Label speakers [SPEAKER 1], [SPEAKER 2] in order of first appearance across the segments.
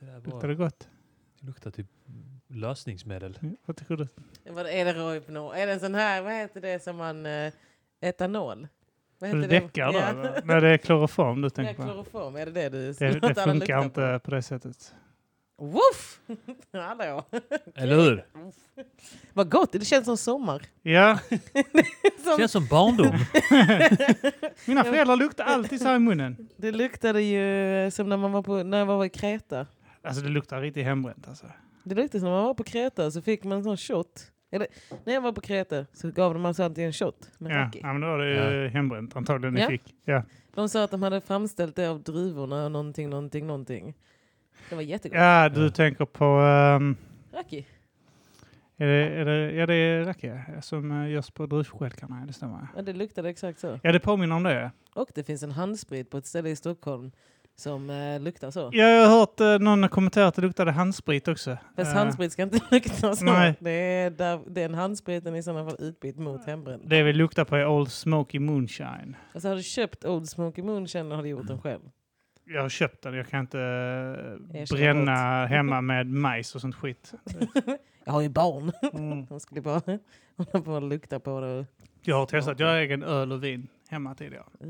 [SPEAKER 1] Det där
[SPEAKER 2] Luktar
[SPEAKER 1] var,
[SPEAKER 2] det gott?
[SPEAKER 1] det luktar typ lösningsmedel.
[SPEAKER 2] Ja, Varsågoda.
[SPEAKER 3] Vad är det Rohypnol? Är det en sån här, vad heter det som man... Eh, etanol? Vad
[SPEAKER 2] Du däckar då?
[SPEAKER 3] Ja.
[SPEAKER 2] När det är kloroform du
[SPEAKER 3] Ja,
[SPEAKER 2] tänker på?
[SPEAKER 3] kloroform, är det det du
[SPEAKER 2] Det,
[SPEAKER 3] låter
[SPEAKER 2] det
[SPEAKER 3] alla
[SPEAKER 2] funkar
[SPEAKER 3] lukta
[SPEAKER 2] inte på det sättet.
[SPEAKER 3] På? Woof! Hallå!
[SPEAKER 1] Eller hur?
[SPEAKER 3] Vad gott, det känns som sommar.
[SPEAKER 2] Ja,
[SPEAKER 3] Som,
[SPEAKER 1] Känns som barndom.
[SPEAKER 2] mina föräldrar luktar alltid så här i munnen.
[SPEAKER 3] det luktade ju eh, som när man var på, när jag var i Kreta.
[SPEAKER 2] Alltså det luktar riktigt hembränt alltså.
[SPEAKER 3] Det luktade som när man var på Kreta så fick man en sån shot. Eller, när jag var på Kreta så gav de alltså alltid en shot med
[SPEAKER 2] Ja,
[SPEAKER 3] raki.
[SPEAKER 2] ja men då var det ju hembränt antagligen ni
[SPEAKER 3] Ja.
[SPEAKER 2] fick. Ja.
[SPEAKER 3] De sa att de hade framställt det av druvorna och någonting, någonting, någonting. Det var jättegott.
[SPEAKER 2] ja, du
[SPEAKER 1] Ja.
[SPEAKER 2] tänker på... ehm,
[SPEAKER 3] Raki.
[SPEAKER 2] är det, är det, ja, det är rakia som eh, görs på druvstjälkarna, ja, det stämmer.
[SPEAKER 3] Ja, det luktade exakt så.
[SPEAKER 2] Ja, det påminner om det.
[SPEAKER 3] Och det finns en handsprit på ett ställe i Stockholm som eh, luktar så.
[SPEAKER 2] Jag har hört eh, någon kommentera att det luktade handsprit också.
[SPEAKER 3] Fast
[SPEAKER 2] Eh,
[SPEAKER 3] handsprit ska inte lukta så.
[SPEAKER 2] nej.
[SPEAKER 3] Det är där, den handspriten är i sådana fall utbytt mot hembränd.
[SPEAKER 2] Det vi luktar på är Old Smoky Moonshine.
[SPEAKER 3] Alltså har du köpt Old Smoky Moonshine eller har du gjort den själv?
[SPEAKER 2] Jag har köpt den, jag kan inte eh,
[SPEAKER 3] Erkänn
[SPEAKER 2] bränna hemma med majs och sånt skit.
[SPEAKER 3] Jag har ju barn. De skulle bara hålla på och lukta på det. och-
[SPEAKER 2] Jag har testat, jag har egen öl och vin hemma tidigare.
[SPEAKER 3] Ja.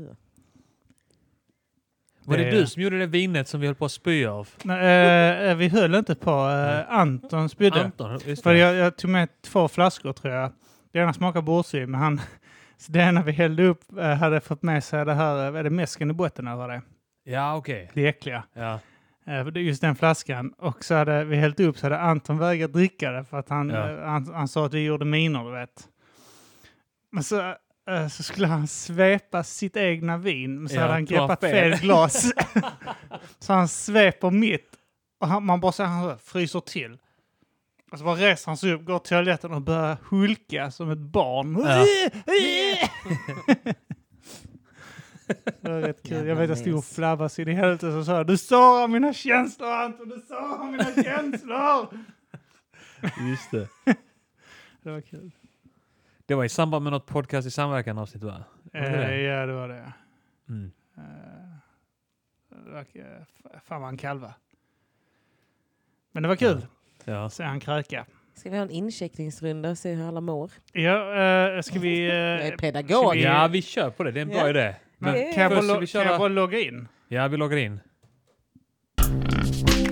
[SPEAKER 1] Var det
[SPEAKER 2] Eh.
[SPEAKER 1] du som gjorde det vinet som vi höll på att spy av?
[SPEAKER 2] Nej, eh, vi höll inte på. Eh, Anton spydde.
[SPEAKER 1] Anton, just
[SPEAKER 2] För
[SPEAKER 1] det.
[SPEAKER 2] jag, jag tog med två flaskor tror jag. Det ena smakade bordsvin, men han, så det ena vi hällde upp eh, hade fått med sig det här, eh, är det mäsken i botten eller vad det är?
[SPEAKER 1] Ja, okej.
[SPEAKER 2] Det äckliga.
[SPEAKER 1] Ja.
[SPEAKER 2] Eh, det är Just den flaskan. Och så hade vi hällt upp så hade Anton vägrat dricka det för att han,
[SPEAKER 1] Ja.
[SPEAKER 2] eh, han, han sa att vi gjorde miner, du vet. Men så, eh, så skulle han svepa sitt egna vin, men så
[SPEAKER 1] Ja,
[SPEAKER 2] hade han
[SPEAKER 1] tog han
[SPEAKER 2] greppat fel,
[SPEAKER 1] fel.
[SPEAKER 2] glas. så han sveper mitt och han, man bara ser han fryser till. Och så bara reser han sig upp, går till toaletten och börjar hulka som ett barn.
[SPEAKER 1] Ja.
[SPEAKER 2] Det var rätt kul. Jag
[SPEAKER 3] Jävla
[SPEAKER 2] vet jag stod och
[SPEAKER 3] mes.
[SPEAKER 2] flabbade så in i helvete och sa jag, du sårar mina känslor Anton, du sårar mina känslor!
[SPEAKER 1] Just det.
[SPEAKER 2] Det var kul.
[SPEAKER 1] Det var i samband med något podcast i samverkan avsnitt va? Var det
[SPEAKER 2] Eh,
[SPEAKER 1] det?
[SPEAKER 2] ja, det var det.
[SPEAKER 1] Mm.
[SPEAKER 2] Eh, det var, eh, f- fan vad han kalva. Men det var kul.
[SPEAKER 1] Ja.
[SPEAKER 2] Se han kräka.
[SPEAKER 3] Ska vi ha en incheckningsrunda och se hur alla mår?
[SPEAKER 2] Ja, eh, ska vi...
[SPEAKER 3] Jag är
[SPEAKER 2] Eh,
[SPEAKER 3] pedagog.
[SPEAKER 2] Vi-
[SPEAKER 1] ja, vi kör på det. Det är en bra
[SPEAKER 3] Ja.
[SPEAKER 1] idé. Men,
[SPEAKER 3] Det är-
[SPEAKER 2] kan, jag bara
[SPEAKER 1] Först ska
[SPEAKER 2] lo-
[SPEAKER 1] vi
[SPEAKER 2] kan
[SPEAKER 1] köra-
[SPEAKER 2] jag bara logga in?
[SPEAKER 1] ja, vi loggar in.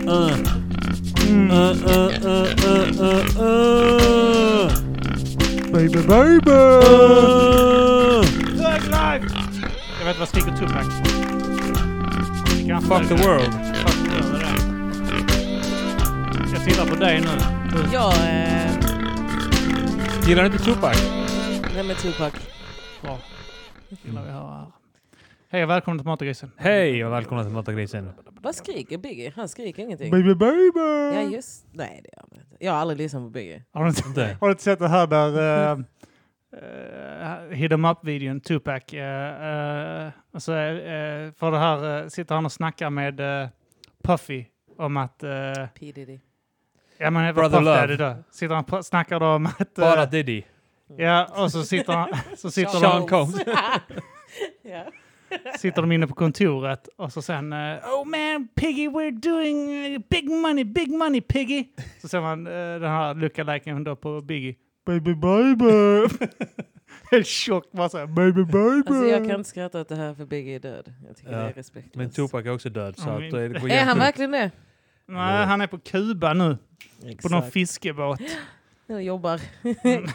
[SPEAKER 1] Mm. Eh. eh.
[SPEAKER 2] Baby, baby! Thug life! Jag vet vad Stig och Tupac...
[SPEAKER 1] Fuck the world.
[SPEAKER 2] Jag tittar på dig nu.
[SPEAKER 3] Jag... Eh,
[SPEAKER 1] Gillar du inte Tupac?
[SPEAKER 3] nej men Tupac.
[SPEAKER 2] Bra. Gillar vi att höra här. Hej och välkommen till Matagrisen.
[SPEAKER 1] Hej och välkomna till Matagrisen.
[SPEAKER 2] eh,
[SPEAKER 3] Vad skriker Biggie? Han skriker ingenting.
[SPEAKER 2] Baby baby!
[SPEAKER 3] Ja just... Nej det gör han inte. Jag har aldrig lyssnat på Biggie.
[SPEAKER 2] Har du inte,
[SPEAKER 1] Inte?
[SPEAKER 2] har du inte sett det här där... Uh, uh, Hit em up-videon, Tupac. Uh, uh, och så, eh, för det här eh, sitter han och snackar med eh, Puffy om att... eh,
[SPEAKER 3] P Diddy.
[SPEAKER 2] ja men det var
[SPEAKER 1] Brother
[SPEAKER 2] Puff
[SPEAKER 1] Love.
[SPEAKER 2] Daddy då. Sitter han och snackar då om att... eh,
[SPEAKER 1] Bara Diddy.
[SPEAKER 2] ja, och så sitter, han, så sitter de...
[SPEAKER 1] Sean Combs.
[SPEAKER 3] ja.
[SPEAKER 2] sitter de inne på kontoret och så sen eh, Oh man Piggy we're doing eh, big money, big money Piggy. Så ser man eh, den här lookaliken då på Biggie. Baby baby. Helt tjock bara såhär baby baby.
[SPEAKER 3] Alltså jag kan inte skratta åt det här för Biggie är död. Jag tycker
[SPEAKER 1] Ja.
[SPEAKER 3] det är respektlöst.
[SPEAKER 1] Men Tupac är också död så
[SPEAKER 2] Ja,
[SPEAKER 1] att eh,
[SPEAKER 2] men-
[SPEAKER 1] det går
[SPEAKER 3] Är han
[SPEAKER 1] jättebra.
[SPEAKER 3] verkligen det?
[SPEAKER 2] Nej, han är på Kuba nu. På någon fiskebåt.
[SPEAKER 3] Nu jobbar.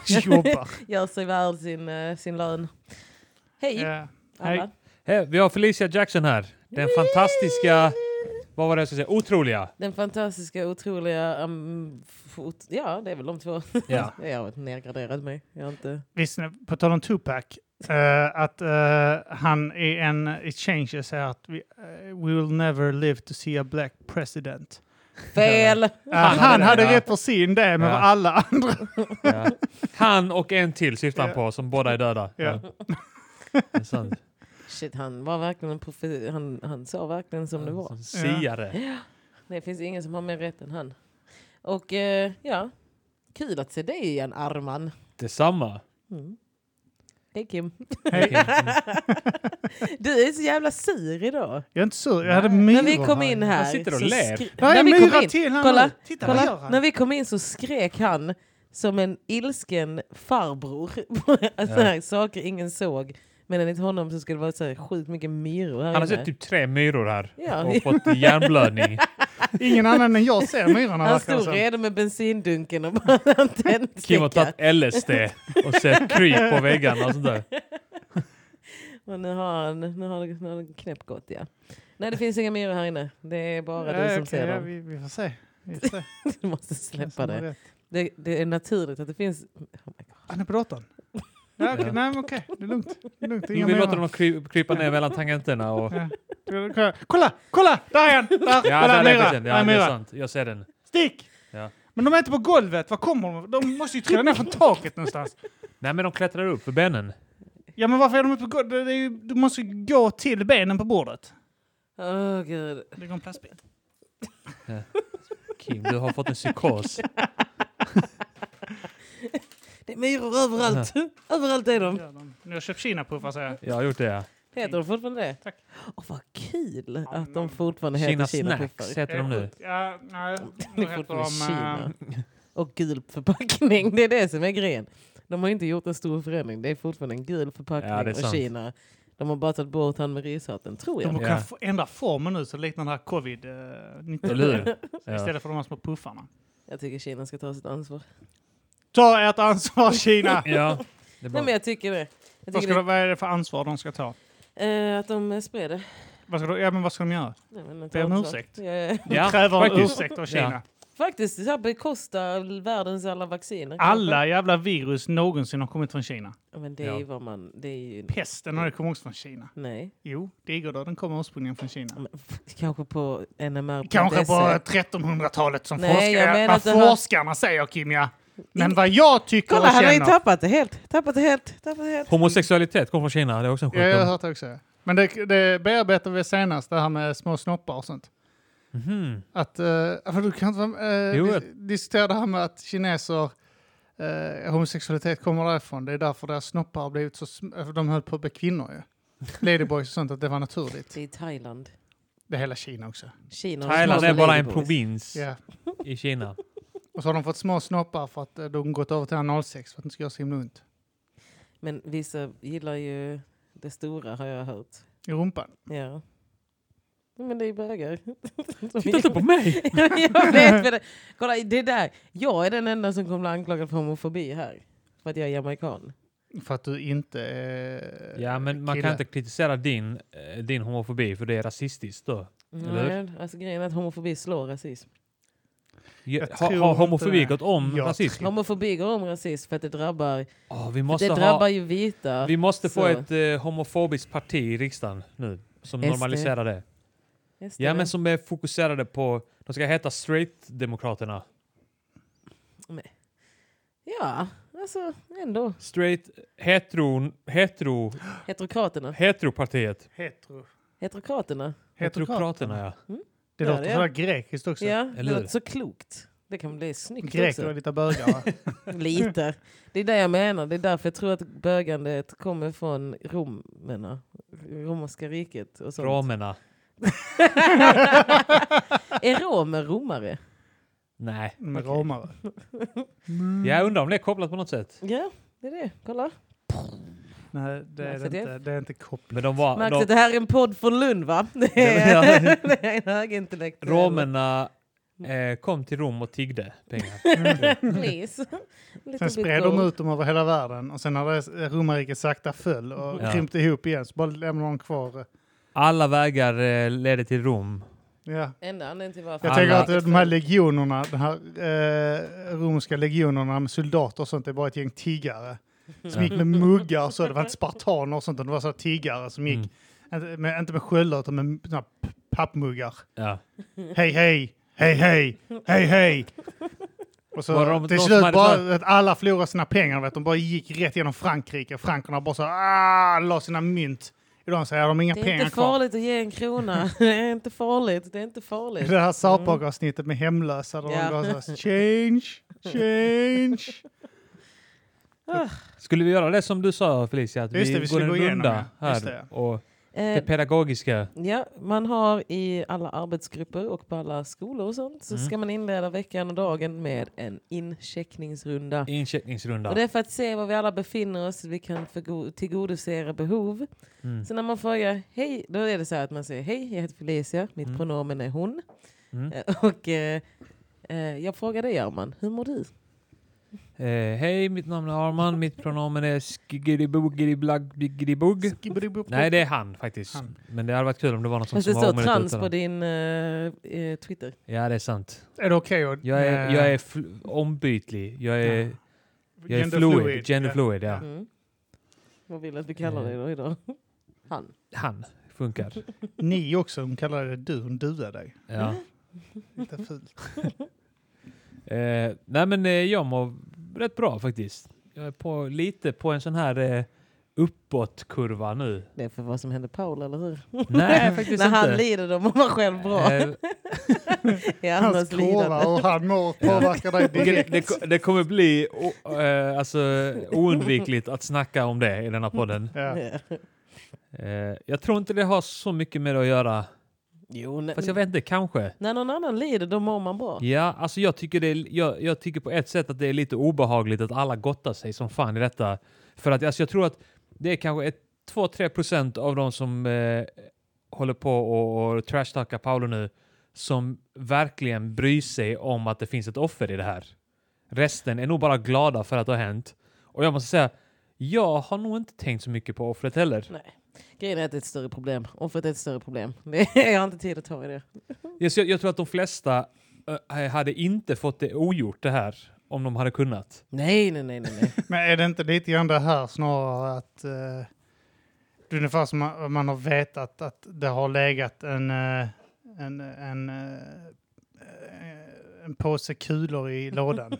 [SPEAKER 2] Jobbar.
[SPEAKER 3] Gör sig värd sin, eh, sin lön. Hej
[SPEAKER 2] Ja.
[SPEAKER 3] alla.
[SPEAKER 2] hej.
[SPEAKER 1] Hej, vi har Felicia Jackson här. Den fantastiska, vad var det jag skulle säga, otroliga.
[SPEAKER 3] Den fantastiska, otroliga... Um, fot- ja, det är väl de två.
[SPEAKER 1] Ja.
[SPEAKER 3] Jag har nedgraderat mig. Jag har inte...
[SPEAKER 2] Visst, på tal om Tupac. eh, att eh, han i en i Changes säger att vi, eh, we will never live to see a black president.
[SPEAKER 3] Fel!
[SPEAKER 2] Ja, han hade
[SPEAKER 1] Ja.
[SPEAKER 2] rätt på sin det, men
[SPEAKER 1] Ja.
[SPEAKER 2] vad alla andra...
[SPEAKER 1] Ja. Han och en till syftar han
[SPEAKER 2] Ja.
[SPEAKER 1] på som båda är döda.
[SPEAKER 2] Ja.
[SPEAKER 1] Det är sant.
[SPEAKER 3] Shit, han var verkligen en profi- han, han sa verkligen som det var.
[SPEAKER 1] Som siare.
[SPEAKER 3] Det finns ingen som har mer rätt än han. Och eh, ja, kul att se dig igen Arman.
[SPEAKER 1] Detsamma.
[SPEAKER 3] Hej Kim.
[SPEAKER 2] Hej.
[SPEAKER 3] du är så jävla sur idag.
[SPEAKER 2] Jag är inte sur, jag hade
[SPEAKER 1] Nej.
[SPEAKER 2] myror
[SPEAKER 3] När vi kom in här.
[SPEAKER 1] Han sitter och
[SPEAKER 3] så
[SPEAKER 1] ler.
[SPEAKER 3] skri-
[SPEAKER 2] Vad är
[SPEAKER 3] När vi
[SPEAKER 2] myra
[SPEAKER 3] kom in,
[SPEAKER 2] till här
[SPEAKER 3] kolla,
[SPEAKER 2] nu? Titta, vad gör
[SPEAKER 3] kolla,
[SPEAKER 2] han?
[SPEAKER 3] när vi kom in så skrek han som en ilsken farbror. Alltså,
[SPEAKER 1] Ja.
[SPEAKER 3] här, saker ingen såg. Men enligt honom så skulle det vara så här sjukt mycket myror här
[SPEAKER 1] Han har
[SPEAKER 3] inne.
[SPEAKER 1] sett typ tre myror här
[SPEAKER 3] Ja.
[SPEAKER 1] och fått hjärnblödning.
[SPEAKER 2] Ingen annan än jag ser myrorna
[SPEAKER 3] Han
[SPEAKER 2] verkar det
[SPEAKER 3] stod
[SPEAKER 2] som.
[SPEAKER 3] redo med bensindunken och bara en
[SPEAKER 1] Kim har
[SPEAKER 3] tändsticka.
[SPEAKER 1] tagit LSD och sett kryp på väggarna och sånt där.
[SPEAKER 3] Och nu har han, nu har, han- nu har han knäppgått ja. Nej det finns inga myror här inne. Det är bara du
[SPEAKER 2] Ja,
[SPEAKER 3] som
[SPEAKER 2] okej,
[SPEAKER 3] ser
[SPEAKER 2] ja,
[SPEAKER 3] dem.
[SPEAKER 2] vi, vi får se. Vi får se.
[SPEAKER 3] Du måste
[SPEAKER 2] Vem
[SPEAKER 3] släppa
[SPEAKER 2] som har
[SPEAKER 3] det.
[SPEAKER 2] rätt.
[SPEAKER 3] det. Det är naturligt att det finns... Oh my God.
[SPEAKER 2] Han är på datorn. Ja, okej,
[SPEAKER 1] Ja.
[SPEAKER 2] Nej, men okej. Det är lugnt. Det är lugnt.
[SPEAKER 1] Nu
[SPEAKER 2] Inga
[SPEAKER 1] vill låta
[SPEAKER 2] myror.
[SPEAKER 1] dem krypa, krypa ner mellan tangenterna och...
[SPEAKER 2] Ja. Kolla, kolla, kolla! Där är han! Där,
[SPEAKER 1] Ja,
[SPEAKER 2] kolla,
[SPEAKER 1] där
[SPEAKER 2] en
[SPEAKER 1] är
[SPEAKER 2] myra!
[SPEAKER 1] precis.
[SPEAKER 2] Där är
[SPEAKER 1] Ja,
[SPEAKER 2] en
[SPEAKER 1] det är
[SPEAKER 2] myra.
[SPEAKER 1] sant. Jag ser den.
[SPEAKER 2] Stick!
[SPEAKER 1] Ja.
[SPEAKER 2] Men de är inte på golvet, var kommer de? De måste ju trilla ner från taket någonstans.
[SPEAKER 1] Nej, men de klättrar upp för benen.
[SPEAKER 2] Ja, men varför är de inte på golvet? Det är ju- Du måste ju gå till benen på bordet.
[SPEAKER 3] Åh gud.
[SPEAKER 2] Det går en plastbit.
[SPEAKER 1] Kim, du har fått en psykos.
[SPEAKER 3] Det är myror överallt. överallt är de.
[SPEAKER 2] Ja, de- Nu har jag köpt kinapuffar säger jag.
[SPEAKER 1] Jag har gjort det, ja.
[SPEAKER 3] Heter de fortfarande det?
[SPEAKER 2] Tack.
[SPEAKER 3] Åh vad kul att de fortfarande heter
[SPEAKER 1] Kina
[SPEAKER 3] Kina
[SPEAKER 1] Snacks
[SPEAKER 3] puffar.
[SPEAKER 1] heter de nu.
[SPEAKER 2] Ja, nej.
[SPEAKER 3] Det
[SPEAKER 2] Nu
[SPEAKER 3] är
[SPEAKER 2] heter
[SPEAKER 3] fortfarande
[SPEAKER 2] de... eh,
[SPEAKER 3] Kina. Och gul förpackning. Det är det som är grejen. De har inte gjort en stor förändring. Det är fortfarande en gul förpackning
[SPEAKER 1] Ja, det är
[SPEAKER 3] och
[SPEAKER 1] sant.
[SPEAKER 3] Kina. De har bara tagit bort han med rishatten, tror jag.
[SPEAKER 2] De har
[SPEAKER 1] Ja.
[SPEAKER 2] kunnat få- ändra formen nu så det liknar den här
[SPEAKER 1] Eller
[SPEAKER 2] covid-19.
[SPEAKER 1] hur? Ja.
[SPEAKER 2] Istället för de här små puffarna.
[SPEAKER 3] Jag tycker Kina ska ta sitt ansvar.
[SPEAKER 2] Ta ert ansvar Kina!
[SPEAKER 1] ja. Det är
[SPEAKER 3] Nej,
[SPEAKER 1] bra.
[SPEAKER 3] men jag tycker det. Jag
[SPEAKER 2] Vad, ska
[SPEAKER 3] tycker det.
[SPEAKER 2] de, vad är det för ansvar de ska ta?
[SPEAKER 3] Eh, att de eh, spred det.
[SPEAKER 2] Vad ska de, ja, men vad ska de göra?
[SPEAKER 3] Nej, men att
[SPEAKER 2] Ber om
[SPEAKER 3] ta ansvar.
[SPEAKER 2] ursäkt.
[SPEAKER 3] Ja,
[SPEAKER 2] De
[SPEAKER 1] Ja,
[SPEAKER 2] kräver en
[SPEAKER 1] faktiskt.
[SPEAKER 2] ursäkt av Kina.
[SPEAKER 3] faktiskt, så här bekosta världens alla vacciner.
[SPEAKER 2] Alla jävla virus någonsin har kommit från Kina.
[SPEAKER 3] Ja, men det är ju
[SPEAKER 1] Ja.
[SPEAKER 3] vad man... Det är ju...
[SPEAKER 2] Pesten har ju kommit också från Kina.
[SPEAKER 3] Nej.
[SPEAKER 2] Jo, digerdöden kommer ursprungligen från Kina.
[SPEAKER 3] Ja, men Kanske på eh, NMR.se.
[SPEAKER 2] Kanske på 1300-talet som
[SPEAKER 3] Nej,
[SPEAKER 2] forskare.
[SPEAKER 3] jag menar
[SPEAKER 2] vad
[SPEAKER 3] att det har-
[SPEAKER 2] forskarna säger Kim, ja. Men vad jag tycker
[SPEAKER 3] Kolla,
[SPEAKER 2] och
[SPEAKER 3] han har ju
[SPEAKER 2] känner...
[SPEAKER 3] tappat det helt. Tappat det helt. Tappat det helt.
[SPEAKER 1] Homosexualitet kommer från Kina. Det är också en
[SPEAKER 2] Ja, jag har
[SPEAKER 1] sjukdom.
[SPEAKER 2] hört det också. Men det, det bearbetar vi senast, det här med små snoppar och sånt.
[SPEAKER 1] Mhm.
[SPEAKER 2] Att, eh, för du kan inte vara- eh,
[SPEAKER 1] Jo,
[SPEAKER 2] dis-
[SPEAKER 1] jag-
[SPEAKER 2] diskutera det här med att kineser, eh, homosexualitet kommer därifrån. Det är därför deras snoppar har blivit så sm- eh, för De höll på att bli kvinnor ju. Ladyboys och sånt, att det var naturligt.
[SPEAKER 3] Det är Thailand.
[SPEAKER 2] Det är hela Kina också.
[SPEAKER 3] Kina har
[SPEAKER 1] Thailand
[SPEAKER 3] små
[SPEAKER 1] är bara en
[SPEAKER 3] ladyboys.
[SPEAKER 1] provins
[SPEAKER 2] Ja.
[SPEAKER 1] i Kina.
[SPEAKER 2] Och så har de fått små snoppar för att eh, de gått över till 06 för att det inte ska göra så himla ont.
[SPEAKER 3] Men vissa gillar ju det stora har jag hört.
[SPEAKER 2] I rumpan.
[SPEAKER 3] Ja. Men det är bögar.
[SPEAKER 1] Titta inte på mig!
[SPEAKER 3] jag vet vad det. Kolla, det där. Jag är den enda som kommer bli anklagad för homofobi här. För att jag är jamaican.
[SPEAKER 2] För att du inte är
[SPEAKER 1] Ja, men man
[SPEAKER 2] kille.
[SPEAKER 1] kan inte kritisera din, eh, din homofobi för det är rasistiskt då. Eller
[SPEAKER 3] Nej, alltså grejen är att homofobi slår rasism.
[SPEAKER 1] Ja,
[SPEAKER 2] Jag
[SPEAKER 1] Har
[SPEAKER 2] tror
[SPEAKER 1] har
[SPEAKER 2] inte
[SPEAKER 1] homofobi
[SPEAKER 2] det.
[SPEAKER 1] gått om
[SPEAKER 2] Jag
[SPEAKER 1] rasism?
[SPEAKER 3] Homofobi går om rasism för att det drabbar,
[SPEAKER 1] Åh, vi måste
[SPEAKER 3] det drabbar
[SPEAKER 1] ha...
[SPEAKER 3] ju vita.
[SPEAKER 1] Vi måste få
[SPEAKER 3] Så.
[SPEAKER 1] ett eh, homofobiskt parti i riksdagen nu som
[SPEAKER 3] SD.
[SPEAKER 1] normaliserar det.
[SPEAKER 3] Just det.
[SPEAKER 1] Ja, men som är fokuserade på... De ska heta straight-demokraterna.
[SPEAKER 3] ja, alltså ändå.
[SPEAKER 1] Straight... Hetero... Hetero...
[SPEAKER 3] Heterokraterna.
[SPEAKER 1] Heteropartiet.
[SPEAKER 2] hetero.
[SPEAKER 3] Heterokraterna.
[SPEAKER 1] Heterokraterna, ja.
[SPEAKER 2] Det
[SPEAKER 3] Ja,
[SPEAKER 2] låter
[SPEAKER 3] det är-
[SPEAKER 2] sådär grekiskt också.
[SPEAKER 3] Ja, det
[SPEAKER 1] Eller hur?
[SPEAKER 3] låter så klokt. Det kan bli snyggt också.
[SPEAKER 2] Greker är lite bögar va?
[SPEAKER 3] Lite. Det är det jag menar. Det är därför jag tror att bögandet kommer från romerna. Romerska riket och sånt.
[SPEAKER 1] Romerna.
[SPEAKER 3] är romer romare?
[SPEAKER 1] Nej.
[SPEAKER 2] Med romare. Mm.
[SPEAKER 1] Jag undrar om det är kopplat på något sätt.
[SPEAKER 3] Ja, det är det. Kolla.
[SPEAKER 2] Nej, det är
[SPEAKER 3] Märks
[SPEAKER 2] Alltså, det
[SPEAKER 3] det?
[SPEAKER 2] inte. Det är inte kopplat.
[SPEAKER 1] Men de var...
[SPEAKER 3] Märks
[SPEAKER 1] De,
[SPEAKER 3] att det här är en podd för Lund va? Det
[SPEAKER 1] Ja,
[SPEAKER 3] är,
[SPEAKER 1] men
[SPEAKER 3] det är en högintellektuell.
[SPEAKER 1] romerna eh, kom till Rom och tiggde pengar.
[SPEAKER 3] Please. Little
[SPEAKER 2] Sen
[SPEAKER 3] bit
[SPEAKER 2] spred de
[SPEAKER 3] gold.
[SPEAKER 2] ut dem över hela världen och sen när det romarriket sakta föll och
[SPEAKER 1] Ja.
[SPEAKER 2] krympte ihop igen så bara lämnade de kvar. eh,
[SPEAKER 1] Alla vägar eh, ledde till Rom.
[SPEAKER 2] Ja.
[SPEAKER 3] Enda anledningen till varför.
[SPEAKER 2] Jag
[SPEAKER 1] Alla-
[SPEAKER 2] tänker att eh, de här legionerna, de här eh, romerska legionerna med soldater och sånt, det är bara ett gäng tiggare. Som gick med muggar och så, det var inte spartaner och sånt, utan det var så här tiggare som
[SPEAKER 1] Mm.
[SPEAKER 2] gick, inte, med, inte med sköldar utan med såna här pappmuggar.
[SPEAKER 1] Ja.
[SPEAKER 2] Hej hej, hej hej, hej hej. Och så
[SPEAKER 1] Var det de- de
[SPEAKER 2] till
[SPEAKER 1] som
[SPEAKER 2] slut
[SPEAKER 1] hade
[SPEAKER 2] bara
[SPEAKER 1] såna-
[SPEAKER 2] att alla förlorade sina pengar. Vet, de bara gick rätt genom Frankrike. Frankerna bara så ah, la sina mynt. I dem säger de inga
[SPEAKER 3] Det är
[SPEAKER 2] pengar
[SPEAKER 3] inte
[SPEAKER 2] kvar.
[SPEAKER 3] farligt att ge en krona. Det är inte farligt. Det är inte farligt.
[SPEAKER 2] Det här Sarpag-avsnittet med hemlösa där
[SPEAKER 3] Mm. Ja.
[SPEAKER 2] de går så här, change, change.
[SPEAKER 3] Ah.
[SPEAKER 1] Skulle vi göra det som du sa Felicia? Att
[SPEAKER 2] Just
[SPEAKER 1] vi,
[SPEAKER 2] det,
[SPEAKER 1] går
[SPEAKER 2] vi skulle
[SPEAKER 1] en
[SPEAKER 2] gå igenom,
[SPEAKER 1] runda
[SPEAKER 2] ja.
[SPEAKER 1] här
[SPEAKER 2] Just det, ja.
[SPEAKER 1] och det
[SPEAKER 3] Eh,
[SPEAKER 1] pedagogiska.
[SPEAKER 3] Ja, man har i alla arbetsgrupper och på alla skolor och sånt så
[SPEAKER 1] Mm.
[SPEAKER 3] ska man inleda veckan och dagen med en incheckningsrunda.
[SPEAKER 1] Incheckningsrunda.
[SPEAKER 3] Och det är för att se var vi alla befinner oss, vi kan förgo- tillgodose era behov.
[SPEAKER 1] Mm.
[SPEAKER 3] Så när man frågar hej, då är det så här att man säger hej, jag heter Felicia, mitt
[SPEAKER 1] Mm.
[SPEAKER 3] pronomen är hon.
[SPEAKER 1] Mm.
[SPEAKER 3] Eh, Och eh, eh, jag frågar dig Arman, hur mår du?
[SPEAKER 1] Eh, Hej, mitt namn är Arman. Mitt pronomen är skiggidibuggidibugg. Nej, det är han faktiskt.
[SPEAKER 2] Han.
[SPEAKER 1] Men det hade varit kul om det var något som,
[SPEAKER 3] Fast det
[SPEAKER 1] som var omöjligt
[SPEAKER 3] står trans
[SPEAKER 1] utan
[SPEAKER 3] på
[SPEAKER 1] honom.
[SPEAKER 3] din eh, eh, Twitter.
[SPEAKER 1] Ja, det är sant.
[SPEAKER 2] Är det okej att...
[SPEAKER 1] Jag är,
[SPEAKER 2] eh,
[SPEAKER 1] jag är fl- ombytlig. Jag är,
[SPEAKER 2] Ja.
[SPEAKER 1] jag är
[SPEAKER 2] gender
[SPEAKER 1] fluid.
[SPEAKER 2] fluid,
[SPEAKER 1] Gender
[SPEAKER 2] ja.
[SPEAKER 1] fluid, ja. Eh.
[SPEAKER 3] Mm. Vad vill du att vi kallar dig då idag? Han.
[SPEAKER 1] Han funkar.
[SPEAKER 2] Ni också, hon kallar det du, hon duar dig.
[SPEAKER 1] Ja.
[SPEAKER 2] Lite fult.
[SPEAKER 1] Eh, nej men eh, jag mår rätt bra faktiskt. Jag är på, lite på en sån här eh, uppåtkurva nu.
[SPEAKER 3] Det är för vad som hände Paul, eller hur?
[SPEAKER 1] Nej faktiskt
[SPEAKER 3] När han
[SPEAKER 1] inte.
[SPEAKER 3] lider då mår man själv bra.
[SPEAKER 1] Eh,
[SPEAKER 3] I
[SPEAKER 2] Hans
[SPEAKER 3] andras lidande.
[SPEAKER 2] kurva och han mår påverkar dig
[SPEAKER 1] det,
[SPEAKER 2] direkt.
[SPEAKER 1] det, ko- det kommer bli o, eh, alltså, oundvikligt att snacka om det i denna podden.
[SPEAKER 2] Ja.
[SPEAKER 3] Ja.
[SPEAKER 1] Eh, jag tror inte det har så mycket med det att göra.
[SPEAKER 3] Jo, när,
[SPEAKER 1] Fast jag vet inte, kanske.
[SPEAKER 3] när någon annan lider då mår man bra.
[SPEAKER 1] Ja, alltså jag tycker, det är, jag, jag tycker på ett sätt att det är lite obehagligt att alla gottar sig som fan i detta. För att alltså jag tror att det är kanske ett, 2-3 procent av de som eh, håller på och, och trashtalkar Paolo nu som verkligen bryr sig om att det finns ett offer i det här. Resten är nog bara glada för att det har hänt. Och jag måste säga, jag har nog inte tänkt så mycket på offret
[SPEAKER 3] Mm.
[SPEAKER 1] heller.
[SPEAKER 3] Grejen är att det är ett större problem. Offret är ett större problem. Det är, jag har inte tid att ta i det.
[SPEAKER 1] Jag, jag, jag tror att de flesta eh, hade inte fått det ogjort det här om de hade kunnat.
[SPEAKER 3] Nej, nej, nej, nej. nej.
[SPEAKER 2] Men är det inte lite grann det här snarare att... Uh, det är ungefär som man, man har vetat att det har legat en... eh, en, en, eh, en påse kulor i lådan.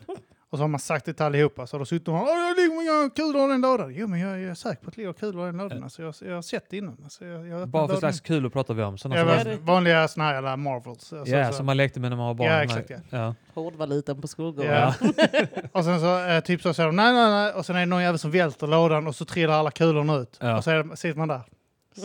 [SPEAKER 2] Och så har man sagt det till allihopa. Så har de suttit och "Åh, det ligger många kulor i den lådan. Jo, men jag, jag är säker på att det ligger kulor i den lådan. Alltså, jag, jag har sett det innan. Alltså, jag, jag öppnar
[SPEAKER 1] Bara för
[SPEAKER 2] lådan.
[SPEAKER 1] slags kul att prata vi om. Såna
[SPEAKER 2] Ja,
[SPEAKER 1] som,
[SPEAKER 3] Ja,
[SPEAKER 2] men
[SPEAKER 3] det-
[SPEAKER 2] vanliga såna här jävla Marvels. Alltså,
[SPEAKER 1] ja,
[SPEAKER 2] så-
[SPEAKER 1] som man lekte med när man var barn.
[SPEAKER 2] Ja,
[SPEAKER 1] De här-
[SPEAKER 2] exakt, ja.
[SPEAKER 1] Ja.
[SPEAKER 3] Hårdvalutan på skolgården.
[SPEAKER 2] Ja. och sen så eh, typ så säger de nej, nej, nej. Och sen är det någon jävel som välter lådan och så trillar alla kulorna ut.
[SPEAKER 1] Ja.
[SPEAKER 2] Och så är det, sitter man där.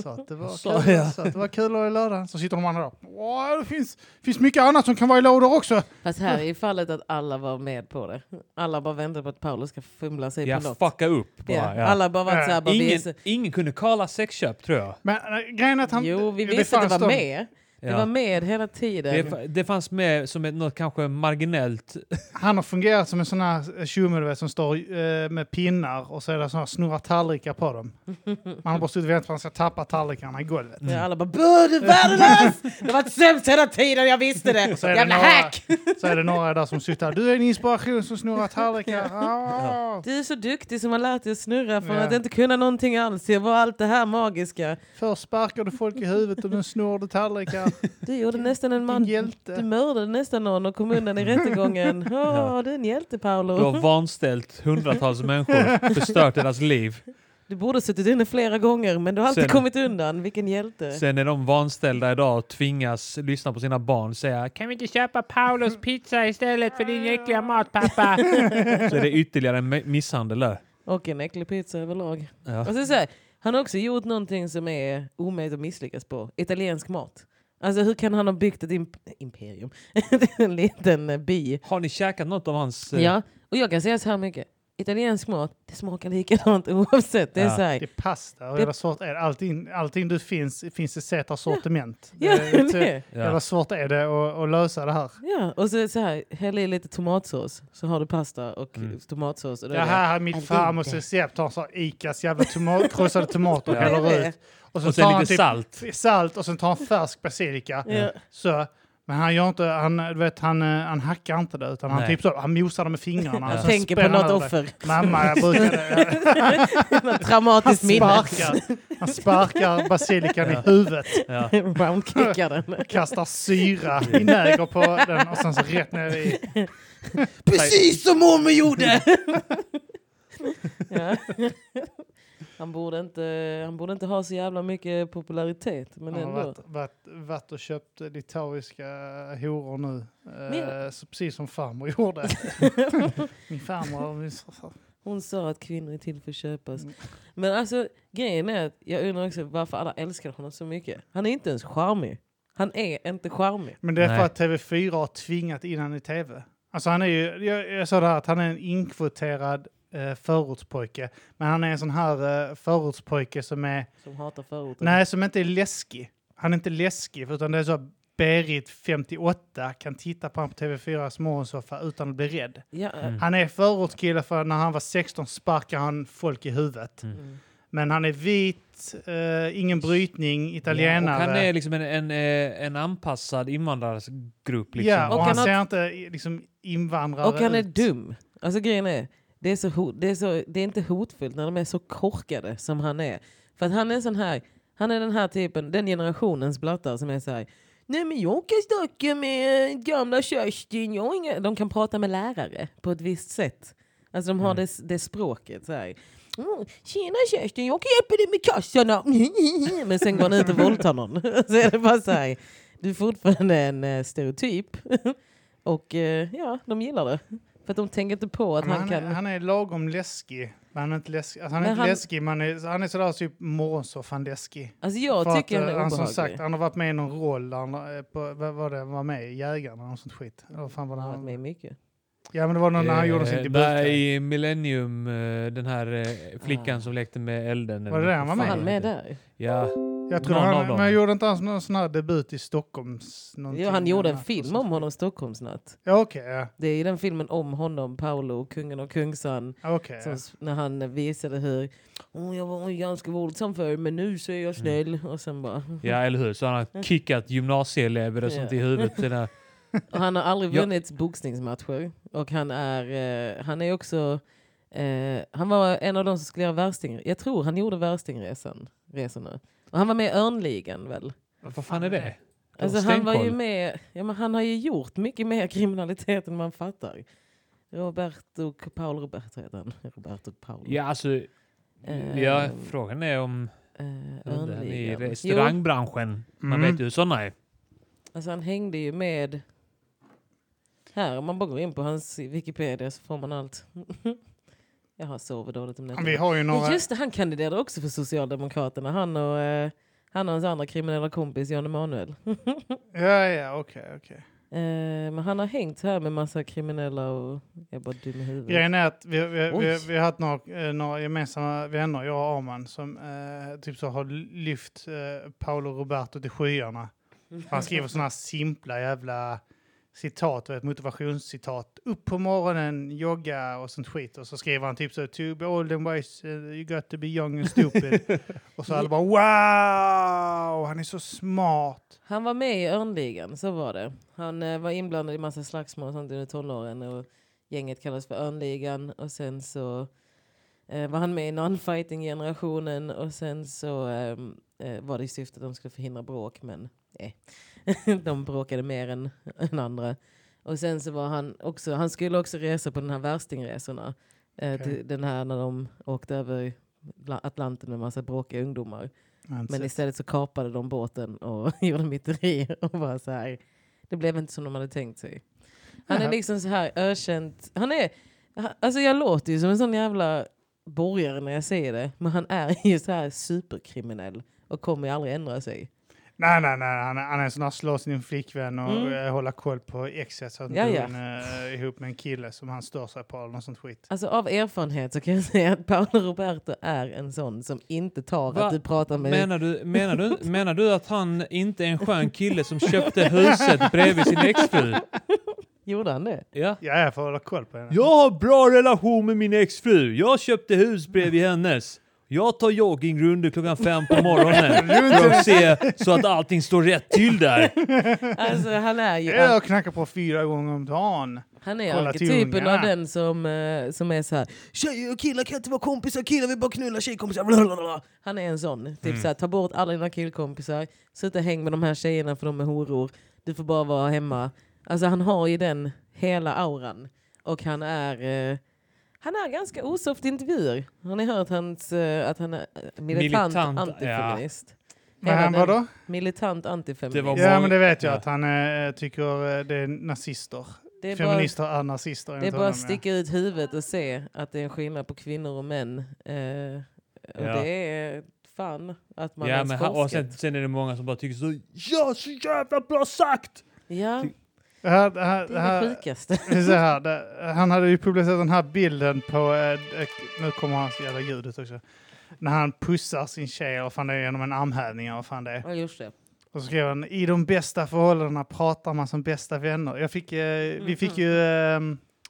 [SPEAKER 2] Så att det var
[SPEAKER 1] Så,
[SPEAKER 2] kulor,
[SPEAKER 1] ja.
[SPEAKER 2] så att det var kulor i lådan. Så sitter de andra där. Åh, det finns, finns mycket annat som kan vara i lådor också.
[SPEAKER 3] Fast här är ju fallet att alla var med på det. Alla bara väntar på att Paolo ska fumla sig
[SPEAKER 1] Ja,
[SPEAKER 3] på något.
[SPEAKER 1] fucka upp bara.
[SPEAKER 3] Ja,
[SPEAKER 1] Ja.
[SPEAKER 3] Alla bara varit
[SPEAKER 2] Ja.
[SPEAKER 3] såhär, bara vi är
[SPEAKER 1] Ingen,
[SPEAKER 3] så-
[SPEAKER 1] ingen kunde kalla sexköp tror jag.
[SPEAKER 2] Men eh, grejen är att han...
[SPEAKER 3] Jo, vi visste att
[SPEAKER 2] fanns
[SPEAKER 3] det var
[SPEAKER 2] de-
[SPEAKER 3] med.
[SPEAKER 1] Ja.
[SPEAKER 3] Det var med hela tiden.
[SPEAKER 1] det, fa- det fanns med som ett, något kanske marginellt.
[SPEAKER 2] Han har fungerat som en sån här eh, tjomme du vet, som står eh, med pinnar och så är det såna här snurrar tallrikar på dem. Man har bara suttit och väntat på att han ska tappa tallrikarna i golvet.
[SPEAKER 3] Ja, alla bara "Bö, du är värdelös! Det har varit sämst hela tiden, jag visste det!
[SPEAKER 2] Så är det
[SPEAKER 3] Jävla
[SPEAKER 2] några-
[SPEAKER 3] hack!
[SPEAKER 2] Så är det några där som sitter här. Du är en inspiration som snurrar tallrikar. Ah.
[SPEAKER 3] Du är så duktig som har lärt dig att snurra från
[SPEAKER 2] Ja.
[SPEAKER 3] att inte kunna någonting alls. Jag var allt det här magiska.
[SPEAKER 2] Först sparkar du folk i huvudet och nu snor du tallrikar.
[SPEAKER 3] Du gjorde nästan en
[SPEAKER 2] Din
[SPEAKER 3] man... Du
[SPEAKER 2] hjälte.
[SPEAKER 3] mördade nästan någon och kom undan i rättegången. Åh,
[SPEAKER 1] Ja.
[SPEAKER 3] du är en hjälte
[SPEAKER 1] Du har
[SPEAKER 3] Paolo.
[SPEAKER 1] vanställt hundratals människor, förstört deras liv.
[SPEAKER 3] Du borde ha suttit inne flera gånger men du har alltid
[SPEAKER 1] Sen-
[SPEAKER 3] kommit undan. Vilken hjälte.
[SPEAKER 1] Sen är de vanställda idag och tvingas lyssna på sina barn och säga Kan vi inte köpa Paulos pizza istället för din äckliga mat pappa? Så är det ytterligare en mi- misshandel där.
[SPEAKER 3] Och en äcklig pizza överlag.
[SPEAKER 1] Ja.
[SPEAKER 3] Och så så här, han har också gjort någonting som är omöjligt att misslyckas på. Italiensk mat. Alltså hur kan han ha byggt ett imp- imperium? en liten eh, by.
[SPEAKER 1] Har ni käkat något av hans... eh,
[SPEAKER 3] Ja, och jag kan säga så här mycket. Italiensk mat, det smakar likadant oavsett. Det är
[SPEAKER 1] Ja.
[SPEAKER 3] så här.
[SPEAKER 2] Det är pasta och jävla svårt är det. allting, allting du finns, finns ett sätt av sortiment.
[SPEAKER 3] Ja,
[SPEAKER 2] Det är- typ
[SPEAKER 3] det.
[SPEAKER 1] ja.
[SPEAKER 2] Jävla svårt är det att, att lösa det här.
[SPEAKER 3] Ja, och så, är det så här, häll i lite tomatsås så har du pasta och
[SPEAKER 1] Mm.
[SPEAKER 3] tomatsås. Och då
[SPEAKER 2] Det
[SPEAKER 3] är
[SPEAKER 2] här är
[SPEAKER 3] Jag
[SPEAKER 2] mitt
[SPEAKER 3] vet
[SPEAKER 2] farmors
[SPEAKER 3] inte.
[SPEAKER 2] recept. Han sa Icas jävla tomat, krossade tomater och
[SPEAKER 1] Ja.
[SPEAKER 2] häller ut. så
[SPEAKER 1] Och sen
[SPEAKER 2] tar han
[SPEAKER 1] lite
[SPEAKER 2] typ
[SPEAKER 1] salt.
[SPEAKER 2] salt och sen tar han färsk basilika.
[SPEAKER 3] Ja.
[SPEAKER 2] Så, men han gör inte, han, du vet, han, eh, han hackar inte det utan han,
[SPEAKER 1] Nej.
[SPEAKER 2] typ så, han mosar det med fingrarna.
[SPEAKER 1] Ja.
[SPEAKER 2] och sen
[SPEAKER 3] Tänker på
[SPEAKER 2] spänner han
[SPEAKER 3] något
[SPEAKER 2] över det.
[SPEAKER 3] offer.
[SPEAKER 2] Mamma, jag brukade...
[SPEAKER 3] något
[SPEAKER 2] Han
[SPEAKER 3] traumatiskt minne.
[SPEAKER 2] sparkar, han sparkar basilikan
[SPEAKER 1] Ja.
[SPEAKER 2] i huvudet,
[SPEAKER 1] Ja.
[SPEAKER 3] Roundkickar den.
[SPEAKER 2] kastar syra i näger på den och sen så rätt ner i...
[SPEAKER 3] Precis som mormor gjorde! ja. han, borde inte, han borde inte ha så jävla mycket popularitet. Men
[SPEAKER 2] Han har
[SPEAKER 3] ändå.
[SPEAKER 2] varit, varit, varit och köpt litauiska horor nu. Eh,
[SPEAKER 3] Men-
[SPEAKER 2] så precis som farmor gjorde. min farmor, min,
[SPEAKER 3] Hon sa att kvinnor är till för att köpas.
[SPEAKER 2] Mm.
[SPEAKER 3] Men alltså grejen är att jag undrar också varför alla älskar honom så mycket. Han är inte ens charmig. Han är inte charmig.
[SPEAKER 2] Men det är
[SPEAKER 1] Nej.
[SPEAKER 2] för att TV4 har tvingat in han i TV. Alltså han är ju, jag, jag sa det här att han är en inkvoterad eh, förortspojke. Men han är en sån här eh, förortspojke som är,
[SPEAKER 3] Som hatar förorten.
[SPEAKER 2] nej som inte är läskig. Han är inte läskig utan det är så att Berit 58 kan titta på honom på TV4s morgonsoffa utan att bli rädd.
[SPEAKER 3] Ja, eh,
[SPEAKER 1] Mm.
[SPEAKER 2] Han är förortskille för när han var 16 sparkade han folk i huvudet.
[SPEAKER 3] mm.
[SPEAKER 2] Men han är vit, eh, ingen brytning, italienare.
[SPEAKER 1] Och han är liksom en, en, eh, en anpassad invandrargrupp. Liksom.
[SPEAKER 2] Ja, och,
[SPEAKER 3] Och
[SPEAKER 2] han,
[SPEAKER 3] han har-
[SPEAKER 2] ser inte i- liksom invandrare
[SPEAKER 3] Och han är
[SPEAKER 2] ut.
[SPEAKER 3] dum. Alltså grejen är, det är, så hot, det, är så, det är inte hotfullt när de är så korkade som han är. För att han är sån här, han är den här typen, den generationens blattar som är så här. Nej men jag kan snacka med eh, gamla Kerstin, jag har inga... De kan prata med lärare på ett visst sätt. Alltså de har
[SPEAKER 1] Mm.
[SPEAKER 3] det, det språket så här. Mm, tjena Kerstin, jag kan hjälpa dig med kassarna. Men sen går han ut och våldtar någon. Så är det bara så här. Du är fortfarande en eh, stereotyp. Och eh, ja, de gillar det. För att de tänker inte på att
[SPEAKER 2] Men
[SPEAKER 3] han
[SPEAKER 2] han,
[SPEAKER 3] kan...
[SPEAKER 2] är, han är lagom läskig. Men han är inte läskig. Alltså, han är
[SPEAKER 3] Men
[SPEAKER 2] inte
[SPEAKER 3] han-
[SPEAKER 2] läskig, men han är, han är sådär typ morgonsoffan läskig.
[SPEAKER 3] alltså jag
[SPEAKER 2] För
[SPEAKER 3] tycker
[SPEAKER 2] att,
[SPEAKER 3] han är
[SPEAKER 2] eh,
[SPEAKER 3] obehaglig.
[SPEAKER 2] som sagt, han har varit med i någon roll. där Han, eh, på, vad var det? Han var med i Jägarna och något sånt skit. Eller vad fan var det
[SPEAKER 3] han har varit med i
[SPEAKER 2] han?
[SPEAKER 3] mycket.
[SPEAKER 2] Ja, men det var någon när han gjorde sin
[SPEAKER 1] Eh,
[SPEAKER 2] debut.
[SPEAKER 1] där I Millennium, eh, den här eh, flickan
[SPEAKER 3] Ah.
[SPEAKER 1] som lekte med elden.
[SPEAKER 2] Var det
[SPEAKER 1] eller
[SPEAKER 2] det han var
[SPEAKER 1] vad
[SPEAKER 2] med
[SPEAKER 3] Var
[SPEAKER 1] fan
[SPEAKER 3] han med
[SPEAKER 1] heter.
[SPEAKER 3] där?
[SPEAKER 1] Ja.
[SPEAKER 2] Jag tror
[SPEAKER 1] någon
[SPEAKER 2] han,
[SPEAKER 1] av dem.
[SPEAKER 2] men han gjorde inte ens någon sån här debut i Stockholm.
[SPEAKER 3] Jo, han gjorde en film om honom, Stockholmsnatt.
[SPEAKER 2] Ja, okej. ja.
[SPEAKER 3] Det är ju den filmen om honom, Paolo, kungen och kungsan.
[SPEAKER 2] Ja, okej,
[SPEAKER 3] Som,
[SPEAKER 2] ja.
[SPEAKER 3] s- när han visade hur oh, jag var ganska våldsam förr men nu så
[SPEAKER 2] Mm.
[SPEAKER 3] är jag snäll. Och sen bara...
[SPEAKER 1] ja, eller hur? Så han har kickat gymnasieelever och sånt i
[SPEAKER 3] Mm. Ja.
[SPEAKER 1] huvudet. Den här,
[SPEAKER 3] Och han har aldrig
[SPEAKER 1] Ja.
[SPEAKER 3] vunnit boxningsmatcher. Och han är, eh, han är också... Eh, han var en av de som skulle göra värsting... Jag tror han gjorde värstingresan. Resorna. Och han var med i Örnligan väl?
[SPEAKER 1] vad fan är det? Det
[SPEAKER 3] Alltså,
[SPEAKER 1] var
[SPEAKER 3] han var ju
[SPEAKER 1] stenkoll.
[SPEAKER 3] med... Ja, men han har ju gjort mycket mer kriminalitet än man fattar. Roberto Paul Roberto heter han. Roberto Paul.
[SPEAKER 1] Ja, alltså...
[SPEAKER 3] Eh,
[SPEAKER 1] ja, frågan är om...
[SPEAKER 3] Eh,
[SPEAKER 1] Undrar, han är i
[SPEAKER 3] Örnligan. Jo,
[SPEAKER 1] restaurangbranschen. Man
[SPEAKER 2] Mm.
[SPEAKER 1] vet ju hur sådana är.
[SPEAKER 3] alltså han hängde ju med... Här, om man bara går in på hans Wikipedia så får man allt. Jag har sovit dåligt om nätterna.
[SPEAKER 2] Vi har ju några...
[SPEAKER 3] Ja, Just det, han kandiderar också för Socialdemokraterna. Han och, eh, han och hans andra kriminella kompis Jan Emanuel.
[SPEAKER 2] Ja, ja, okej, okej.
[SPEAKER 3] Eh, men han har hängt här med massa kriminella och är bara dum i huvudet.
[SPEAKER 2] Grejen är att vi, vi, vi,
[SPEAKER 3] Oj.
[SPEAKER 2] vi har haft några, eh, några gemensamma vänner, jag och Arman, som eh, typ så har lyft eh, Paolo Roberto till skyarna.
[SPEAKER 3] Mm.
[SPEAKER 2] Han skriver sådana här simpla jävla citat, vet, motivationscitat. Upp på morgonen, jogga och sånt skit. Och så skriver han typ så to be old and wise, eh, you got to be young and stupid. och så alla bara wow, han är så smart.
[SPEAKER 3] Han var med i Örnligan, så var det. Han eh, var inblandad i massa slagsmål och sånt under tonåren. Och gänget kallades för Örnligan. Och sen så eh, var han med i non-fighting-generationen. Och sen så ehm, eh, var det i syfte att de skulle förhindra bråk, men eh. de bråkade mer än, än andra. Och sen så var han också, han skulle också resa på den här värstingresorna. Eh,
[SPEAKER 2] Okej.
[SPEAKER 3] till den här när de åkte över Atla- Atlanten med massa bråkiga ungdomar. Men istället så kapade de båten och gjorde myteri och bara så här. Det blev inte som de hade tänkt sig. Han är
[SPEAKER 2] Nähä.
[SPEAKER 3] liksom så här ökänt. Han är, ha- alltså jag låter ju som en sån jävla borgare när jag säger det. Men han är ju så här superkriminell och kommer ju aldrig ändra sig.
[SPEAKER 2] Nej, nej, nej. Han, är- han är en sån här slå sin flickvän och
[SPEAKER 3] Mm.
[SPEAKER 2] eh, hålla koll på exet så att
[SPEAKER 3] Ja,
[SPEAKER 2] inte
[SPEAKER 3] ja.
[SPEAKER 2] hon är ihop med en kille som han stör sig på eller något sånt skit.
[SPEAKER 3] Alltså av erfarenhet så kan jag säga att Paolo Roberto är en sån som inte tar
[SPEAKER 1] Va?
[SPEAKER 3] att du pratar med...
[SPEAKER 1] Menar du, menar, du, menar du att han inte är en skön kille som köpte huset bredvid sin exfru?
[SPEAKER 3] Gjorde han det?
[SPEAKER 1] Ja.
[SPEAKER 2] Ja, jag får hålla koll på henne.
[SPEAKER 1] Jag har bra relation med min exfru. Jag köpte hus bredvid hennes. Jag tar joggingrunder klockan fem på morgonen för att se så att allting står rätt till där.
[SPEAKER 3] Alltså han är ju...
[SPEAKER 2] Ja, Jag knackar på fyra gånger om dagen.
[SPEAKER 3] Han är
[SPEAKER 2] Kolla till
[SPEAKER 3] arketypen
[SPEAKER 2] ungarna.
[SPEAKER 3] av den som, eh, som är så här. Tjejer och killar kan inte vara kompisar, killar vill bara knulla tjejkompisar. blablabla." Han är en sån. Typ så här, ta bort alla dina killkompisar, sluta häng med de här tjejerna för de är horor. Du får bara vara hemma. Alltså han har ju den hela auran. Och han är, eh, han är ganska osoft i intervjuer. Har ni hört hans, eh, att han är eh, militant,
[SPEAKER 1] Militant,
[SPEAKER 3] antifeminist?
[SPEAKER 2] Men
[SPEAKER 3] Hela
[SPEAKER 2] han
[SPEAKER 3] den-
[SPEAKER 2] vadå?
[SPEAKER 3] Militant
[SPEAKER 1] Det
[SPEAKER 3] antifeminist.
[SPEAKER 1] var
[SPEAKER 2] Ja,
[SPEAKER 1] många-
[SPEAKER 2] men det vet jag
[SPEAKER 1] Ja.
[SPEAKER 2] att han eh, tycker eh, det är nazister.
[SPEAKER 3] Det är bara,
[SPEAKER 2] Feminister är nazister.
[SPEAKER 3] det är
[SPEAKER 2] enligt
[SPEAKER 3] bara att
[SPEAKER 2] honom, ja.
[SPEAKER 3] sticka ut huvudet och se att det är en skillnad på kvinnor och män. Eh, och
[SPEAKER 1] Ja.
[SPEAKER 3] det är fan att man
[SPEAKER 1] Ja,
[SPEAKER 3] ens
[SPEAKER 1] men han, och
[SPEAKER 3] forskat.
[SPEAKER 1] sen, sen är det många som bara tycker så ja, så jävla bra sagt!
[SPEAKER 3] Ja,
[SPEAKER 2] Det här, det här,
[SPEAKER 3] det
[SPEAKER 2] det
[SPEAKER 3] är det
[SPEAKER 2] här,
[SPEAKER 3] sjukaste.
[SPEAKER 2] det är så här, det, han hade ju publicerat den här bilden på... eh, eh, Nu kommer hans jävla ljudet också. När han pussar sin tjej, och fan det är genom en armhävning eller vad fan det är.
[SPEAKER 3] Ja, just det.
[SPEAKER 2] Och så skrev han, i de bästa förhållandena pratar man som bästa vänner. Jag fick, eh, vi fick ju eh,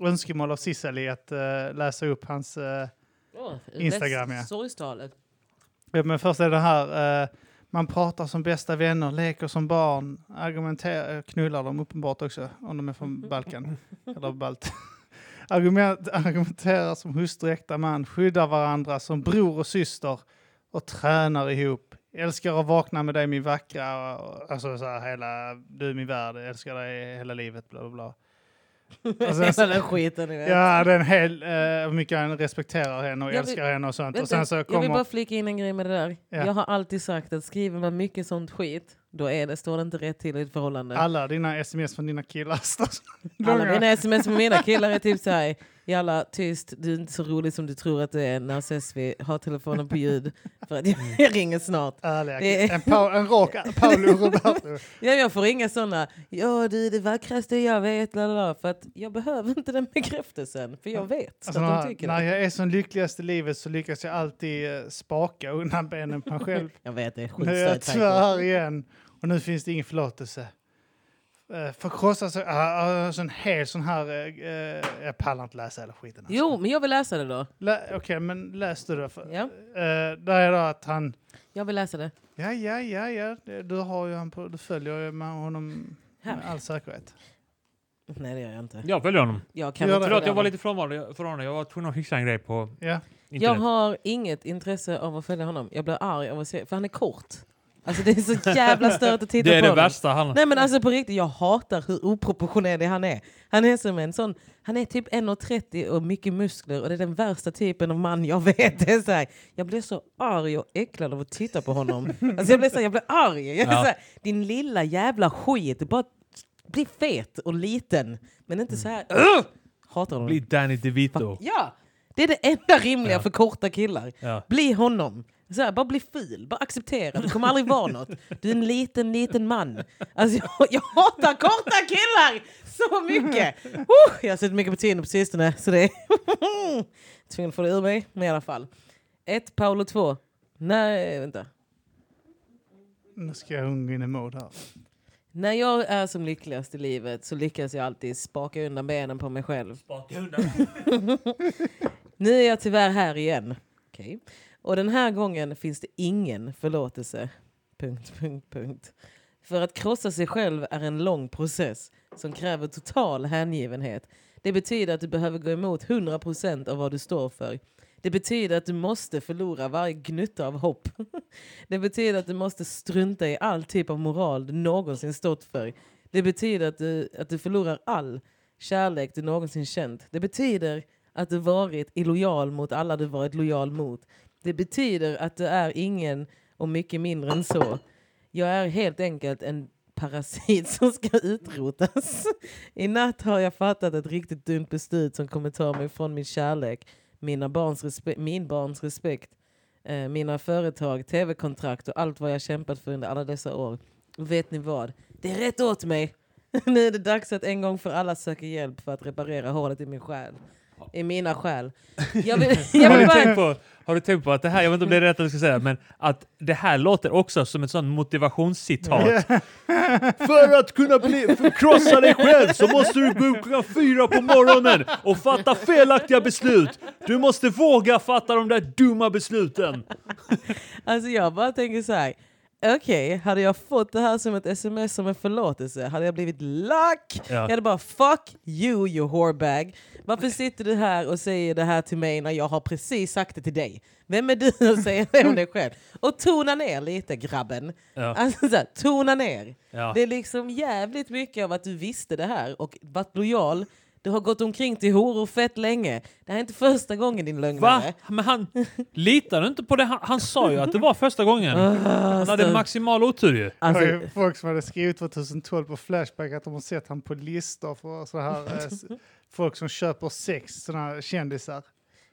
[SPEAKER 2] önskemål av Sisseli att eh, läsa upp hans... Eh,
[SPEAKER 3] Åh,
[SPEAKER 2] Instagram,
[SPEAKER 3] läs-
[SPEAKER 2] ja.
[SPEAKER 3] Sorgstalet.
[SPEAKER 2] ja, men först är det här, eh, man pratar som bästa vänner, leker som barn, argumenterar, knullar dem uppenbart också, om de är från Balkan. Eller Balt. Argument, argumenterar som hustru och äkta man, skyddar varandra som bror och syster och tränar ihop. Älskar att vakna med dig min vackra, och- alltså så här hela, du är min värld, älskar dig hela livet, bla bla bla. Och sen-
[SPEAKER 3] Hela den skiten ni vet.
[SPEAKER 2] Ja, det är en hel, eh, hur mycket han respekterar henne och
[SPEAKER 3] Jag vill-
[SPEAKER 2] älskar henne och sånt.
[SPEAKER 3] Vänta,
[SPEAKER 2] och sen så
[SPEAKER 3] Jag
[SPEAKER 2] kommer...
[SPEAKER 3] vill bara flika in en grej med det där.
[SPEAKER 2] Ja.
[SPEAKER 3] Jag har alltid sagt att skriver man mycket sånt skit, då är det, står det inte rätt till i ett förhållande.
[SPEAKER 2] Alla dina sms från dina killar står så
[SPEAKER 3] Alla
[SPEAKER 2] långa.
[SPEAKER 3] mina sms med mina killar är typ såhär, jalla tyst, du är inte så rolig som du tror att du är, när ses vi? Ha telefonen på ljud för att jag ringer snart.
[SPEAKER 2] Ärliga.
[SPEAKER 3] Det är-
[SPEAKER 2] En, pa- en rak Paolo Roberto. Alltså,
[SPEAKER 3] Ja, jag får ringa sådana, ja du är det vackraste jag vet, lalala, för att jag behöver inte den bekräftelsen, för jag vet
[SPEAKER 2] Alltså,
[SPEAKER 3] att de
[SPEAKER 2] när,
[SPEAKER 3] tycker
[SPEAKER 2] när
[SPEAKER 3] det.
[SPEAKER 2] jag är som lyckligast i livet så lyckas jag alltid eh, spaka undan benen på mig själv.
[SPEAKER 3] Jag vet, det är
[SPEAKER 2] nu är jag
[SPEAKER 3] skitstört.
[SPEAKER 2] tyvärr
[SPEAKER 3] Taco.
[SPEAKER 2] här igen och nu finns det ingen förlåtelse. Eh, Förkrossas... Uh, alltså en hel sån här... eh, eh, jag pallar inte läsa hela skiten. alltså.
[SPEAKER 3] Jo, men jag vill läsa det då.
[SPEAKER 2] Lä- Okej, men läs du då. För,
[SPEAKER 3] Ja,
[SPEAKER 2] eh, där är det att han...
[SPEAKER 3] jag vill läsa det.
[SPEAKER 2] Ja, ja, ja, ja. Det- Du, har ju han på, du följer ju med honom
[SPEAKER 3] Här.
[SPEAKER 2] med all säkerhet.
[SPEAKER 3] Nej, det gör jag inte.
[SPEAKER 1] Jag följer honom.
[SPEAKER 3] Jag kan
[SPEAKER 2] Gör
[SPEAKER 3] inte
[SPEAKER 2] det.
[SPEAKER 1] Förlåt, jag
[SPEAKER 3] göra
[SPEAKER 1] var lite frånvarande. förvarande. Jag var tvungen att fixa en grej på
[SPEAKER 2] Ja.
[SPEAKER 3] Jag
[SPEAKER 1] internet.
[SPEAKER 3] har inget intresse av att följa honom. Jag blir arg av att se, för han är kort. Alltså det är så jävla stört att titta
[SPEAKER 1] det är
[SPEAKER 3] på
[SPEAKER 1] det
[SPEAKER 3] honom.
[SPEAKER 1] värsta. Han,
[SPEAKER 3] Nej men alltså på riktigt, jag hatar hur oproportionerlig han är. Han är som en sån, han är typ 1,30 och mycket muskler och det är den värsta typen av man jag vet. Det är så här, jag blir så arg och äcklad av att titta på honom. Alltså jag blir så här, jag blir arg. Jag är
[SPEAKER 1] Ja.
[SPEAKER 3] så här, din lilla jävla skit, bara bli fet och liten. Men inte så här, "Ugh!" hatar honom.
[SPEAKER 1] Mm. blir Danny DeVito.
[SPEAKER 3] Ja! Det är det enda rimliga
[SPEAKER 1] Ja.
[SPEAKER 3] för korta killar.
[SPEAKER 1] Ja.
[SPEAKER 3] Bli honom. Så här, bara bli ful, bara acceptera. Du kommer aldrig vara något. Du är en liten, liten man. Alltså, jag, jag hatar korta killar så mycket! Oh, jag har sett mycket på Tinder på sistone, så det är... Tvungen att få det ur mig, men i alla fall. Ett, Paolo två. Nej, vänta.
[SPEAKER 2] Nu ska jag unga in i mod här.
[SPEAKER 3] När jag är som lyckligast i livet så lyckas jag alltid spaka undan benen på mig själv. Nu är jag tyvärr här igen. Okej. Och den här gången finns det ingen förlåtelse. Punkt, punkt, punkt. För att krossa sig själv är en lång process som kräver total hängivenhet. Det betyder att du behöver gå emot 100% av vad du står för. Det betyder att du måste förlora varje gnutta av hopp. Det betyder att du måste strunta i all typ av moral du någonsin stått för. Det betyder att du, att du förlorar all kärlek du någonsin känt. Det betyder att du varit illojal mot alla du varit lojal mot. Det betyder att du är ingen och mycket mindre än så. Jag är helt enkelt en parasit som ska utrotas. I natt har jag fattat ett riktigt dumt beslut som kommer ta mig från min kärlek, mina barns respe- min barns respekt, eh, mina företag, tv-kontrakt och allt vad jag kämpat för under alla dessa år. Och vet ni vad? Det är rätt åt mig! nu är det dags att en gång för alla söka hjälp för att reparera hålet i min själ. I mina själ. Jag vill,
[SPEAKER 1] Har
[SPEAKER 3] jag
[SPEAKER 1] du,
[SPEAKER 3] vill bara...
[SPEAKER 1] tänkt på, har du tänkt på att det här, jag vet inte om det är rätt att jag ska säga, men att det här låter också som ett sånt motivationscitat. för att kunna bli, för- krossa dig själv så måste du gå upp klockan fyra på morgonen och fatta felaktiga beslut. Du måste våga fatta de där dumma besluten.
[SPEAKER 3] Alltså jag bara tänker så här. Okej, hade jag fått det här som ett sms som en förlåtelse hade jag blivit lack.
[SPEAKER 1] Ja.
[SPEAKER 3] Jag hade bara fuck you you whorebag. Varför sitter du här och säger det här till mig när jag har precis sagt det till dig? Vem är du att säga det om dig själv? Och tona ner lite grabben.
[SPEAKER 1] Ja.
[SPEAKER 3] Alltså så här, tona ner.
[SPEAKER 1] Ja.
[SPEAKER 3] Det är liksom jävligt mycket av att du visste det här och varit lojal Du har gått omkring till horor fett länge. Det här är inte första gången din lögnare.
[SPEAKER 1] Va? Men han litar du inte på det? Han, han sa ju att det var första gången. Han hade
[SPEAKER 3] Alltså-
[SPEAKER 1] maximal otur ju.
[SPEAKER 2] Det
[SPEAKER 3] Alltså,
[SPEAKER 2] var ju folk som hade skrivit 2012 på Flashback att de har sett han på listor för så här, eh, s- folk som köper sex, såna här kändisar.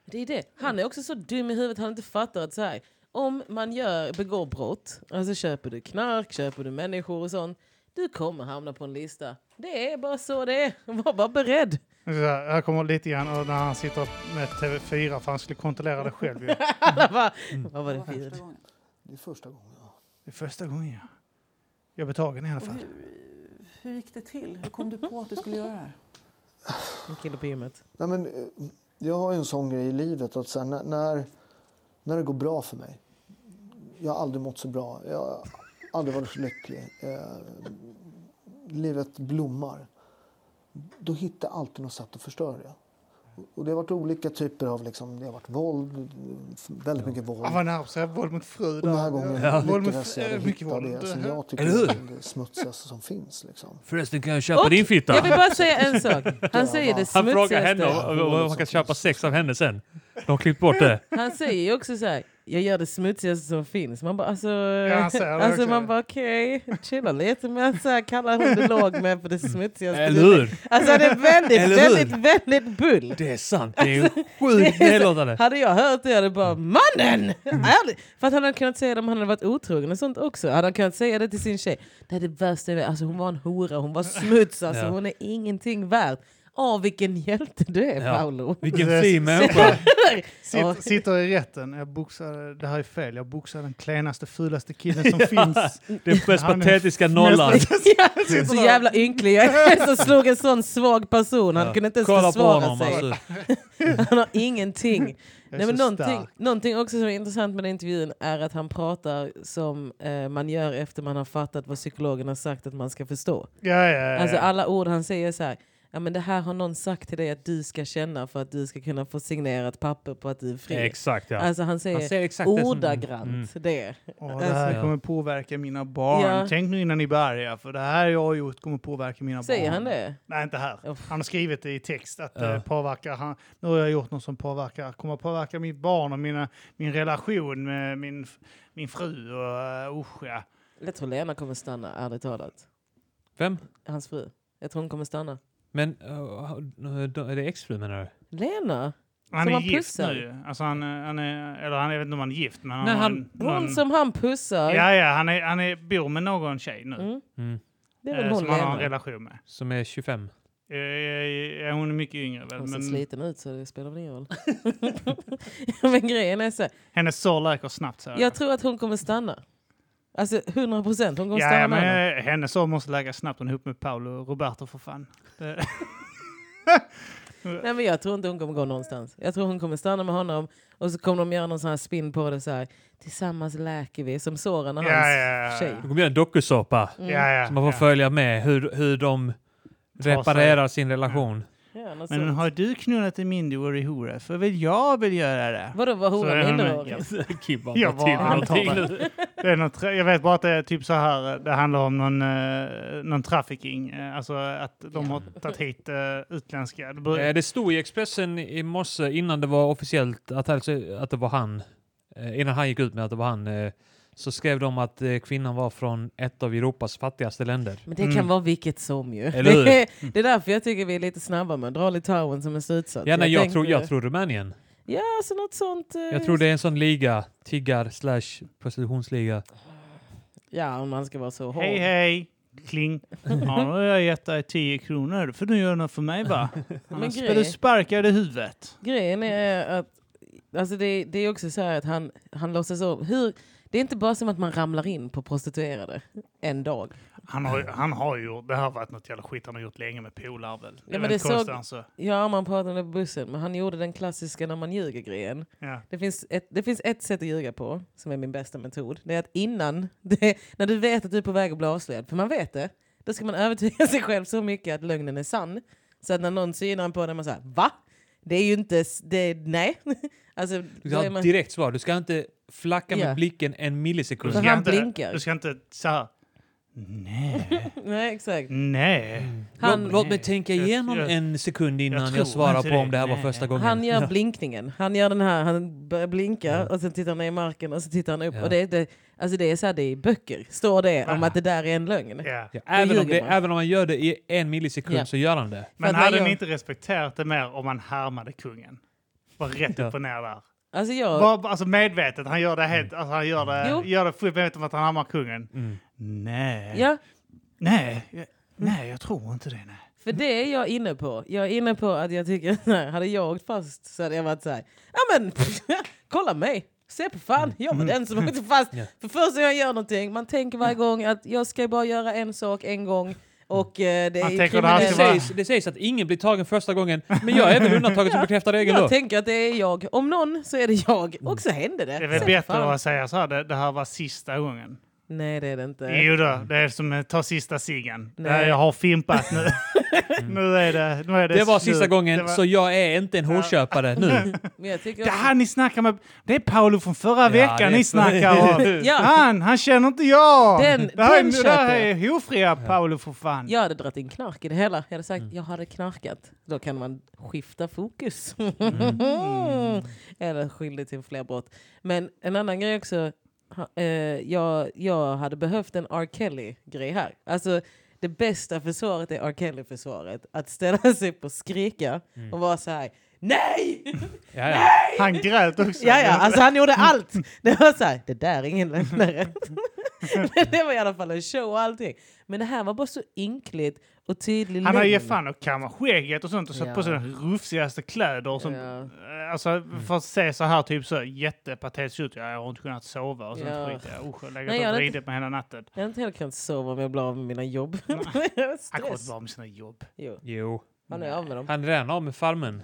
[SPEAKER 3] det är det. Han är också så dum i huvudet, han inte fattar att så här, om man gör, begår brott, alltså köper du knark, köper du människor och sånt, du kommer hamna på en lista. Det är bara så det är. Var bara beredd.
[SPEAKER 2] Så här, här kommer lite grann och när han sitter med TV4 för han skulle kontrollera det själv. ju.
[SPEAKER 3] Alla bara,
[SPEAKER 1] Mm.
[SPEAKER 3] vad var det för ljud?
[SPEAKER 4] gången. Det är första gången. ja.
[SPEAKER 2] Det är första gången jag, jag blir tagen i alla fall.
[SPEAKER 4] Hur gick det till? Hur kom du på att du skulle göra det här?
[SPEAKER 3] En kille på gymmet.
[SPEAKER 4] Nej, men, eh, jag har ju en sån grej i livet att så här, när, när, när det går bra för mig. Jag har aldrig mått så bra. Jag har aldrig varit så lycklig. Eh, livet blommar. Då hittar jag alltid något sätt att förstöra det. Och det har varit olika typer av liksom, det har varit våld, väldigt mycket våld.
[SPEAKER 2] Han var Ah, nära på att säga våld mot fru.
[SPEAKER 4] Och den här
[SPEAKER 2] där.
[SPEAKER 4] gången
[SPEAKER 2] Ja. Våld mot
[SPEAKER 4] lyckades
[SPEAKER 2] fru.
[SPEAKER 4] jag
[SPEAKER 2] eh,
[SPEAKER 4] hitta
[SPEAKER 2] Mycket
[SPEAKER 4] det som
[SPEAKER 2] våld.
[SPEAKER 4] jag tycker
[SPEAKER 1] Eller hur?
[SPEAKER 4] är det smutsigaste som finns. Liksom.
[SPEAKER 1] Förresten kan jag köpa din fitta.
[SPEAKER 3] Jag vill bara säga en sak. Han
[SPEAKER 4] Ja,
[SPEAKER 3] säger det
[SPEAKER 1] Han frågar henne
[SPEAKER 3] smutsigaste.
[SPEAKER 1] om om man kan köpa sex av henne sen. De har klippt bort det.
[SPEAKER 3] Han säger ju också så här, jag gör det smutsigaste som finns. Man bara, alltså,
[SPEAKER 2] han säger det
[SPEAKER 3] alltså
[SPEAKER 2] också.
[SPEAKER 3] man bara okej, chilla lite med att så här kalla hon det låg med för det smutsigaste.
[SPEAKER 1] Eller hur?
[SPEAKER 3] Alltså det är väldigt,
[SPEAKER 1] Eller hur?
[SPEAKER 3] väldigt, väldigt bull.
[SPEAKER 1] Det är sant. Det är ju sjukt nedlåtande.
[SPEAKER 3] Hade jag hört det hade jag bara
[SPEAKER 1] Mm.
[SPEAKER 3] mannen! Ärligt. För att han hade kunnat säga det om han hade varit otrogen och sånt också. Hade han kunnat säga det till sin tjej. Det är det värsta jag vet. Alltså hon var en hora, hon var smuts, alltså
[SPEAKER 1] Ja.
[SPEAKER 3] hon är ingenting värd. Åh vilken hjälte du är
[SPEAKER 1] Ja.
[SPEAKER 3] Paolo.
[SPEAKER 1] Vilken
[SPEAKER 2] Det är-
[SPEAKER 1] fin människa.
[SPEAKER 3] Ja.
[SPEAKER 2] Sitt, sitter i rätten. Jag boxade, det här är fel. Jag boxade den klenaste, fulaste killen som finns.
[SPEAKER 1] Den mest
[SPEAKER 2] Han är-
[SPEAKER 1] patetiska nollan.
[SPEAKER 3] Ja, så jävla ynklig jag är som slog en sån svag person. Han
[SPEAKER 1] Ja.
[SPEAKER 3] kunde inte ens
[SPEAKER 1] Kolla på
[SPEAKER 3] försvara
[SPEAKER 1] honom
[SPEAKER 3] sig.
[SPEAKER 1] alltså.
[SPEAKER 3] Han har ingenting.
[SPEAKER 2] Jag är
[SPEAKER 3] Nej, men
[SPEAKER 2] så
[SPEAKER 3] någonting,
[SPEAKER 2] stark.
[SPEAKER 3] någonting också som är intressant med den intervjun är att han pratar som eh, man gör efter man har fattat vad psykologen har sagt att man ska förstå.
[SPEAKER 2] Ja, ja, ja.
[SPEAKER 3] Alltså alla ord han säger så här. Ja, men det här har någon sagt till dig att du ska känna för att du ska kunna få signera ett papper på att du är fri.
[SPEAKER 1] Exakt ja.
[SPEAKER 3] Alltså han säger,
[SPEAKER 1] Han säger exakt det som...
[SPEAKER 3] ordagrant
[SPEAKER 1] Mm.
[SPEAKER 3] det.
[SPEAKER 2] Åh, det här
[SPEAKER 1] Alltså-
[SPEAKER 2] kommer påverka mina barn.
[SPEAKER 3] Ja.
[SPEAKER 2] Tänk nu innan ni börjar, för det här jag har gjort kommer påverka mina
[SPEAKER 3] Säger
[SPEAKER 2] barn.
[SPEAKER 3] han det?
[SPEAKER 2] Nej, inte här.
[SPEAKER 3] Uff.
[SPEAKER 2] Han har skrivit det i text att
[SPEAKER 1] Ja.
[SPEAKER 2] eh, påverkar han. Nu har jag gjort något som påverkar, kommer att påverka mitt barn och mina, min relation med min, min fru och uh, usch ja.
[SPEAKER 3] Jag tror Lena kommer stanna, ärligt talat.
[SPEAKER 1] Vem?
[SPEAKER 3] Hans fru. Jag tror hon kommer stanna.
[SPEAKER 1] Men uh, är det exfru menar du?
[SPEAKER 3] Lena?
[SPEAKER 2] Han
[SPEAKER 3] Som
[SPEAKER 2] är
[SPEAKER 3] han
[SPEAKER 2] gift
[SPEAKER 3] pussar.
[SPEAKER 2] nu. ju. Alltså han, eh, han är, eller han, jag vet inte om han är gift, men han
[SPEAKER 1] Nej,
[SPEAKER 2] har
[SPEAKER 1] han-
[SPEAKER 2] en, någon-
[SPEAKER 3] Hon som han pussar.
[SPEAKER 2] Ja, ja, han, är, han är, bor med någon tjej nu.
[SPEAKER 3] Mm.
[SPEAKER 1] Mm.
[SPEAKER 3] Det är
[SPEAKER 2] eh,
[SPEAKER 3] väl hon
[SPEAKER 2] som han har en
[SPEAKER 3] Lena.
[SPEAKER 2] relation med.
[SPEAKER 1] Som är 25?
[SPEAKER 2] Eh, eh, hon är mycket yngre väl,
[SPEAKER 3] Hon ser
[SPEAKER 2] men
[SPEAKER 3] sliten ut så det spelar väl ingen roll. men grejen är så här,
[SPEAKER 2] hennes sår läker snabbt. Så
[SPEAKER 3] jag tror att hon kommer stanna. Alltså 100 procent, hon kommer
[SPEAKER 2] Ja,
[SPEAKER 3] stanna.
[SPEAKER 2] ja, men
[SPEAKER 3] med
[SPEAKER 2] eh, hennes son måste lägga snabbt hon är ihop med Paolo och Roberto för fan. Det-
[SPEAKER 3] honom. Nej, men jag tror inte hon kommer gå någonstans. Jag tror hon kommer stanna med honom och så kommer de göra någon sån här spin på det så här. Tillsammans läker vi, som Soran och
[SPEAKER 2] Ja,
[SPEAKER 3] hans
[SPEAKER 2] ja, ja.
[SPEAKER 3] tjej.
[SPEAKER 1] De kommer göra en dokusåpa.
[SPEAKER 3] Mm.
[SPEAKER 2] ja, ja,
[SPEAKER 1] Så man får
[SPEAKER 2] ja.
[SPEAKER 1] följa med hur, hur de
[SPEAKER 2] sig.
[SPEAKER 1] reparerar sin relation.
[SPEAKER 3] Ja, något
[SPEAKER 2] Men
[SPEAKER 3] sånt.
[SPEAKER 2] har du knullat en minderårig hora för väl jag vill göra det?
[SPEAKER 3] Vadå, var
[SPEAKER 2] Så är
[SPEAKER 3] horan
[SPEAKER 2] hon-
[SPEAKER 3] minderårig?
[SPEAKER 1] Kibban
[SPEAKER 2] Jag
[SPEAKER 1] tar till
[SPEAKER 2] bara
[SPEAKER 1] någonting.
[SPEAKER 2] antar det är något, jag vet bara att det är typ så här, det handlar om någon, eh, någon trafficking. Eh, Alltså att de har tagit hit eh, utländska. Det bör,
[SPEAKER 1] Eh, Det stod i Expressen i morse innan det var officiellt att, alltså, att det var han. Eh, Innan han gick ut med att det var han. eh, Så skrev de att eh, kvinnan var från ett av Europas fattigaste länder.
[SPEAKER 3] Men det kan
[SPEAKER 2] Mm.
[SPEAKER 3] vara vilket som ju.
[SPEAKER 1] Eller hur?
[SPEAKER 3] Det, är- det är därför jag tycker vi är lite snabba med att dra Litauen som en slutsats.
[SPEAKER 1] Ja, nej, jag,
[SPEAKER 3] tänkte-
[SPEAKER 1] tror, jag tror Rumänien.
[SPEAKER 3] Ja, alltså något sånt. eh,
[SPEAKER 1] Jag tror det är en sån liga. Tiggar slash prostitutionsliga.
[SPEAKER 3] Ja, om man ska vara så hård.
[SPEAKER 2] hej hej! Kling. Ja, nu har jag gett dig 10 kronor för du gör något för mig va? Annars
[SPEAKER 3] grej-
[SPEAKER 2] blir du sparkad i huvudet.
[SPEAKER 3] Grejen är att alltså det, det är också så här att han, han låtsas om. Hur, det är inte bara som att man ramlar in på prostituerade en dag.
[SPEAKER 2] Han har, han har ju, det här har varit något jävla skit han har gjort länge med polare väl. Det
[SPEAKER 3] Ja, men
[SPEAKER 2] var
[SPEAKER 3] det
[SPEAKER 2] inte konstigt
[SPEAKER 3] såg-
[SPEAKER 2] alltså.
[SPEAKER 3] Ja, man pratade på bussen, men han gjorde den klassiska när man ljuger-grejen.
[SPEAKER 2] Ja.
[SPEAKER 3] Det finns, ett, det finns ett sätt att ljuga på, som är min bästa metod. Det är att innan, det, när du vet att du är på väg att bli avslöjad, för man vet det, då ska man övertyga sig själv så mycket att lögnen är sann. Så att när någon synar en på den, man säger va? Det är ju inte, s- det, nej. Alltså,
[SPEAKER 1] Du
[SPEAKER 3] då
[SPEAKER 1] ska ha
[SPEAKER 3] är
[SPEAKER 1] ett
[SPEAKER 3] man,
[SPEAKER 1] direkt svar. Du ska inte flacka med
[SPEAKER 3] Ja.
[SPEAKER 1] blicken en
[SPEAKER 2] Du
[SPEAKER 1] millisekund.
[SPEAKER 3] Men
[SPEAKER 2] ska
[SPEAKER 3] han
[SPEAKER 2] inte-
[SPEAKER 3] blinkar.
[SPEAKER 2] Du ska inte så här, Nej.
[SPEAKER 3] Nej, exakt.
[SPEAKER 2] Nej.
[SPEAKER 3] Han-
[SPEAKER 1] låt, låt mig tänka
[SPEAKER 2] Jag-
[SPEAKER 1] igenom
[SPEAKER 2] jag-
[SPEAKER 1] en sekund innan jag,
[SPEAKER 2] tror
[SPEAKER 1] svarar
[SPEAKER 2] inte
[SPEAKER 1] på
[SPEAKER 2] det.
[SPEAKER 1] om det här var
[SPEAKER 2] Nej,
[SPEAKER 1] första
[SPEAKER 2] nej.
[SPEAKER 1] gången.
[SPEAKER 3] Han gör
[SPEAKER 1] Ja.
[SPEAKER 3] blinkningen. Han gör den här, han börjar blinka och sen tittar han ner i marken och så tittar han upp.
[SPEAKER 1] Ja.
[SPEAKER 3] Och det, är det, alltså det är så här, det är i böcker står det om
[SPEAKER 2] Ah.
[SPEAKER 3] att det där är en lögn.
[SPEAKER 2] Ja.
[SPEAKER 1] Ja, även, om
[SPEAKER 3] ljuger
[SPEAKER 1] det,
[SPEAKER 3] man.
[SPEAKER 1] även om man gör det i en millisekund
[SPEAKER 3] Ja.
[SPEAKER 1] så gör han det.
[SPEAKER 3] att
[SPEAKER 2] Men
[SPEAKER 3] man
[SPEAKER 2] hade
[SPEAKER 3] gör-
[SPEAKER 2] ni inte respekterat det mer om man härmade kungen? Var rätt
[SPEAKER 1] Ja.
[SPEAKER 2] upp och ner där.
[SPEAKER 3] Alltså jag,
[SPEAKER 2] Bara, alltså medvetet, han gör det helt, alltså han gör
[SPEAKER 3] Mm. Jo.
[SPEAKER 2] det, gör det fullt medvetet om att han härmar kungen. Nej.
[SPEAKER 3] ja,
[SPEAKER 2] Nej. jag- Nej, jag tror inte det. Nej.
[SPEAKER 3] för det är jag inne på. Jag är inne på att jag tycker, så här, hade jag åkt fast så hade jag varit så här, ja men kolla mig. Se på
[SPEAKER 2] Mm.
[SPEAKER 3] fan, jag var den som åkte fast.
[SPEAKER 1] Ja.
[SPEAKER 3] För först när jag gör någonting, man tänker varje gång att jag ska bara göra en sak en gång och eh, det
[SPEAKER 2] Man
[SPEAKER 3] är
[SPEAKER 2] tänker att han
[SPEAKER 1] Det
[SPEAKER 2] ska vara-
[SPEAKER 3] kriminellt.
[SPEAKER 1] sägs, det sägs att ingen blir tagen första gången, men jag är även undantaget som bekräftar regeln då.
[SPEAKER 3] Jag tänker att det är jag. Om någon så är det jag. Och så händer det.
[SPEAKER 2] Mm. Det är väl
[SPEAKER 3] Se
[SPEAKER 2] bättre
[SPEAKER 3] fan.
[SPEAKER 2] att säga så här, det, det här var sista gången.
[SPEAKER 3] Nej, det är det inte.
[SPEAKER 2] Jo då, det är som att ta sista ciggen.
[SPEAKER 3] Nej.
[SPEAKER 2] Nej. Jag har fimpat nu. nu, är det, nu är det
[SPEAKER 1] Det var
[SPEAKER 2] slut.
[SPEAKER 1] sista
[SPEAKER 2] Det
[SPEAKER 1] gången,
[SPEAKER 2] var-
[SPEAKER 1] så jag är inte en horköpare nu.
[SPEAKER 3] Men jag tycker
[SPEAKER 2] Det
[SPEAKER 3] också,
[SPEAKER 2] här ni snackar med... Det är Paolo från förra
[SPEAKER 1] det är-
[SPEAKER 2] veckan ni snackar om.
[SPEAKER 3] ja,
[SPEAKER 2] Han, han känner inte jag!
[SPEAKER 3] Den-
[SPEAKER 2] det här,
[SPEAKER 3] den
[SPEAKER 2] är, det här
[SPEAKER 3] köper
[SPEAKER 2] är hofria Paolo för fan.
[SPEAKER 3] jag hade dragit in knark i det hela. Jag hade sagt
[SPEAKER 2] Mm.
[SPEAKER 3] jag hade knarkat. Då kan man skifta fokus.
[SPEAKER 2] Mm.
[SPEAKER 3] Eller skyldig till fler brott. Men en annan grej också. ha- eh, jag, jag hade behövt en R. Kelly-grej här. Alltså, det bästa försvaret är R. Kelly-försvaret. Att ställa sig upp och skrika
[SPEAKER 2] Mm.
[SPEAKER 3] och vara så här. Nej!
[SPEAKER 1] Ja, ja.
[SPEAKER 2] Han grät också.
[SPEAKER 3] Ja, ja, alltså han gjorde allt. Det var så här, det där är ingen lögnare. Men det var i alla fall en show och allting. Men det här var bara så ynkligt och tydlig
[SPEAKER 2] Han har ju
[SPEAKER 3] lögn.
[SPEAKER 2] fan och kammat skägget och sånt och satt
[SPEAKER 3] Ja.
[SPEAKER 2] på sig de rufsigaste kläder. Och sånt. Eh, Alltså, för att se så här typ så jättepatetiskt ut. Ja, jag har inte kunnat sova och sånt
[SPEAKER 3] Ja.
[SPEAKER 2] skit. Jag usch, jag har
[SPEAKER 3] Nej,
[SPEAKER 2] legat
[SPEAKER 3] jag
[SPEAKER 2] och
[SPEAKER 3] hade
[SPEAKER 2] vridit mig hela natten.
[SPEAKER 3] Jag har inte heller kunnat sova om jag blir av med mina jobb.
[SPEAKER 2] Han kommer inte
[SPEAKER 3] Stress.
[SPEAKER 2] vara med sina jobb.
[SPEAKER 3] Jo,
[SPEAKER 1] Jo,
[SPEAKER 3] han är av med dem.
[SPEAKER 1] han är redan av med farmen.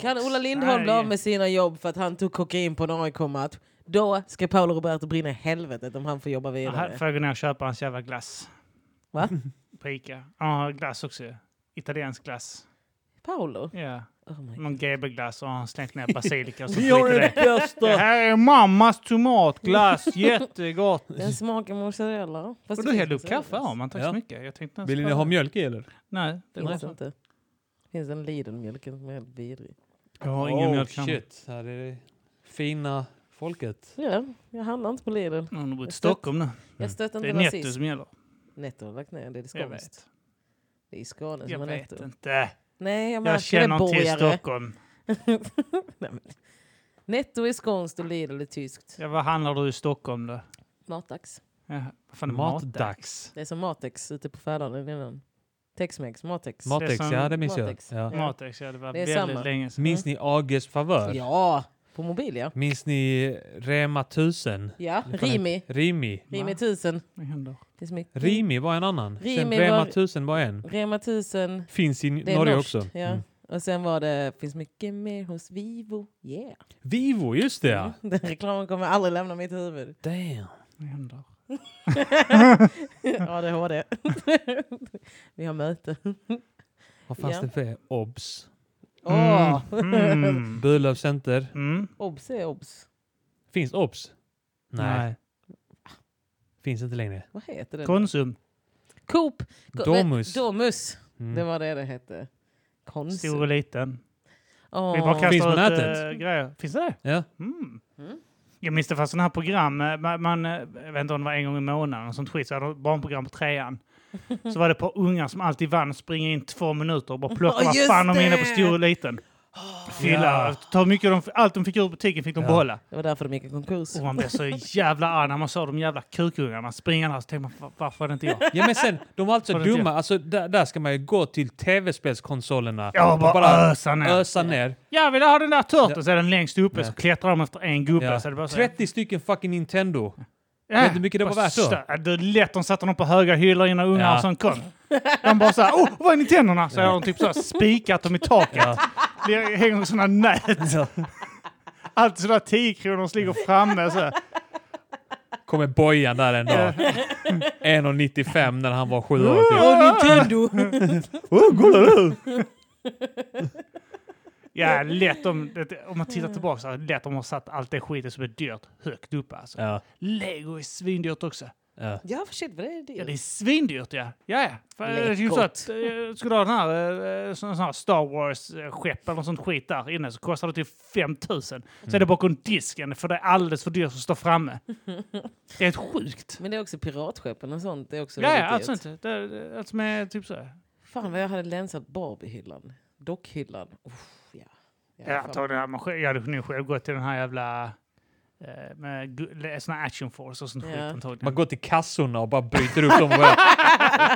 [SPEAKER 3] Kan Ola Lindholm bli
[SPEAKER 2] Nej.
[SPEAKER 3] av med sina jobb för att han tog kokain på en AIK-match, då ska Paolo Roberto brinna i helvetet om han får jobba
[SPEAKER 2] Här
[SPEAKER 3] vidare.
[SPEAKER 2] får jag gå ner och köpa hans jävla glass.
[SPEAKER 3] Va?
[SPEAKER 2] På Ica. Han har glass också ju. Italiensk glass.
[SPEAKER 3] Paolo?
[SPEAKER 2] Ja.
[SPEAKER 3] Oh my God.
[SPEAKER 2] Någon GB-glass och han har slängt ner basilika och så
[SPEAKER 1] Vi har
[SPEAKER 2] skit i
[SPEAKER 1] det
[SPEAKER 2] det. Det
[SPEAKER 1] bästa!
[SPEAKER 2] här är mammas tomatglass. Jättegott!
[SPEAKER 3] Den smakar mozzarella. Fast
[SPEAKER 2] Och
[SPEAKER 3] det
[SPEAKER 2] Mm. du
[SPEAKER 3] finns
[SPEAKER 2] hällde upp
[SPEAKER 3] mozzarella.
[SPEAKER 2] kaffe av man, tack
[SPEAKER 1] Ja.
[SPEAKER 2] så mycket. Jag tänkte
[SPEAKER 1] Vill ni ha mjölk i eller?
[SPEAKER 2] Nej, det var
[SPEAKER 3] Finns
[SPEAKER 2] så.
[SPEAKER 3] inte. Finns en Lidl-mjölken som är helt vidrig.
[SPEAKER 2] Jag har ingen
[SPEAKER 1] oh,
[SPEAKER 2] mjölk hemma.
[SPEAKER 1] shit. Här är det fina folket.
[SPEAKER 3] Ja, jag handlar inte på Lidl.
[SPEAKER 2] Någon har bott i Stockholm nu.
[SPEAKER 3] Jag stöter
[SPEAKER 2] Mm. Det är Netto
[SPEAKER 3] inte rasism.
[SPEAKER 2] som gäller.
[SPEAKER 3] Netto har lagt ner, det är
[SPEAKER 2] Jag
[SPEAKER 3] skånskt.
[SPEAKER 2] vet.
[SPEAKER 3] Det är i Skåne
[SPEAKER 2] Jag
[SPEAKER 3] som har
[SPEAKER 2] vet
[SPEAKER 3] Netto.
[SPEAKER 2] inte.
[SPEAKER 3] Nej, jag
[SPEAKER 2] Jag
[SPEAKER 3] märker det
[SPEAKER 2] känner till
[SPEAKER 3] borgare.
[SPEAKER 2] Stockholm.
[SPEAKER 3] Nej, men. Netto är skånskt och Lidl är tyskt.
[SPEAKER 2] Ja, vad handlar du i Stockholm då?
[SPEAKER 3] Matax.
[SPEAKER 2] Ja, vad fan är
[SPEAKER 1] Matdags.
[SPEAKER 3] Det är som Matex ute på Färöarna innan. Tex-Mex, Matex.
[SPEAKER 1] Matex,
[SPEAKER 2] som-
[SPEAKER 1] ja det minns jag.
[SPEAKER 3] Matex.
[SPEAKER 1] Ja.
[SPEAKER 2] Matex, ja det var
[SPEAKER 3] Det är
[SPEAKER 2] väldigt
[SPEAKER 3] samma.
[SPEAKER 2] länge sedan.
[SPEAKER 1] Minns ni Ages favör?
[SPEAKER 3] ja, på mobil ja.
[SPEAKER 1] Minns ni Rema 1000?
[SPEAKER 3] Ja, Rimi.
[SPEAKER 1] Rimi.
[SPEAKER 3] Rimi 1000.
[SPEAKER 2] Vad händer?
[SPEAKER 3] Det är så mycket.
[SPEAKER 1] Rimi var en annan. Sen
[SPEAKER 3] Rimi
[SPEAKER 1] Rema
[SPEAKER 3] var-
[SPEAKER 1] 1000 var en.
[SPEAKER 3] Rema 1000.
[SPEAKER 1] Finns i
[SPEAKER 3] Det är
[SPEAKER 1] Norge
[SPEAKER 3] norskt,
[SPEAKER 1] också. Mm.
[SPEAKER 3] Ja. Och sen var det, finns mycket mer hos Vivo. Yeah. Mm.
[SPEAKER 1] Vivo, just det ja.
[SPEAKER 3] Den reklamen kommer aldrig lämna mitt huvud.
[SPEAKER 1] Damn.
[SPEAKER 2] Vad händer?
[SPEAKER 3] ADHD. Vi har möte.
[SPEAKER 1] Mm. Vad fanns
[SPEAKER 3] Ja.
[SPEAKER 1] det för obs?
[SPEAKER 3] Åh!
[SPEAKER 2] Mm.
[SPEAKER 1] Burlöv Center.
[SPEAKER 2] Mm.
[SPEAKER 3] Obs är obs.
[SPEAKER 1] Finns obs? Nej.
[SPEAKER 2] Nej.
[SPEAKER 1] Finns inte längre.
[SPEAKER 3] Vad heter det?
[SPEAKER 2] Konsum.
[SPEAKER 3] Coop. Ko-
[SPEAKER 1] Domus.
[SPEAKER 3] Men, Domus.
[SPEAKER 1] Mm.
[SPEAKER 3] Det var det det hette.
[SPEAKER 2] Stor och
[SPEAKER 3] Konsum. liten.
[SPEAKER 2] Vi bara
[SPEAKER 3] Åh.
[SPEAKER 2] kastar
[SPEAKER 1] Finns på
[SPEAKER 2] ut,
[SPEAKER 1] nätet.
[SPEAKER 2] eh, grejer. Finns det?
[SPEAKER 1] Ja.
[SPEAKER 2] Mm. Jag minns det fanns sådana här program, eh, man, man, eh, jag vet inte om det var en gång i månaden och sånt skit, så hade de barnprogram på trean. Så var det ett par ungar som alltid vann, springa in två minuter och bara plocka
[SPEAKER 3] Ja,
[SPEAKER 2] vad
[SPEAKER 3] just
[SPEAKER 2] fan de är inne på
[SPEAKER 3] det!
[SPEAKER 2] stor och liten. Fylla,
[SPEAKER 1] Ja.
[SPEAKER 2] ta mycket de, allt de fick ur butiken fick de
[SPEAKER 1] Ja.
[SPEAKER 2] behålla.
[SPEAKER 3] Det var därför de gick i konkurs.
[SPEAKER 2] Och man blev så jävla arg när man såg de jävla kukungarna springa där, så tänkte man "Va- varför är det inte jag?
[SPEAKER 1] ja men sen, de var alltså
[SPEAKER 2] Var det inte
[SPEAKER 1] dumma. Alltså, där, där ska man ju gå till tv-spelskonsolerna.
[SPEAKER 2] Jag
[SPEAKER 1] och
[SPEAKER 2] bara, ösa ner.
[SPEAKER 1] ösa ner.
[SPEAKER 2] Jag vill ha den där
[SPEAKER 1] Ja.
[SPEAKER 2] turteln! Så är den längst uppe,
[SPEAKER 1] Ja.
[SPEAKER 2] så klättrar de efter en gubbe.
[SPEAKER 1] Ja.
[SPEAKER 2] Så är det bara så här,
[SPEAKER 1] 30 stycken fucking Nintendo.
[SPEAKER 2] Ja,
[SPEAKER 1] Vet du hur mycket det var värt då?
[SPEAKER 2] stö- Äh, Det är lätt, de satte dem på höga hyllor innan ungarna
[SPEAKER 1] Ja.
[SPEAKER 2] som kom. De bara såhär, åh, vad är Nintendorna? Så har de typ såhär spikat dem i taket.
[SPEAKER 1] Ja.
[SPEAKER 2] Det hänger med sådana nät.
[SPEAKER 1] Ja.
[SPEAKER 2] Allt sådana 10 kronor som ligger framme. Så. här.
[SPEAKER 1] Kommer Bojan där en dag. 1,95 när han var sju år typ.
[SPEAKER 3] Åh, Nintendo!
[SPEAKER 2] Ja, lätt om, det- om man tittar tillbaka så här, lätt om man har satt allt det skiten som är dyrt högt upp alltså.
[SPEAKER 1] Ja.
[SPEAKER 2] Lego är svindyrt också.
[SPEAKER 1] Ja.
[SPEAKER 3] Ja, för shit vad det är dyrt.
[SPEAKER 2] Ja, det är svindyrt ja. Ja, ja. För,
[SPEAKER 3] Lekot.
[SPEAKER 2] eh, just att, eh, skulle du ha den här, eh, sån, sån här Star Wars-skepp eller något sånt skit där inne så kostar det typ 5000. Så är
[SPEAKER 3] Mm.
[SPEAKER 2] det bakom disken för det är alldeles för dyrt att stå framme. Det är helt sjukt.
[SPEAKER 3] Men det är också piratskeppen och sånt. Det är också
[SPEAKER 2] Ja, ja,
[SPEAKER 3] väldigt
[SPEAKER 2] allt
[SPEAKER 3] dyrt.
[SPEAKER 2] sånt. Det, det, allt som är typ så.
[SPEAKER 3] Fan vad jag hade länsat Barbiehyllan. Dockhyllan. Uff, ja. Ja,
[SPEAKER 2] Jag,
[SPEAKER 3] fan.
[SPEAKER 2] tar den här, maskin- jag hade nog själv gått till den här jävla eh, med gu- sån här action force och sånt
[SPEAKER 3] Ja.
[SPEAKER 2] skit antagligen.
[SPEAKER 1] Man går till kassorna och bara bryter upp dem och bara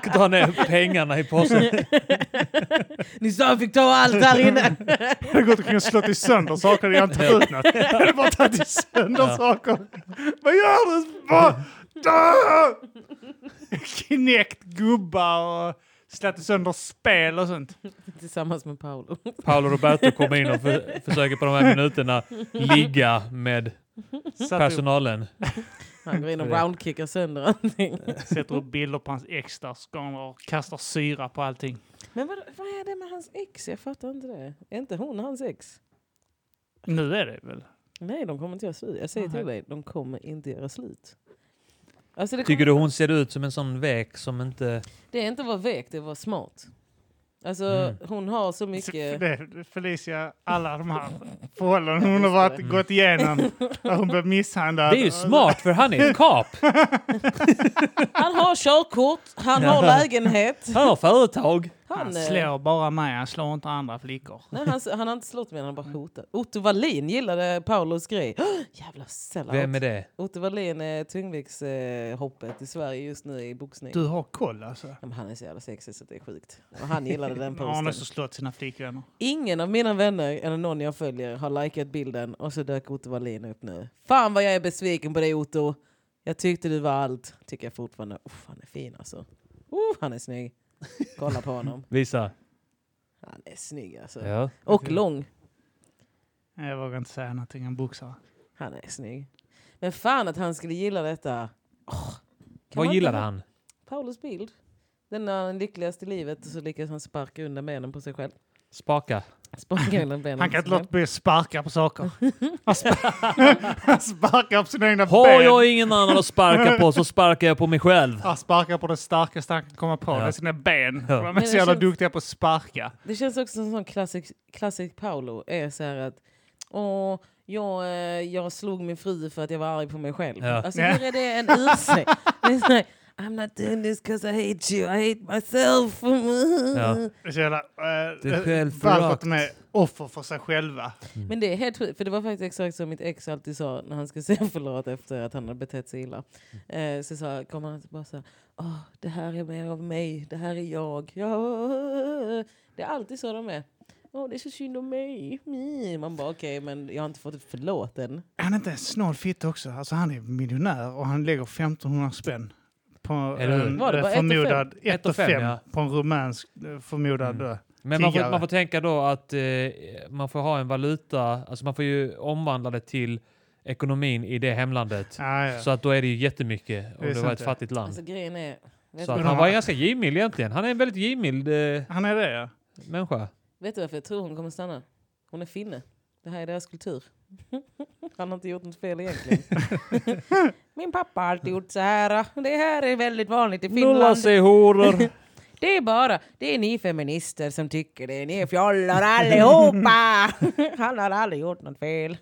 [SPEAKER 1] tar ner pengarna i påsen.
[SPEAKER 3] Ni sa jag fick ta allt här inne!
[SPEAKER 2] Jag hade gått omkring och slagit sönder saker jag inte tagit ut något. Jag hade bara tagit sönder saker. Vad gör du? Vad? Dö! Knäckt gubbar och slagit sönder spel och sånt.
[SPEAKER 3] Tillsammans med Paolo.
[SPEAKER 1] Paolo Roberto kommer in och för, försöker på de här minuterna ligga med
[SPEAKER 2] Satt upp,
[SPEAKER 1] personalen.
[SPEAKER 3] Han går in och
[SPEAKER 1] Det är det.
[SPEAKER 3] roundkickar sönder allting.
[SPEAKER 2] sätter upp bilder på hans ex där, skåner och kastar syra på allting.
[SPEAKER 3] Men vad, vad är det med hans ex? Jag fattar inte det. Är inte hon hans ex?
[SPEAKER 2] Nu är det väl?
[SPEAKER 3] Nej, de kommer inte göra slut. Jag säger
[SPEAKER 2] Nej.
[SPEAKER 3] till dig, de kommer inte göra slut. Alltså det,
[SPEAKER 1] Tycker
[SPEAKER 3] kommer,
[SPEAKER 1] du hon ser ut som en sån vek som inte...
[SPEAKER 3] det är inte att vara vek, det är att vara smart. Alltså
[SPEAKER 1] Mm.
[SPEAKER 3] hon har så mycket...
[SPEAKER 2] Det- Felicia, alla de här förhållanden hon har varit, gått igenom, där hon blev misshandlad.
[SPEAKER 1] Det är ju smart för han är ett kap!
[SPEAKER 3] Han har körkort, han har lägenhet.
[SPEAKER 1] Han har företag!
[SPEAKER 3] Han,
[SPEAKER 2] Han
[SPEAKER 3] eh,
[SPEAKER 2] slår bara mig, han slår inte andra flickor.
[SPEAKER 3] Nej, han, han har inte slått mig, han har bara hotat. Otto Wallin gillade Paulos grej. Jävla sellout.
[SPEAKER 1] Vem är det?
[SPEAKER 3] Otto Wallin är tungviktshoppet i Sverige just nu i boxning.
[SPEAKER 2] Du har koll alltså?
[SPEAKER 3] Ja, men han är så jävla sexig så det är sjukt. Och han gillade den
[SPEAKER 2] Arne
[SPEAKER 3] posten.
[SPEAKER 2] som slått sina flickvänner.
[SPEAKER 3] Ingen av mina vänner eller någon jag följer har likat bilden och så dök Otto Wallin upp nu. Fan vad jag är besviken på dig Otto. Jag tyckte du var allt. Tycker jag fortfarande. Uff, han är fin alltså. Uff, han är snygg. Kolla på honom.
[SPEAKER 1] Visa.
[SPEAKER 3] Han är snygg alltså.
[SPEAKER 1] Ja.
[SPEAKER 3] Och lång.
[SPEAKER 2] Nej, Jag vågar inte säga någonting om boxare.
[SPEAKER 3] Han är snygg. Men fan att han skulle gilla detta. Åh, kan man
[SPEAKER 1] Vad
[SPEAKER 3] inte
[SPEAKER 1] gillade
[SPEAKER 3] ha-
[SPEAKER 1] han?
[SPEAKER 3] Paulus bild. Den när han är lyckligast i livet och så lyckas han sparka undan benen på sig själv.
[SPEAKER 1] Spaka.
[SPEAKER 3] Sparka undan benen
[SPEAKER 2] Han
[SPEAKER 3] på
[SPEAKER 2] kan
[SPEAKER 3] sig
[SPEAKER 2] inte
[SPEAKER 3] själv.
[SPEAKER 2] låta bli att sparka på saker. Han, sp- han sparkar på sina egna
[SPEAKER 1] Har
[SPEAKER 2] ben.
[SPEAKER 1] jag ingen annan att sparka på så sparkar jag på mig själv.
[SPEAKER 2] Han sparkar på det starkaste han kan komma på,
[SPEAKER 1] Ja.
[SPEAKER 2] det är sina ben.
[SPEAKER 1] Ja.
[SPEAKER 2] De är
[SPEAKER 3] Men
[SPEAKER 2] så
[SPEAKER 3] det
[SPEAKER 2] jävla
[SPEAKER 3] känns-
[SPEAKER 2] duktiga på att sparka.
[SPEAKER 3] Det känns också som en sån klassisk, klassisk Paolo. Är så här att, åh, jag, eh, jag slog min fru för att jag var arg på mig själv.
[SPEAKER 1] Ja.
[SPEAKER 3] Alltså
[SPEAKER 2] Ja.
[SPEAKER 3] hur är det en ursäkt? Det är så här, I'm not doing this because I hate you, I hate myself.
[SPEAKER 1] Ja.
[SPEAKER 2] Det är så jävla... eh,
[SPEAKER 1] Det är självförakt.
[SPEAKER 2] varför att de är offer för sig själva.
[SPEAKER 3] Men det är helt sjukt, för det var faktiskt exakt som mitt ex alltid sa när han skulle säga förlåt efter att han hade betett sig illa.
[SPEAKER 1] Mm.
[SPEAKER 3] Eh, så sa, kom han bara så här, åh, det här är mer av mig, det här är jag. Ja. Det är alltid så de är. Åh, det är så synd om mig. Mm. Man bara okej, men jag har inte fått ett förlåt än.
[SPEAKER 2] Han är inte en snål fitta också. Alltså han är miljonär och han lägger 1500 spänn på
[SPEAKER 1] Eller hur?
[SPEAKER 2] en
[SPEAKER 3] Var det
[SPEAKER 2] eh,
[SPEAKER 3] bara ett och fem?
[SPEAKER 2] förmodad...
[SPEAKER 1] Ett och fem,
[SPEAKER 2] 1,5
[SPEAKER 1] ja. Mm.
[SPEAKER 2] på en rumänsk eh, förmodad... eh,
[SPEAKER 1] Men man får,
[SPEAKER 2] Tiggare.
[SPEAKER 1] man får tänka då att eh, man får ha en valuta, alltså man får ju omvandla det till ekonomin i det hemlandet.
[SPEAKER 2] Ja, ja.
[SPEAKER 1] Så att då är det ju jättemycket om
[SPEAKER 2] Det
[SPEAKER 1] det, var
[SPEAKER 2] är sant,
[SPEAKER 1] ett
[SPEAKER 2] ja.
[SPEAKER 1] fattigt land.
[SPEAKER 3] Alltså grejen är, vet,
[SPEAKER 1] så att
[SPEAKER 3] du,
[SPEAKER 2] Men
[SPEAKER 1] han
[SPEAKER 2] han-
[SPEAKER 1] var ju ganska givmild egentligen. Han är en väldigt givmild eh,
[SPEAKER 2] Han är det ja.
[SPEAKER 1] människa.
[SPEAKER 3] vet du varför jag tror hon kommer stanna? Hon är finne. Det här är deras kultur. Han har inte gjort något fel egentligen. Min pappa har alltid gjort så här. Det här är väldigt vanligt i
[SPEAKER 1] Nulla
[SPEAKER 3] Finland.
[SPEAKER 1] sig horor.
[SPEAKER 3] Det är bara, det är ni feminister som tycker det. Ni är fjollor allihopa! Han har aldrig gjort något fel.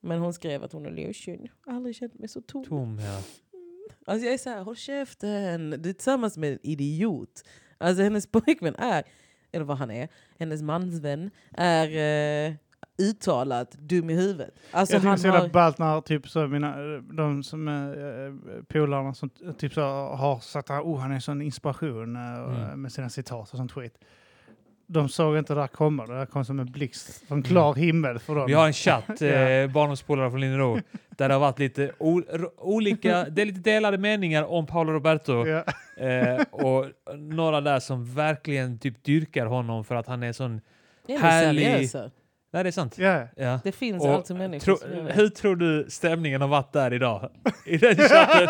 [SPEAKER 3] Men hon skrev att hon är löskyn. Aldrig känt mig så tom.
[SPEAKER 1] Tom, ja.
[SPEAKER 3] Alltså jag är så här, håll käften! Du är tillsammans med en idiot. Alltså hennes pojkvän är, eller vad han är, hennes mansvän är eh, uttalat dum i huvudet. Alltså
[SPEAKER 2] jag tycker det är
[SPEAKER 3] han
[SPEAKER 2] så jävla
[SPEAKER 3] har...
[SPEAKER 2] ballt när typ så mina, eh, de som äh, polarna som eh, typ så har sagt att oh, han är en sån inspiration eh, och,
[SPEAKER 1] Mm.
[SPEAKER 2] eh, med sina citat och sånt skit. De såg inte det där komma, det där kom som en blixt från klar himmel för dem.
[SPEAKER 1] Mm. Vi har en chatt, eh, barndomspolare från Linnero, där det har varit lite o- r- olika, det är lite delade meningar om Paolo Roberto.
[SPEAKER 2] ja.
[SPEAKER 1] Eh, och några där som verkligen typ dyrkar honom för att han är sån...
[SPEAKER 3] Är ni
[SPEAKER 1] härlig-
[SPEAKER 3] seriösa?
[SPEAKER 1] Nej, det är sant.
[SPEAKER 2] ja.
[SPEAKER 1] Ja.
[SPEAKER 3] Det finns
[SPEAKER 1] Och
[SPEAKER 3] alltså människor
[SPEAKER 1] Tro,
[SPEAKER 3] som gör det.
[SPEAKER 1] hur tror du stämningen har varit där idag? I den chatten?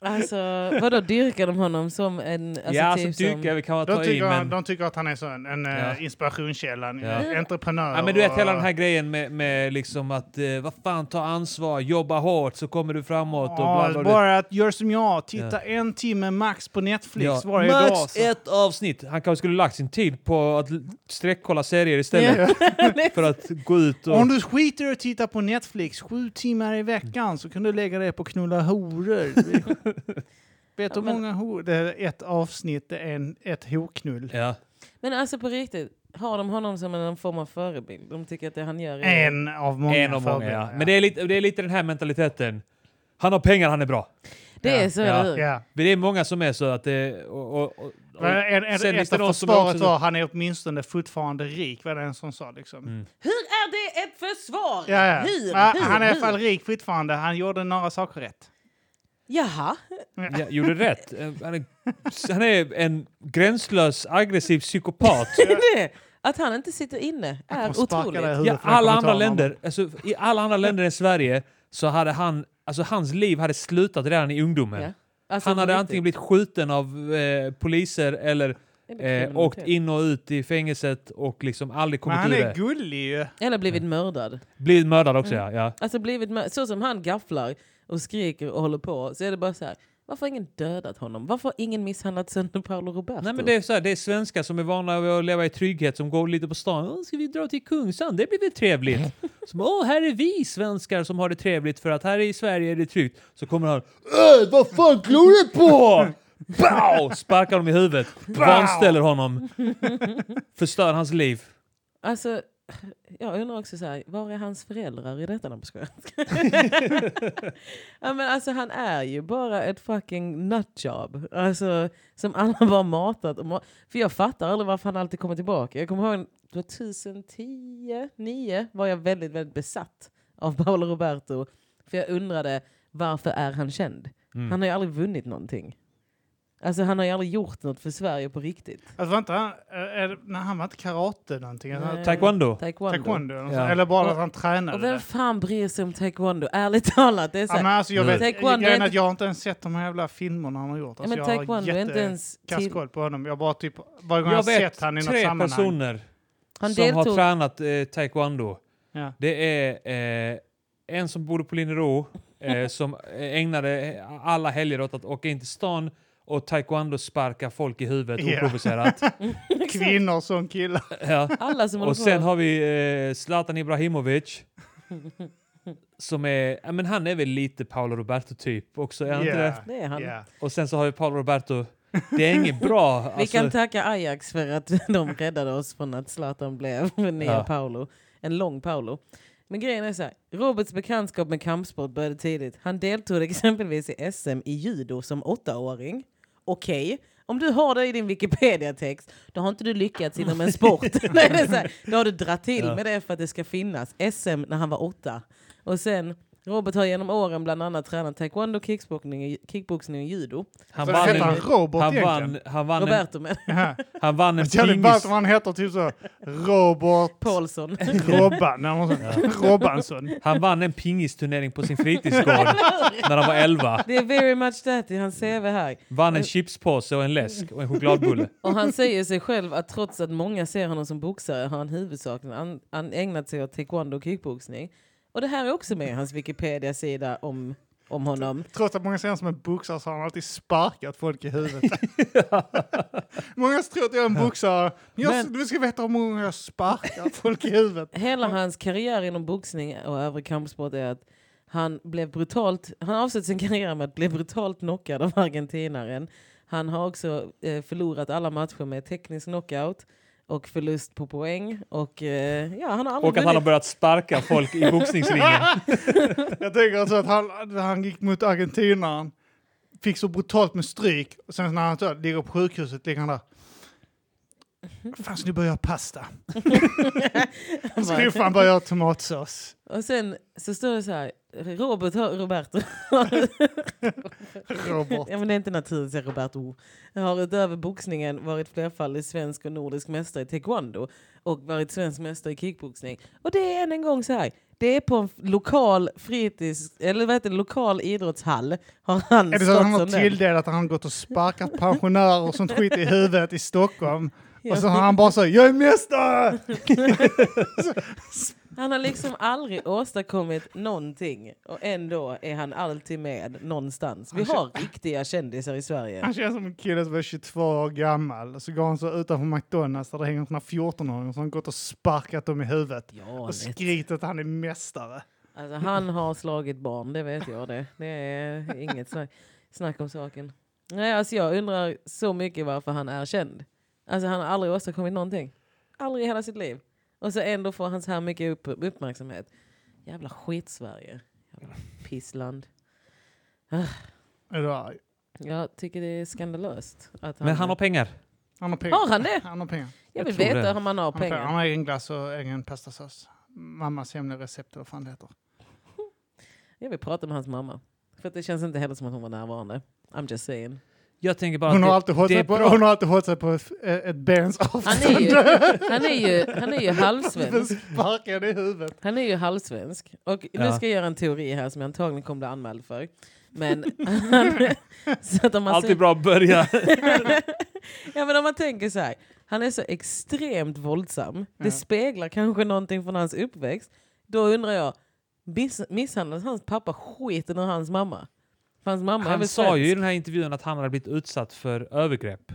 [SPEAKER 3] Alltså, vadå dyrkar de honom som en... Alltså,
[SPEAKER 1] ja, alltså
[SPEAKER 3] typ som,
[SPEAKER 1] dyka, vi kan bara
[SPEAKER 2] De
[SPEAKER 1] ta i,
[SPEAKER 2] tycker,
[SPEAKER 1] men...
[SPEAKER 2] de tycker att han är så en, en eh,
[SPEAKER 1] Ja.
[SPEAKER 2] inspirationskälla, en
[SPEAKER 1] Ja.
[SPEAKER 2] eh, entreprenör.
[SPEAKER 1] Ja, men du vet
[SPEAKER 2] och-
[SPEAKER 1] hela den här grejen med, med liksom att eh, vad fan, ta ansvar, jobba hårt så kommer du framåt och
[SPEAKER 2] Ja,
[SPEAKER 1] bla bla. bla.
[SPEAKER 2] bara att gör som jag, titta en timme max på Netflix
[SPEAKER 1] Ja.
[SPEAKER 2] varje
[SPEAKER 1] Max
[SPEAKER 2] dag. så-
[SPEAKER 1] ett avsnitt! Han kanske skulle lagt sin tid på att l- sträckkolla serier istället för att gå ut och...
[SPEAKER 2] Om du skiter i att titta på Netflix sju timmar i veckan så kan du lägga dig på att knulla horor. Vet du
[SPEAKER 3] Ja,
[SPEAKER 2] hur
[SPEAKER 3] men-
[SPEAKER 2] många horor? Det är ett avsnitt, det är en, ett horknull.
[SPEAKER 1] Ja.
[SPEAKER 3] Men alltså på riktigt, har de honom som en form av förebild? De tycker att det han gör är...
[SPEAKER 2] En av många.
[SPEAKER 1] Eh, en av många,
[SPEAKER 2] förbilder,
[SPEAKER 1] ja. Men det är, lite, det är lite den här mentaliteten. Han har pengar, han är bra.
[SPEAKER 3] Det är så,
[SPEAKER 1] Ja.
[SPEAKER 3] eller hur?
[SPEAKER 2] Ja.
[SPEAKER 1] Men det är många som är så att det... Och, och, och, och,
[SPEAKER 2] Men En, en,
[SPEAKER 1] sen finns det
[SPEAKER 2] ett av
[SPEAKER 1] någon som
[SPEAKER 2] försvaret
[SPEAKER 1] också-
[SPEAKER 2] var han är åtminstone fortfarande rik, var det en som sa liksom.
[SPEAKER 1] Mm.
[SPEAKER 3] Hur är det ett försvar?
[SPEAKER 2] Ja, ja.
[SPEAKER 3] Hur?
[SPEAKER 2] Men
[SPEAKER 3] hur?
[SPEAKER 2] han är i alla
[SPEAKER 3] hur?
[SPEAKER 2] fall rik fortfarande, han gjorde några saker rätt.
[SPEAKER 3] Jaha.
[SPEAKER 1] Ja, gjorde rätt. Eh, Han är, han är en gränslös, aggressiv psykopat.
[SPEAKER 3] Det, att han inte sitter inne är
[SPEAKER 2] Han sparkade i
[SPEAKER 3] otroligt.
[SPEAKER 2] huvudet
[SPEAKER 1] Ja,
[SPEAKER 2] för att
[SPEAKER 1] alla
[SPEAKER 2] kommentaren
[SPEAKER 1] andra
[SPEAKER 2] var-
[SPEAKER 1] länder, alltså, I alla andra länder än Sverige så hade han, alltså hans liv hade slutat redan i ungdomen.
[SPEAKER 3] Ja. Alltså,
[SPEAKER 1] han
[SPEAKER 3] på
[SPEAKER 1] hade
[SPEAKER 3] riktigt.
[SPEAKER 1] antingen blivit skjuten av eh, poliser eller eh,
[SPEAKER 3] Kriminalitet.
[SPEAKER 1] åkt in och ut i fängelset och liksom aldrig
[SPEAKER 2] Men
[SPEAKER 1] kommit
[SPEAKER 2] han
[SPEAKER 1] ur
[SPEAKER 2] är
[SPEAKER 1] det.
[SPEAKER 2] gullig ju.
[SPEAKER 3] Eller blivit mördad.
[SPEAKER 1] Blivit mördad också ja. ja.
[SPEAKER 3] Alltså blivit mör- så som han gafflar och skriker och håller på så är det bara så här. Varför har ingen dödat honom? Varför har ingen misshandlat sönder Paolo Roberto?
[SPEAKER 1] Nej men det är, så här, det är svenskar som är vana vid att leva i trygghet som går lite på stan. Åh, ska vi dra till Kungsan? Det blir väl trevligt? Som, Åh, här är vi svenskar som har det trevligt för att här i Sverige är det tryggt. Så kommer han. Öh, vad fan glor du på? Bow! Sparkar honom i huvudet. Vanställer honom. Förstör hans liv.
[SPEAKER 3] Alltså, jag undrar också så här, var är hans föräldrar i detta? Nej, jag skojar. ja, men alltså han är ju bara ett fucking nutjob. Alltså, som alla bara matat. Och ma- För jag fattar aldrig varför han alltid kommer tillbaka. Jag kommer ihåg 2010, 9 var jag väldigt, väldigt besatt av Paolo Roberto. För jag undrade, varför är han känd?
[SPEAKER 1] Mm.
[SPEAKER 3] Han har ju aldrig vunnit någonting. Alltså han har ju aldrig gjort något för Sverige på riktigt.
[SPEAKER 2] Alltså, var inte han, är, det- nej, han var inte karate någonting. Han-
[SPEAKER 3] Nej.
[SPEAKER 1] Taekwondo.
[SPEAKER 3] Taekwondo.
[SPEAKER 2] Taekwondo. eller något
[SPEAKER 1] Ja.
[SPEAKER 2] sånt. Eller bara
[SPEAKER 3] Och-
[SPEAKER 2] att han tränade
[SPEAKER 3] Och vem
[SPEAKER 2] det.
[SPEAKER 3] fan bryr sig om taekwondo? Ärligt talat, det är så
[SPEAKER 2] Ja,
[SPEAKER 3] här,
[SPEAKER 2] men alltså,
[SPEAKER 1] Mm.
[SPEAKER 2] jag, vet,
[SPEAKER 3] Taekwondo är
[SPEAKER 2] grejen är
[SPEAKER 3] inte-
[SPEAKER 2] att jag har inte ens sett de här jävla filmerna han har gjort.
[SPEAKER 3] ja,
[SPEAKER 2] Alltså,
[SPEAKER 3] men taekwondo
[SPEAKER 2] jag
[SPEAKER 3] är
[SPEAKER 2] har
[SPEAKER 3] inte ens...
[SPEAKER 2] kass
[SPEAKER 3] Till,
[SPEAKER 2] koll på honom. Jag bara typ, varje gång jag,
[SPEAKER 1] Jag
[SPEAKER 2] har
[SPEAKER 1] vet
[SPEAKER 2] sett han i något
[SPEAKER 1] tre
[SPEAKER 2] sammanhang.
[SPEAKER 1] personer
[SPEAKER 3] han
[SPEAKER 1] som har
[SPEAKER 3] deltog...
[SPEAKER 1] tränat eh, taekwondo.
[SPEAKER 2] Ja.
[SPEAKER 1] Det är eh, en som bodde på Linnero eh, som ägnade alla helger åt att åka in till stan och taekwondo sparka folk i huvudet
[SPEAKER 2] Ja.
[SPEAKER 1] oprovocerat.
[SPEAKER 2] Kvinnor som killar.
[SPEAKER 1] Ja.
[SPEAKER 3] alla som håller
[SPEAKER 1] Och sen
[SPEAKER 3] på.
[SPEAKER 1] har vi eh, Zlatan Ibrahimovic. Som är, ja, men han är väl lite Paolo Roberto-typ också, är han inte det?
[SPEAKER 2] Yeah.
[SPEAKER 3] Det är han.
[SPEAKER 2] Yeah.
[SPEAKER 1] Och sen så har vi Paolo Roberto. Det är inget bra.
[SPEAKER 3] Vi
[SPEAKER 1] Alltså,
[SPEAKER 3] kan tacka Ajax för att de räddade oss från att Zlatan blev nya
[SPEAKER 1] Ja.
[SPEAKER 3] Paolo. En lång Paolo. Men grejen är så här, Roberts bekantskap med kampsport började tidigt. Han deltog exempelvis i SM i judo som åttaåring. Okej, om du har det i din Wikipedia-text, då har inte du lyckats inom en sport. Nej, det är så här, då har du dratt till
[SPEAKER 1] Ja.
[SPEAKER 3] med det för att det ska finnas. SM när han var åtta. Och sen, Robert har genom åren bland annat tränat taekwondo, kickboxning, kickboxning och judo.
[SPEAKER 1] han
[SPEAKER 2] Så heter han
[SPEAKER 1] vann,
[SPEAKER 2] Robert
[SPEAKER 1] han
[SPEAKER 2] egentligen? Alltså,
[SPEAKER 1] vann, han vann, en,
[SPEAKER 3] Roberto med
[SPEAKER 2] Ja.
[SPEAKER 1] han vann en
[SPEAKER 2] Det är jävligt ballt
[SPEAKER 1] pingis...
[SPEAKER 2] om han heter typ så Robert
[SPEAKER 3] Paulsson.
[SPEAKER 2] Robban. eller något sånt. Robbansson.
[SPEAKER 1] Han vann en pingisturnering på sin fritidsgård när han var 11.
[SPEAKER 3] Det är very much that i hans CV här.
[SPEAKER 1] Vann en chipspåse och en läsk och en chokladbulle.
[SPEAKER 3] Och han säger sig själv att trots att många ser honom som boxare har han huvudsakligen an, an ägnat sig åt taekwondo och kickboxning. Och det här är också med i hans Wikipedia-sida om, om honom.
[SPEAKER 2] Trots att många ser honom som en boxare så har han alltid sparkat folk i huvudet. många tror att jag är en boxare. Men jag,
[SPEAKER 1] Men-
[SPEAKER 2] du ska veta hur många jag sparkar folk i huvudet.
[SPEAKER 3] Hela hans karriär inom boxning och övrig kampsport är att han blev brutalt, han har avslutat sin karriär med att bli brutalt knockad av argentinaren. Han har också eh, förlorat alla matcher med teknisk knockout och förlust på poäng. Och, eh, ja, han har aldrig
[SPEAKER 1] Och att han har
[SPEAKER 3] vunnit.
[SPEAKER 1] börjat sparka folk i boxningsringen.
[SPEAKER 2] Jag tänker alltså att han, han gick mot argentinaren, fick så brutalt med stryk och sen när han så ligger på sjukhuset ligger han där. Fan ska ni börja göra pasta? Ska ni fan börja göra tomatsås?
[SPEAKER 3] Och sen så står det så här. Robert har, Roberto.
[SPEAKER 4] Robot.
[SPEAKER 3] ja, men det är inte naturligt, säger Roberto. Har utöver boxningen varit flerfaldig svensk och nordisk mästare i taekwondo och varit svensk mästare i kickboxning. Och det är än en gång så här. Det är på en f- lokal fritids, eller vad heter det, lokal idrottshall. Har han
[SPEAKER 2] Är det så att han
[SPEAKER 3] stått
[SPEAKER 2] har
[SPEAKER 3] som den?
[SPEAKER 2] tilldelat att han gått och sparkat pensionärer och sånt skit i huvudet i Stockholm?
[SPEAKER 3] Ja.
[SPEAKER 2] Och så har han bara så jag är mästare!
[SPEAKER 3] Han har liksom aldrig åstadkommit någonting och ändå är han alltid med någonstans.
[SPEAKER 2] Alltså-
[SPEAKER 3] Vi har riktiga kändisar i Sverige.
[SPEAKER 2] Han känns som en kille som är 22 år gammal. Och så går han så utanför McDonalds där det hänger såna 14-åringar som har gått och sparkat dem i huvudet.
[SPEAKER 3] Ja,
[SPEAKER 2] Och skrikit att han är mästare.
[SPEAKER 3] alltså, han har slagit barn, det vet jag det. Det är inget snack, snack om saken. Nej, alltså jag undrar så mycket varför han är känd. Alltså han har aldrig åstadkommit någonting. Aldrig i hela sitt liv. Och så ändå får han så här mycket upp, uppmärksamhet. Jävla skit-Sverige. Jävla pissland.
[SPEAKER 2] Är du arg?
[SPEAKER 3] Jag tycker det är skandalöst. Att han
[SPEAKER 1] Men han har pengar.
[SPEAKER 2] Han har pengar.
[SPEAKER 3] Har han det?
[SPEAKER 2] Han har pengar.
[SPEAKER 3] Jag
[SPEAKER 1] Jag
[SPEAKER 3] vill
[SPEAKER 1] tror
[SPEAKER 3] veta
[SPEAKER 1] det.
[SPEAKER 3] hur man har
[SPEAKER 2] Han har, pengar.
[SPEAKER 3] pengar.
[SPEAKER 2] han har egen glass och egen pastasås. Mammas hemliga recept eller vad fan det heter.
[SPEAKER 3] Jag vill prata med hans mamma. För att det känns inte heller som att hon var närvarande. I'm just saying.
[SPEAKER 1] Jag tänker bara
[SPEAKER 2] Hon har
[SPEAKER 1] att
[SPEAKER 2] alltid hållit
[SPEAKER 1] det
[SPEAKER 2] sig
[SPEAKER 1] är
[SPEAKER 2] på,
[SPEAKER 1] bra.
[SPEAKER 2] hon har alltid hållit sig på ett, ett bens
[SPEAKER 3] Han
[SPEAKER 2] avstånd.
[SPEAKER 3] är ju, han är ju, han är ju halvsvensk.
[SPEAKER 2] Sparkade i huvudet.
[SPEAKER 3] Han är ju halvsvensk. Och nu
[SPEAKER 1] Ja.
[SPEAKER 3] ska jag göra en teori här som jag antagligen kommer bli anmäld för. Men han, så att om
[SPEAKER 1] det
[SPEAKER 3] man
[SPEAKER 1] alltid bra att börja.
[SPEAKER 3] ja, men om man tänker så här. Han är så extremt våldsam. Det
[SPEAKER 2] Ja.
[SPEAKER 3] speglar kanske någonting från hans uppväxt. Då undrar jag, miss, misshandlas hans pappa skiten ur hans mamma? För hans mamma är väl
[SPEAKER 1] Han sa ju i
[SPEAKER 3] svensk?
[SPEAKER 1] den här intervjun att han hade blivit utsatt för övergrepp.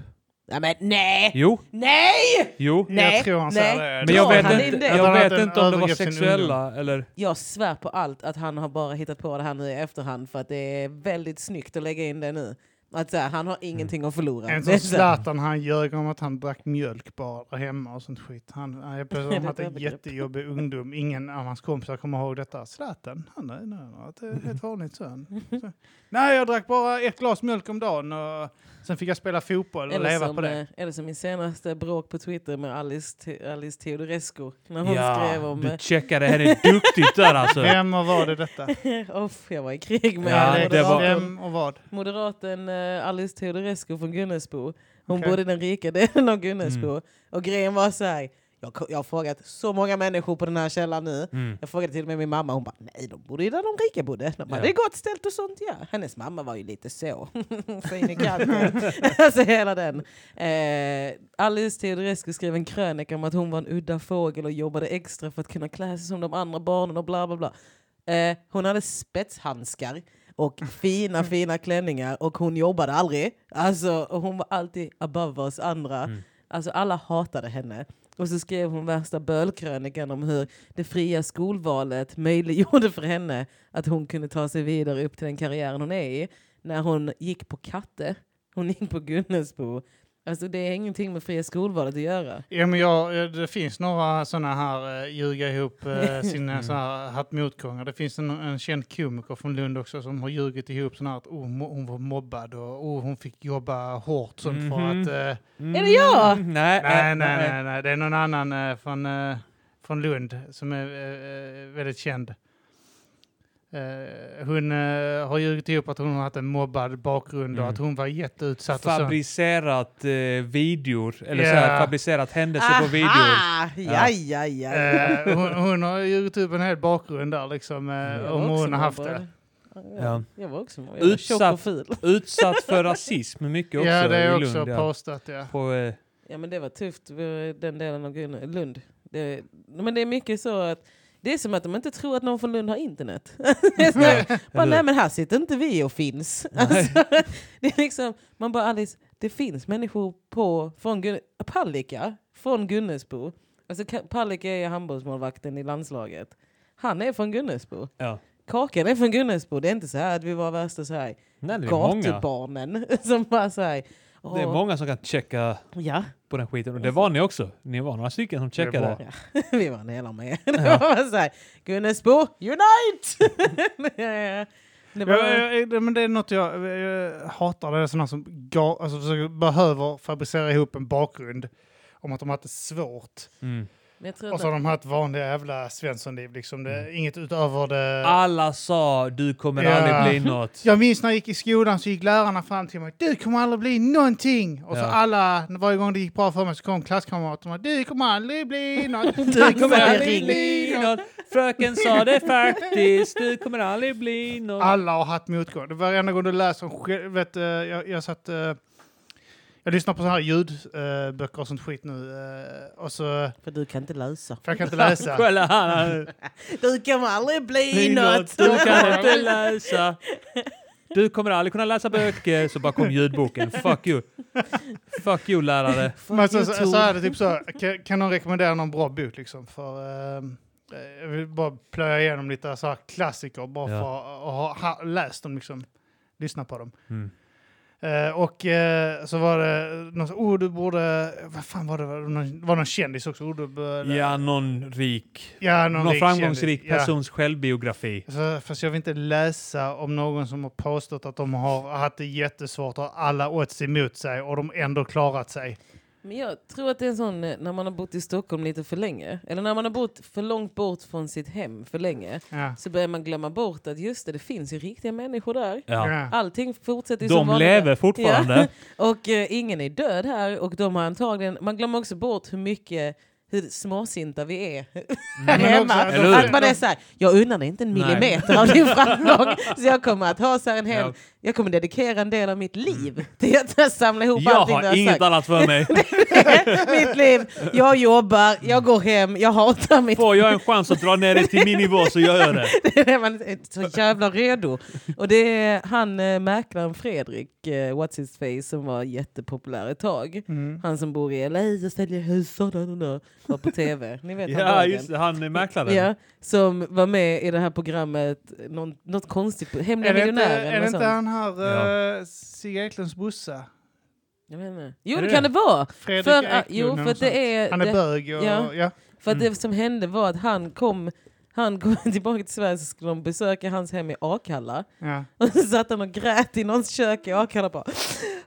[SPEAKER 3] Nej, men nej!
[SPEAKER 1] Jo,
[SPEAKER 3] Nej!
[SPEAKER 1] jo.
[SPEAKER 3] Nej,
[SPEAKER 2] jag tror han
[SPEAKER 3] nej.
[SPEAKER 2] säger det.
[SPEAKER 1] Men jag
[SPEAKER 3] Ja, han är
[SPEAKER 1] vet inte,
[SPEAKER 3] det.
[SPEAKER 2] Han
[SPEAKER 1] jag
[SPEAKER 2] har haft
[SPEAKER 1] vet
[SPEAKER 2] en
[SPEAKER 1] inte om det var
[SPEAKER 2] övergrepp sin
[SPEAKER 1] sexuella eller...
[SPEAKER 3] Jag svär på allt att han har bara hittat på det här nu i efterhand för att det är väldigt snyggt att lägga in det nu. Att så här, han
[SPEAKER 1] Mm.
[SPEAKER 3] har ingenting att förlora.
[SPEAKER 2] En
[SPEAKER 3] Det är
[SPEAKER 2] som
[SPEAKER 3] så här,
[SPEAKER 2] Zlatan, han ljög om att han drack mjölk bara där hemma och sånt skit. Han, han är precis
[SPEAKER 3] Det är
[SPEAKER 2] som
[SPEAKER 3] ett
[SPEAKER 2] att en
[SPEAKER 3] övergrepp.
[SPEAKER 2] jättejobbig ungdom. Ingen av hans kompisar kommer ihåg detta. Zlatan, han är nej, nej, det är helt vanligt sån. Så. Nej, jag drack bara ett glas mjölk om dagen och sen fick jag spela fotboll och
[SPEAKER 3] eller,
[SPEAKER 2] leva på
[SPEAKER 3] som,
[SPEAKER 2] det.
[SPEAKER 3] eh, eller som min senaste bråk på Twitter med Alice, Te- Alice Teodorescu. När hon skrev om...
[SPEAKER 1] du checkade henne duktigt där alltså.
[SPEAKER 2] Vem och vad är detta?
[SPEAKER 3] eh, Off, jag var i krig med
[SPEAKER 1] Ja,
[SPEAKER 2] Alex,
[SPEAKER 1] det var-
[SPEAKER 2] Vem och vad?
[SPEAKER 3] moderaten eh, Alice Teodorescu från Gunnesbo. Hon
[SPEAKER 2] Okej.
[SPEAKER 3] bodde i den rika delen av Gunnesbo.
[SPEAKER 1] Mm.
[SPEAKER 3] Och grejen var så här. Jag, ko- jag har frågat så många människor på den här källan nu.
[SPEAKER 1] Mm.
[SPEAKER 3] Jag frågade till och med min mamma. Hon bara, nej de bodde ju där de rika bodde. De bara,
[SPEAKER 1] Ja.
[SPEAKER 3] det är gott ställt och sånt ja. Hennes mamma var ju lite så. Fin i kanten. alltså hela den. Eh, Alice Teodorescu skrev en krönika om att hon var en udda fågel och jobbade extra för att kunna klä sig som de andra barnen och bla bla bla. Eh, hon hade spetshandskar och
[SPEAKER 1] Mm.
[SPEAKER 3] fina, fina klänningar och hon jobbade aldrig. Alltså, och hon var alltid above oss andra.
[SPEAKER 1] Mm.
[SPEAKER 3] Alltså, alla hatade henne. Och så skrev hon värsta bölkrönikan om hur det fria skolvalet möjliggjorde för henne att hon kunde ta sig vidare upp till den karriären hon är i. När hon gick på Katte, hon gick på Gunnesbo. Alltså det är ingenting med fria skolvalet att göra.
[SPEAKER 2] Ja, men jag, eh, det finns några sådana här eh, ljuga ihop eh, sina mm. här hatt motgångar. Det finns en, en känd komiker från Lund också som har ljugit ihop sådana här att oh, mo- hon var mobbad och oh, hon fick jobba hårt sånt för
[SPEAKER 1] Mhm.
[SPEAKER 2] att... Eh,
[SPEAKER 1] Mm.
[SPEAKER 3] Är det jag?
[SPEAKER 1] Nej,
[SPEAKER 2] nej, nej, nej, nej, det är någon annan eh, från, eh, från Lund som är eh, eh, väldigt känd. Eh, hon eh, har ljugit ihop att hon har haft en mobbad bakgrund och
[SPEAKER 1] Mm.
[SPEAKER 2] att hon var jätteutsatt. och sånt.
[SPEAKER 1] Fabricerat eh, videor, eller
[SPEAKER 2] Ja.
[SPEAKER 1] så här, fabricerat händelser på videor.
[SPEAKER 3] Ja, ja, ja. ja.
[SPEAKER 2] Eh, hon, hon har ljugit upp en hel bakgrund där liksom,
[SPEAKER 3] Jag
[SPEAKER 1] Mm,
[SPEAKER 2] eh,
[SPEAKER 3] var
[SPEAKER 2] om
[SPEAKER 3] också
[SPEAKER 2] hon har haft
[SPEAKER 3] mobbad.
[SPEAKER 2] det.
[SPEAKER 3] Ja.
[SPEAKER 1] Ja.
[SPEAKER 3] Jag var också mobbad. Jag var tjock och
[SPEAKER 1] Utsatt.
[SPEAKER 3] ful.
[SPEAKER 1] Utsatt för rasism mycket också
[SPEAKER 2] Ja, det är
[SPEAKER 1] i
[SPEAKER 2] också
[SPEAKER 1] Lund. ja.
[SPEAKER 2] påstått. Ja.
[SPEAKER 1] På, eh,
[SPEAKER 3] Ja men det var tufft, eh, den delen av Gun- Lund. Det, men det är mycket så att det är som att de inte tror att någon från Lund har internet. Det är så här, bara, nej men här sitter inte vi och finns. Alltså, det är liksom, man bara Alice, det finns människor på, från Gun- Palicka, från Gunnesbo. Alltså Ka- Palicka är ju handbollsmålvakten i landslaget. Han är från Gunnesbo.
[SPEAKER 1] ja.
[SPEAKER 3] Kakan är från Gunnesbo. Det är inte så här att vi var värsta så här
[SPEAKER 1] Nej, det, är många.
[SPEAKER 3] gatubarnen som bara så här.
[SPEAKER 1] det är
[SPEAKER 3] "Åh,
[SPEAKER 1] många som kan checka
[SPEAKER 3] Ja,
[SPEAKER 1] på den skiten. Och det var ni också. Ni var några stycken som
[SPEAKER 2] är
[SPEAKER 1] checkade.
[SPEAKER 2] bra.
[SPEAKER 3] Vi var en hela med. Det var så här, Gunnesbo, unite! det var,
[SPEAKER 2] Ja, ja, ja, men det är något jag, jag hatar. Det är sådana som ga, alltså, försöker, behöver fabricera ihop en bakgrund om att de har haft det svårt.
[SPEAKER 1] Mm.
[SPEAKER 3] Men jag tror
[SPEAKER 2] Och så
[SPEAKER 3] inte
[SPEAKER 2] har
[SPEAKER 3] att,
[SPEAKER 2] de haft vanliga jävla svenssonliv. Liksom. Det, Inget utöver det.
[SPEAKER 1] Alla sa du kommer
[SPEAKER 2] Ja.
[SPEAKER 1] aldrig bli något.
[SPEAKER 2] Jag minns när jag gick i skolan så gick lärarna fram till mig. Du kommer aldrig bli någonting! Och så
[SPEAKER 1] Ja.
[SPEAKER 2] alla, varje gång det gick bra för mig så kom klasskamraterna. Du kommer aldrig bli något!
[SPEAKER 1] Du kommer aldrig
[SPEAKER 3] Ring.
[SPEAKER 1] bli något. Fröken sa det faktiskt. Du kommer aldrig bli något.
[SPEAKER 2] Alla har haft motgång. Det var enda gång du läser om själv- vet, eh, jag, jag satt... eh, Jag lyssnar på sådana här ljudböcker och sånt skit nu. eh, Och så...
[SPEAKER 3] för du kan inte läsa.
[SPEAKER 2] För jag kan inte läsa.
[SPEAKER 1] Kolla här.
[SPEAKER 3] Du kommer aldrig bli
[SPEAKER 2] Bli
[SPEAKER 3] något!
[SPEAKER 1] Du kan inte läsa. Du kommer aldrig kunna läsa böcker. Så bara kom ljudboken. Fuck you. Fuck you lärare.
[SPEAKER 2] Men så,
[SPEAKER 3] you,
[SPEAKER 2] så,
[SPEAKER 3] Tor.
[SPEAKER 2] så är det typ så. Kan, kan någon rekommendera någon bra bok liksom? För, ehm, eh, jag vill bara plöja igenom lite så här klassiker bara
[SPEAKER 1] Ja.
[SPEAKER 2] för att ha, ha läst dem liksom. Lyssna på dem.
[SPEAKER 1] Mm.
[SPEAKER 2] Eh, och eh, så var det någon som, oh du borde, vad fan var det, var det någon, var det någon kändis också? Oh, du borde,
[SPEAKER 1] Ja, någon rik.
[SPEAKER 2] ja,
[SPEAKER 1] Någon,
[SPEAKER 2] rik
[SPEAKER 1] framgångsrik
[SPEAKER 2] kändis. Ja.
[SPEAKER 1] persons självbiografi.
[SPEAKER 2] Så, fast jag vill inte läsa om någon som har påstått att de har haft det jättesvårt och alla odds emot sig och de ändå klarat sig.
[SPEAKER 3] Men jag tror att det är en sån eh, när man har bott i Stockholm lite för länge. Eller när man har bott för långt bort från sitt hem för länge.
[SPEAKER 2] Ja.
[SPEAKER 3] Så börjar man glömma bort att just det, det finns ju riktiga människor där.
[SPEAKER 1] Ja.
[SPEAKER 2] Ja.
[SPEAKER 3] Allting fortsätter ju som
[SPEAKER 1] De
[SPEAKER 3] vanligt.
[SPEAKER 1] lever fortfarande.
[SPEAKER 3] Och eh, ingen är död här och de har antagligen... Man glömmer också bort hur mycket hur småsinta vi är här
[SPEAKER 2] Men
[SPEAKER 3] hemma.
[SPEAKER 2] också-
[SPEAKER 1] Eller hur?
[SPEAKER 3] att man är så här, jag unnar dig inte en
[SPEAKER 1] Nej.
[SPEAKER 3] millimeter av din framgång. Så jag kommer att ha så här en hel...
[SPEAKER 1] Ja.
[SPEAKER 3] Jag kommer dedikera en del av mitt liv till att samla ihop
[SPEAKER 1] Jag
[SPEAKER 3] allting du
[SPEAKER 1] har inget
[SPEAKER 3] sagt.
[SPEAKER 1] annat för mig.
[SPEAKER 3] mitt liv. Jag jobbar, jag går hem, jag hatar mitt...
[SPEAKER 1] Får jag en chans att dra ner det till min nivå så gör jag det.
[SPEAKER 3] Man är så jävla redo. Och det är han eh, mäklaren Fredrik, eh, what's his face, som var jättepopulär ett tag.
[SPEAKER 2] Mm.
[SPEAKER 3] Han som bor i LA och säljer hus och där, där, där, var på tv. Ni vet han
[SPEAKER 1] Ja,
[SPEAKER 3] Dagen.
[SPEAKER 1] just det. Han är mäklaren.
[SPEAKER 3] Ja, som var med i det här programmet, någon, något konstigt, Hemliga
[SPEAKER 2] Är det inte,
[SPEAKER 3] miljonären.
[SPEAKER 2] är det
[SPEAKER 3] och
[SPEAKER 2] inte
[SPEAKER 3] sånt.
[SPEAKER 2] han här,
[SPEAKER 1] Ja.
[SPEAKER 2] eh, Sigge Eklunds brorsa?
[SPEAKER 3] Jag vet inte. Jo,
[SPEAKER 1] Är
[SPEAKER 3] det
[SPEAKER 1] det
[SPEAKER 3] kan det
[SPEAKER 1] det?
[SPEAKER 3] vara.
[SPEAKER 2] Fredrik
[SPEAKER 3] För,
[SPEAKER 2] Eklund?
[SPEAKER 3] jo,
[SPEAKER 2] eller
[SPEAKER 3] för
[SPEAKER 2] något
[SPEAKER 3] att det
[SPEAKER 2] sånt.
[SPEAKER 3] är,
[SPEAKER 2] han är
[SPEAKER 3] det-
[SPEAKER 2] bög och...
[SPEAKER 3] ja.
[SPEAKER 2] Ja.
[SPEAKER 3] För att
[SPEAKER 1] Mm.
[SPEAKER 3] det som hände var att han kom, han kom tillbaka till Sverige så skulle de besöka hans hem i Akalla.
[SPEAKER 2] Ja.
[SPEAKER 3] Och så satt han och grät i någons kök i Akalla bara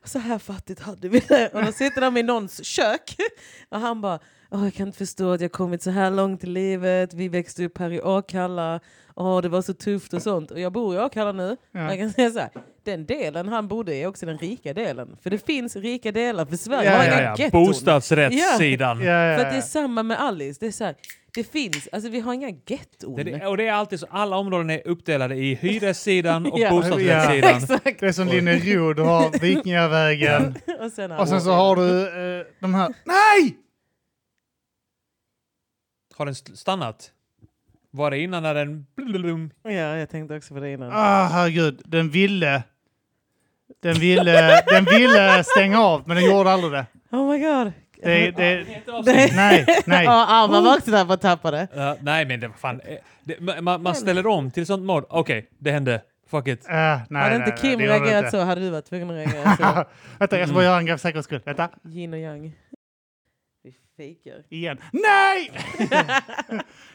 [SPEAKER 3] Så här fattigt hade vi det. Och då sitter de i någons kök och han bara Åh, jag kan inte förstå att jag kommit så här långt i livet. Vi växte upp här i Akalla. Åh, det var så tufft och sånt. Och jag bor i Akalla nu.
[SPEAKER 2] Ja.
[SPEAKER 3] Jag kan säga så här. Den delen han bodde i är också den rika delen. För det finns rika delar för Sverige.
[SPEAKER 2] Ja,
[SPEAKER 1] Ja,
[SPEAKER 3] har inga
[SPEAKER 1] ja, ja.
[SPEAKER 3] getton.
[SPEAKER 1] Bostadsrättssidan.
[SPEAKER 2] Ja, ja,
[SPEAKER 3] För att det är
[SPEAKER 2] ja.
[SPEAKER 3] samma med Alice. Det är så här, det finns, alltså vi har inga getton.
[SPEAKER 1] Det, det, och det är alltid så, alla områden är uppdelade i hyressidan och
[SPEAKER 3] Ja.
[SPEAKER 1] bostadsrättssidan.
[SPEAKER 3] Exakt.
[SPEAKER 2] Det är som Linne Rod, du har Vikingavägen
[SPEAKER 3] Och sen,
[SPEAKER 2] och sen så har du eh, de här... Nej!
[SPEAKER 1] Har den st- stannat? Var det innan när den... blululum?
[SPEAKER 3] Ja, jag tänkte också på det innan.
[SPEAKER 2] Ah, herregud, den ville... Den ville, den ville stänga av, men den gjorde aldrig det.
[SPEAKER 3] Oh my god.
[SPEAKER 2] det, det
[SPEAKER 3] Nej. Oh.
[SPEAKER 2] nej, nej.
[SPEAKER 3] Ja, Arman var också där på att tappa det.
[SPEAKER 1] Ja, nej men det var fan... eh, Det, ma- ma, man ställer om till sånt mål. Okej, det hände. Fuck it.
[SPEAKER 2] Ah, nej,
[SPEAKER 3] hade
[SPEAKER 2] nej,
[SPEAKER 3] inte
[SPEAKER 2] nej,
[SPEAKER 3] Kim
[SPEAKER 2] det gjorde den
[SPEAKER 3] reagerat
[SPEAKER 2] inte.
[SPEAKER 3] så Alltså. hade du varit tvungen att reagera så.
[SPEAKER 2] Vänta, jag ska bara göra en grej för säkerhets skull. Vänta.
[SPEAKER 3] Yin och yang. Vi fejkar.
[SPEAKER 2] Igen. Nej!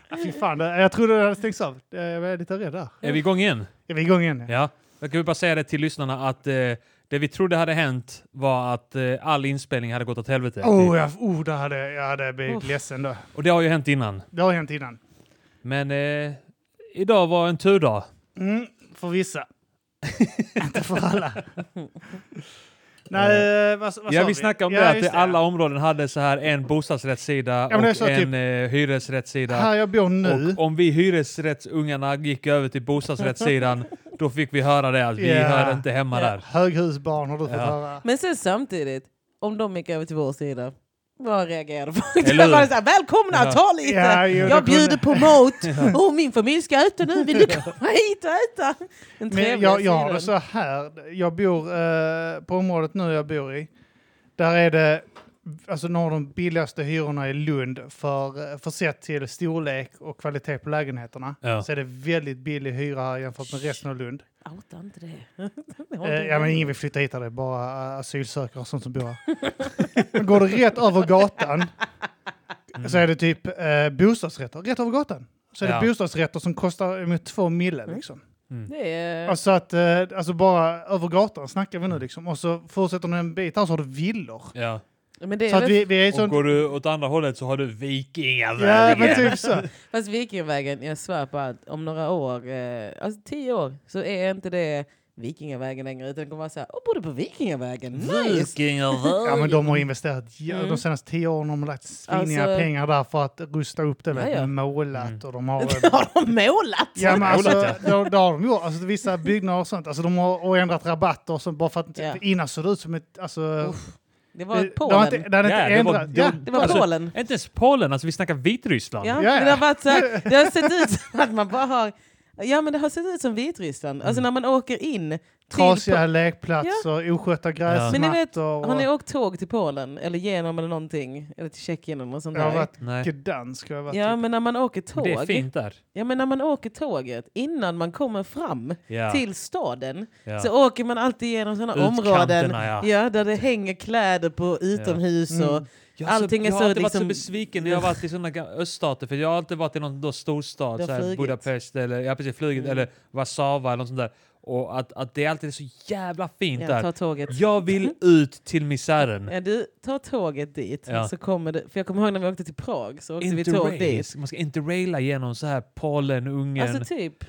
[SPEAKER 2] Ah, Fy fan, det- jag trodde det hade stängts av. Eh, Jag är lite rädd där.
[SPEAKER 1] Är vi igång igen?
[SPEAKER 2] Är vi igång igen?
[SPEAKER 1] Ja. Jag kan väl bara säga det till lyssnarna att eh, det vi trodde hade hänt var att eh, all inspelning hade gått åt helvete.
[SPEAKER 2] Oh, jag, oh, där hade, jag hade blivit
[SPEAKER 3] Uff.
[SPEAKER 2] ledsen då.
[SPEAKER 1] Och det har ju hänt innan.
[SPEAKER 2] Det har hänt innan.
[SPEAKER 1] Men eh, idag var en turdag.
[SPEAKER 2] Mm, för vissa. Inte för alla. Nej, eh, vad, vad
[SPEAKER 1] Ja,
[SPEAKER 2] sa
[SPEAKER 1] vi snackade om
[SPEAKER 2] Ja,
[SPEAKER 1] det, att
[SPEAKER 2] just
[SPEAKER 1] det, alla områden hade så här en bostadsrättssida
[SPEAKER 2] men det är
[SPEAKER 1] och
[SPEAKER 2] så typ-
[SPEAKER 1] en eh, hyresrättssida.
[SPEAKER 2] Här jag bor nu.
[SPEAKER 1] Och om vi hyresrättsungarna gick över till bostadsrättssidan, då fick vi höra det att vi
[SPEAKER 2] Ja.
[SPEAKER 1] hör inte hemma
[SPEAKER 3] Ja.
[SPEAKER 1] där.
[SPEAKER 2] Höghusbarn har du fått
[SPEAKER 1] Ja.
[SPEAKER 2] höra.
[SPEAKER 3] Men sen samtidigt, om de gick över till vår sida, vad reagerade folk?
[SPEAKER 1] Eller
[SPEAKER 3] Eller
[SPEAKER 1] hur?
[SPEAKER 3] var det så här, välkomna,
[SPEAKER 1] Ja.
[SPEAKER 3] ta lite!
[SPEAKER 2] Ja, jo, det
[SPEAKER 3] jag
[SPEAKER 2] kunde-
[SPEAKER 3] bjuder på mat! Och min familj ska äta nu, vill du komma hit och äta? Den
[SPEAKER 2] Men
[SPEAKER 3] trevliga
[SPEAKER 2] jag, jag har det
[SPEAKER 3] sidan.
[SPEAKER 2] så här. Jag bor eh, på området nu jag bor i. Där är det alltså några av de billigaste hyrorna i Lund för, för sett till storlek och kvalitet på lägenheterna.
[SPEAKER 1] Ja.
[SPEAKER 2] Så är det väldigt billig hyra här jämfört med resten av Lund.
[SPEAKER 3] Outa inte det. Det har
[SPEAKER 2] Eh,
[SPEAKER 3] inte
[SPEAKER 2] ja, men ingen vill flytta hit, där, det är bara eh, asylsökande och sånt som bor här. Men Går du rätt över gatan så
[SPEAKER 3] Mm.
[SPEAKER 2] är det typ eh, bostadsrätter. Rätt över gatan så är det
[SPEAKER 1] Ja.
[SPEAKER 2] bostadsrätter som kostar emot två mille.
[SPEAKER 3] Mm.
[SPEAKER 2] Liksom.
[SPEAKER 3] Det är...
[SPEAKER 2] Och så att, eh,
[SPEAKER 3] Mm.
[SPEAKER 2] alltså bara över gatan snackar vi nu liksom. Och så fortsätter du en bit här så har du villor.
[SPEAKER 1] Ja.
[SPEAKER 3] Men det
[SPEAKER 2] Så
[SPEAKER 3] är
[SPEAKER 2] att
[SPEAKER 3] väl,
[SPEAKER 2] vi, vi är
[SPEAKER 1] Och
[SPEAKER 2] sån...
[SPEAKER 1] går du åt andra hållet så har du
[SPEAKER 2] Ja, men
[SPEAKER 1] vikingavägen.
[SPEAKER 2] typ så.
[SPEAKER 3] Fast Vikingvägen, jag svär på att om några år, eh, alltså tio år, så är inte det Vikingavägen längre. Utan det kommer vara såhär, åh, bodde på Vikingavägen,
[SPEAKER 2] typ-
[SPEAKER 3] nice!
[SPEAKER 1] Vikingavägen.
[SPEAKER 2] Ja, men de har investerat ja,
[SPEAKER 3] Mm.
[SPEAKER 2] de senaste tio åren har de lagt sviniga
[SPEAKER 3] Alltså-
[SPEAKER 2] pengar där för att rusta upp det. vet
[SPEAKER 3] Ja, ja.
[SPEAKER 2] du, målat
[SPEAKER 1] Mm.
[SPEAKER 2] och de har...
[SPEAKER 3] Det har de målat!
[SPEAKER 2] Ja, men alltså,
[SPEAKER 1] Målat,
[SPEAKER 2] det, det har de gjort. Alltså, vissa byggnader och sånt. Alltså, de har och ändrat rabatter och sånt bara för att
[SPEAKER 3] Ja.
[SPEAKER 2] innan såg det ut som ett... Alltså,
[SPEAKER 3] Uff, Det var
[SPEAKER 2] det, det har
[SPEAKER 3] Polen.
[SPEAKER 2] inte, det har inte
[SPEAKER 1] Ja, det var-
[SPEAKER 2] ändrat.
[SPEAKER 1] det var-
[SPEAKER 2] ja,
[SPEAKER 3] Det var
[SPEAKER 1] Alltså,
[SPEAKER 3] Polen.
[SPEAKER 1] Inte ens Polen, alltså vi snackar Vitryssland.
[SPEAKER 2] Ja,
[SPEAKER 3] Ja,
[SPEAKER 2] ja.
[SPEAKER 3] men Det, har varit så här, det har sett ut som att man bara har... Ja, men det har sett ut som Vitryssland. Alltså när man åker in...
[SPEAKER 2] Mm. trasiga
[SPEAKER 3] Po-
[SPEAKER 2] lekplatser, oskötta gräsmattor.
[SPEAKER 3] Men ni vet,
[SPEAKER 2] och-
[SPEAKER 3] Har ni åkt tåg till Polen? Eller genom eller någonting? Eller till Tjeckien eller något sånt
[SPEAKER 2] jag har
[SPEAKER 3] där?
[SPEAKER 2] varit
[SPEAKER 1] Nej.
[SPEAKER 2] Gdansk har jag varit.
[SPEAKER 3] Ja,
[SPEAKER 2] i.
[SPEAKER 3] men när man åker
[SPEAKER 1] Det är
[SPEAKER 3] tåg...
[SPEAKER 1] fint där.
[SPEAKER 3] Ja, men när man åker tåget, innan man kommer fram
[SPEAKER 1] Ja,
[SPEAKER 3] till staden,
[SPEAKER 1] ja.
[SPEAKER 3] så åker man alltid genom sådana områden
[SPEAKER 1] Utkanterna, ja.
[SPEAKER 3] ja, där det hänger kläder på utomhus
[SPEAKER 2] Mm.
[SPEAKER 3] och...
[SPEAKER 1] Jag har,
[SPEAKER 3] Allting
[SPEAKER 1] så,
[SPEAKER 3] är
[SPEAKER 1] jag har
[SPEAKER 3] så
[SPEAKER 1] alltid varit så
[SPEAKER 3] liksom-
[SPEAKER 1] besviken när jag har varit i sådana ga- öststater, för jag har alltid varit i någon då storstad,
[SPEAKER 3] Du har
[SPEAKER 1] så här
[SPEAKER 3] flugit.
[SPEAKER 1] Budapest eller ja, precis, flugit,
[SPEAKER 3] Mm.
[SPEAKER 1] eller Warszawa eller något sånt där. Och att, att det alltid är så jävla fint
[SPEAKER 3] Ja,
[SPEAKER 1] där.
[SPEAKER 3] ta tåget.
[SPEAKER 1] Jag vill ut till misären.
[SPEAKER 3] Ja, du tar tåget dit,
[SPEAKER 1] Ja.
[SPEAKER 3] så kommer det, för jag kommer ihåg när vi åkte till Prag så åkte vi tåg
[SPEAKER 1] Interrail.
[SPEAKER 3] dit.
[SPEAKER 1] Man ska interraila genom så här Polen, Ungern,
[SPEAKER 3] Alltså typ.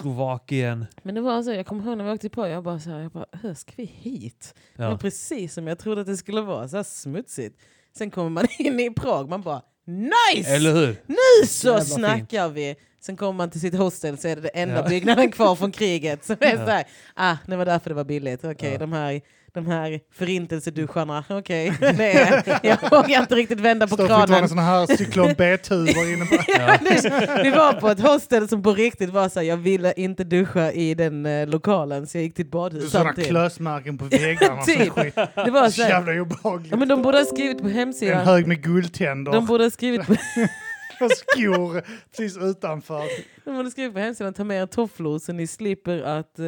[SPEAKER 1] Slovakien.
[SPEAKER 3] Men det var så, jag kommer ihåg när vi åkte till Prag, jag bara så här, jag bara, hur ska vi hit? Det var
[SPEAKER 1] Ja.
[SPEAKER 3] precis som jag trodde att det skulle vara, så här smutsigt. Sen kommer man in i Prag, man bara, nice!
[SPEAKER 1] Eller hur?
[SPEAKER 3] Nu så
[SPEAKER 1] Jävla
[SPEAKER 3] snackar vi! Sen kommer man till sitt hostel så är det det enda
[SPEAKER 1] Ja.
[SPEAKER 3] byggnaden kvar från kriget. Så är
[SPEAKER 1] Ja.
[SPEAKER 3] det så här, ah, det var därför det var billigt. Okej,
[SPEAKER 1] Ja.
[SPEAKER 3] de, här, de här förintelseduscharna, okej. det är- jag vågar inte riktigt vända på
[SPEAKER 2] Står fortfarande
[SPEAKER 3] kranen.
[SPEAKER 2] såna här cyklon B-tuber inne på...
[SPEAKER 1] Ja.
[SPEAKER 3] Det- Vi var på ett hostel som på riktigt var så här, jag ville inte duscha i den eh, lokalen så jag gick till ett badhus
[SPEAKER 2] Sådana
[SPEAKER 3] samtidigt.
[SPEAKER 2] klösmärken på väggarna. och sån
[SPEAKER 3] Typ.
[SPEAKER 2] skit.
[SPEAKER 3] Det var
[SPEAKER 2] Så
[SPEAKER 3] så här,
[SPEAKER 2] jävla
[SPEAKER 3] ja,
[SPEAKER 2] obehagligt.
[SPEAKER 3] men de borde ha skrivit på
[SPEAKER 2] En
[SPEAKER 3] hemsidan.
[SPEAKER 2] hög med guldtänder
[SPEAKER 3] De borde ha skrivit på,
[SPEAKER 2] och skor precis utanför.
[SPEAKER 3] de borde ha skrivit på hemsidan, ta med er tofflor så ni slipper att eh,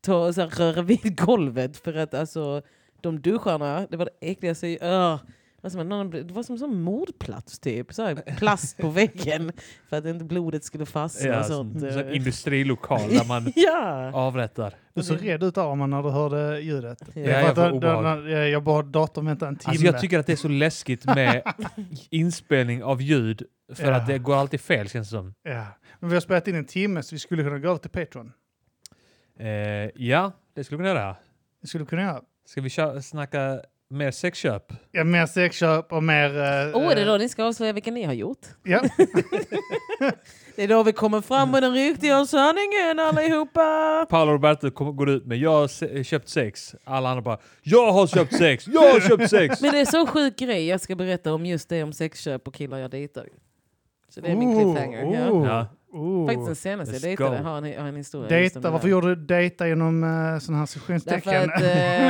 [SPEAKER 3] ta, så här, röra vid golvet. För att alltså, de duscharna, det var det äckligaste. jag- öh. Alltså, man, någon- det var som en sån mordplats typ. Så här, plast på väggen för att inte blodet skulle fastna
[SPEAKER 1] Ja,
[SPEAKER 3] och
[SPEAKER 1] sån,
[SPEAKER 3] sånt.
[SPEAKER 1] sån
[SPEAKER 2] eh.
[SPEAKER 1] industrilokal där man
[SPEAKER 3] Ja!
[SPEAKER 1] avrättar.
[SPEAKER 2] Du såg rädd ut Arman när du hörde ljudet.
[SPEAKER 3] Ja.
[SPEAKER 2] Det var
[SPEAKER 1] jag
[SPEAKER 2] att
[SPEAKER 1] får
[SPEAKER 2] då- då-
[SPEAKER 1] obehag.
[SPEAKER 2] när Jag bad datorn vänta en timme.
[SPEAKER 1] Alltså jag tycker att det är så läskigt med inspelning av ljud för
[SPEAKER 2] Ja.
[SPEAKER 1] att det går alltid fel känns det som.
[SPEAKER 2] ja. Men vi har spelat in en timme så vi skulle kunna gå över till Patreon.
[SPEAKER 1] Eh, ja, det skulle vi kunna göra.
[SPEAKER 2] Vi skulle kunna göra
[SPEAKER 1] Ska vi kö- snacka mer sexköp?
[SPEAKER 2] ja, mer sexköp och mer... eh,
[SPEAKER 3] Åh, är Oh, det
[SPEAKER 2] eh,
[SPEAKER 3] då ni ska avslöja vilka ni har gjort?
[SPEAKER 2] Ja.
[SPEAKER 3] Det är då vi kommer fram med den riktiga sanningen allihopa!
[SPEAKER 1] Paolo Roberto kom, går ut med jag har se- köpt sex. Alla andra bara jag har köpt sex, jag har köpt sex.
[SPEAKER 3] Men det är så sjuk grej jag ska berätta om just det om sexköp och killar jag dejtar. Så det är min
[SPEAKER 2] Oh,
[SPEAKER 3] cliffhanger. ja.
[SPEAKER 2] oh,
[SPEAKER 1] Ja.
[SPEAKER 2] oh.
[SPEAKER 3] Faktiskt den senaste jag
[SPEAKER 1] Let's
[SPEAKER 3] dejtade
[SPEAKER 1] go.
[SPEAKER 3] har en, har en historia. just om
[SPEAKER 2] Dejta,
[SPEAKER 3] det här.
[SPEAKER 2] varför gjorde du dejta genom uh, sådana här
[SPEAKER 3] Därför
[SPEAKER 2] situationstecken?
[SPEAKER 3] att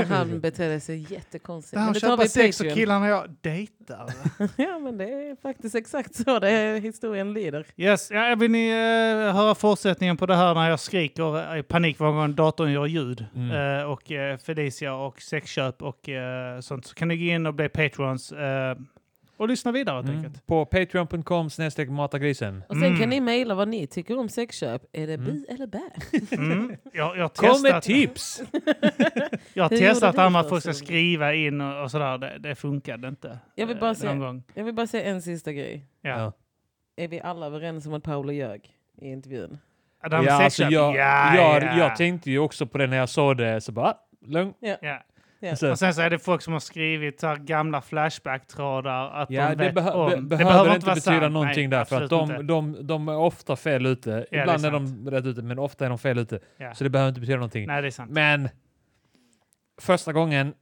[SPEAKER 3] eh, han betedde sig jättekonstigt.
[SPEAKER 2] Där han
[SPEAKER 3] Men det tar vi
[SPEAKER 2] köper
[SPEAKER 3] i
[SPEAKER 2] sex och
[SPEAKER 3] Patreon.
[SPEAKER 2] killarna jag dejtar.
[SPEAKER 3] Ja men det är faktiskt exakt så det är, historien lider.
[SPEAKER 2] Yes, ja, vill ni eh, höra fortsättningen på det här när jag skriker i panik varje gång datorn gör ljud
[SPEAKER 1] Mm.
[SPEAKER 2] eh, och eh, Felicia och sexköp och eh, sånt så kan ni gå in och bli patrons eh, och lyssna vidare helt
[SPEAKER 1] Mm.
[SPEAKER 2] enkelt.
[SPEAKER 1] På patreon.com snedstreck matagrisen.
[SPEAKER 3] Och sen
[SPEAKER 2] Mm.
[SPEAKER 3] kan ni mejla vad ni tycker om sexköp. Är det bi eller bä?
[SPEAKER 2] Mm. Jag, jag har
[SPEAKER 1] Kom med
[SPEAKER 2] testat,
[SPEAKER 1] tips!
[SPEAKER 2] jag har
[SPEAKER 3] Hur gjorde
[SPEAKER 2] testat
[SPEAKER 3] du
[SPEAKER 2] det här med
[SPEAKER 3] för
[SPEAKER 2] att folk ska
[SPEAKER 3] sig?
[SPEAKER 2] skriva in och, och sådär. Det, det funkade inte.
[SPEAKER 3] Jag vill bara
[SPEAKER 2] eh,
[SPEAKER 3] säga-
[SPEAKER 2] någon gång.
[SPEAKER 3] Jag vill bara säga en sista grej.
[SPEAKER 2] Ja.
[SPEAKER 3] Är vi alla överens om att Paolo ljög i intervjun?
[SPEAKER 2] Ja.
[SPEAKER 1] Ja,
[SPEAKER 2] Adam ja,
[SPEAKER 1] alltså,
[SPEAKER 2] sexköp.
[SPEAKER 1] jag,
[SPEAKER 2] ja,
[SPEAKER 1] jag,
[SPEAKER 2] ja.
[SPEAKER 1] jag tänkte ju också på det när jag såg det, så bara ah, lugn.
[SPEAKER 2] ja.
[SPEAKER 3] Ja.
[SPEAKER 1] Så-
[SPEAKER 2] Och sen så är det folk som har skrivit så här gamla Flashback-trådar att
[SPEAKER 1] Ja,
[SPEAKER 2] de
[SPEAKER 1] det,
[SPEAKER 2] vet
[SPEAKER 1] behö-
[SPEAKER 2] om.
[SPEAKER 1] be-
[SPEAKER 2] Det
[SPEAKER 1] behöver inte
[SPEAKER 2] vara
[SPEAKER 1] betyda
[SPEAKER 2] sant.
[SPEAKER 1] någonting
[SPEAKER 2] Nej,
[SPEAKER 1] där, för att
[SPEAKER 2] absolut
[SPEAKER 1] de,
[SPEAKER 2] inte.
[SPEAKER 1] de, de är ofta fel ute.
[SPEAKER 2] det är
[SPEAKER 1] Ibland är, de rätt ute, men ofta är de fel ute.
[SPEAKER 2] Ja.
[SPEAKER 1] Så det behöver inte betyda någonting.
[SPEAKER 2] Nej, det är sant.
[SPEAKER 1] Men första gången...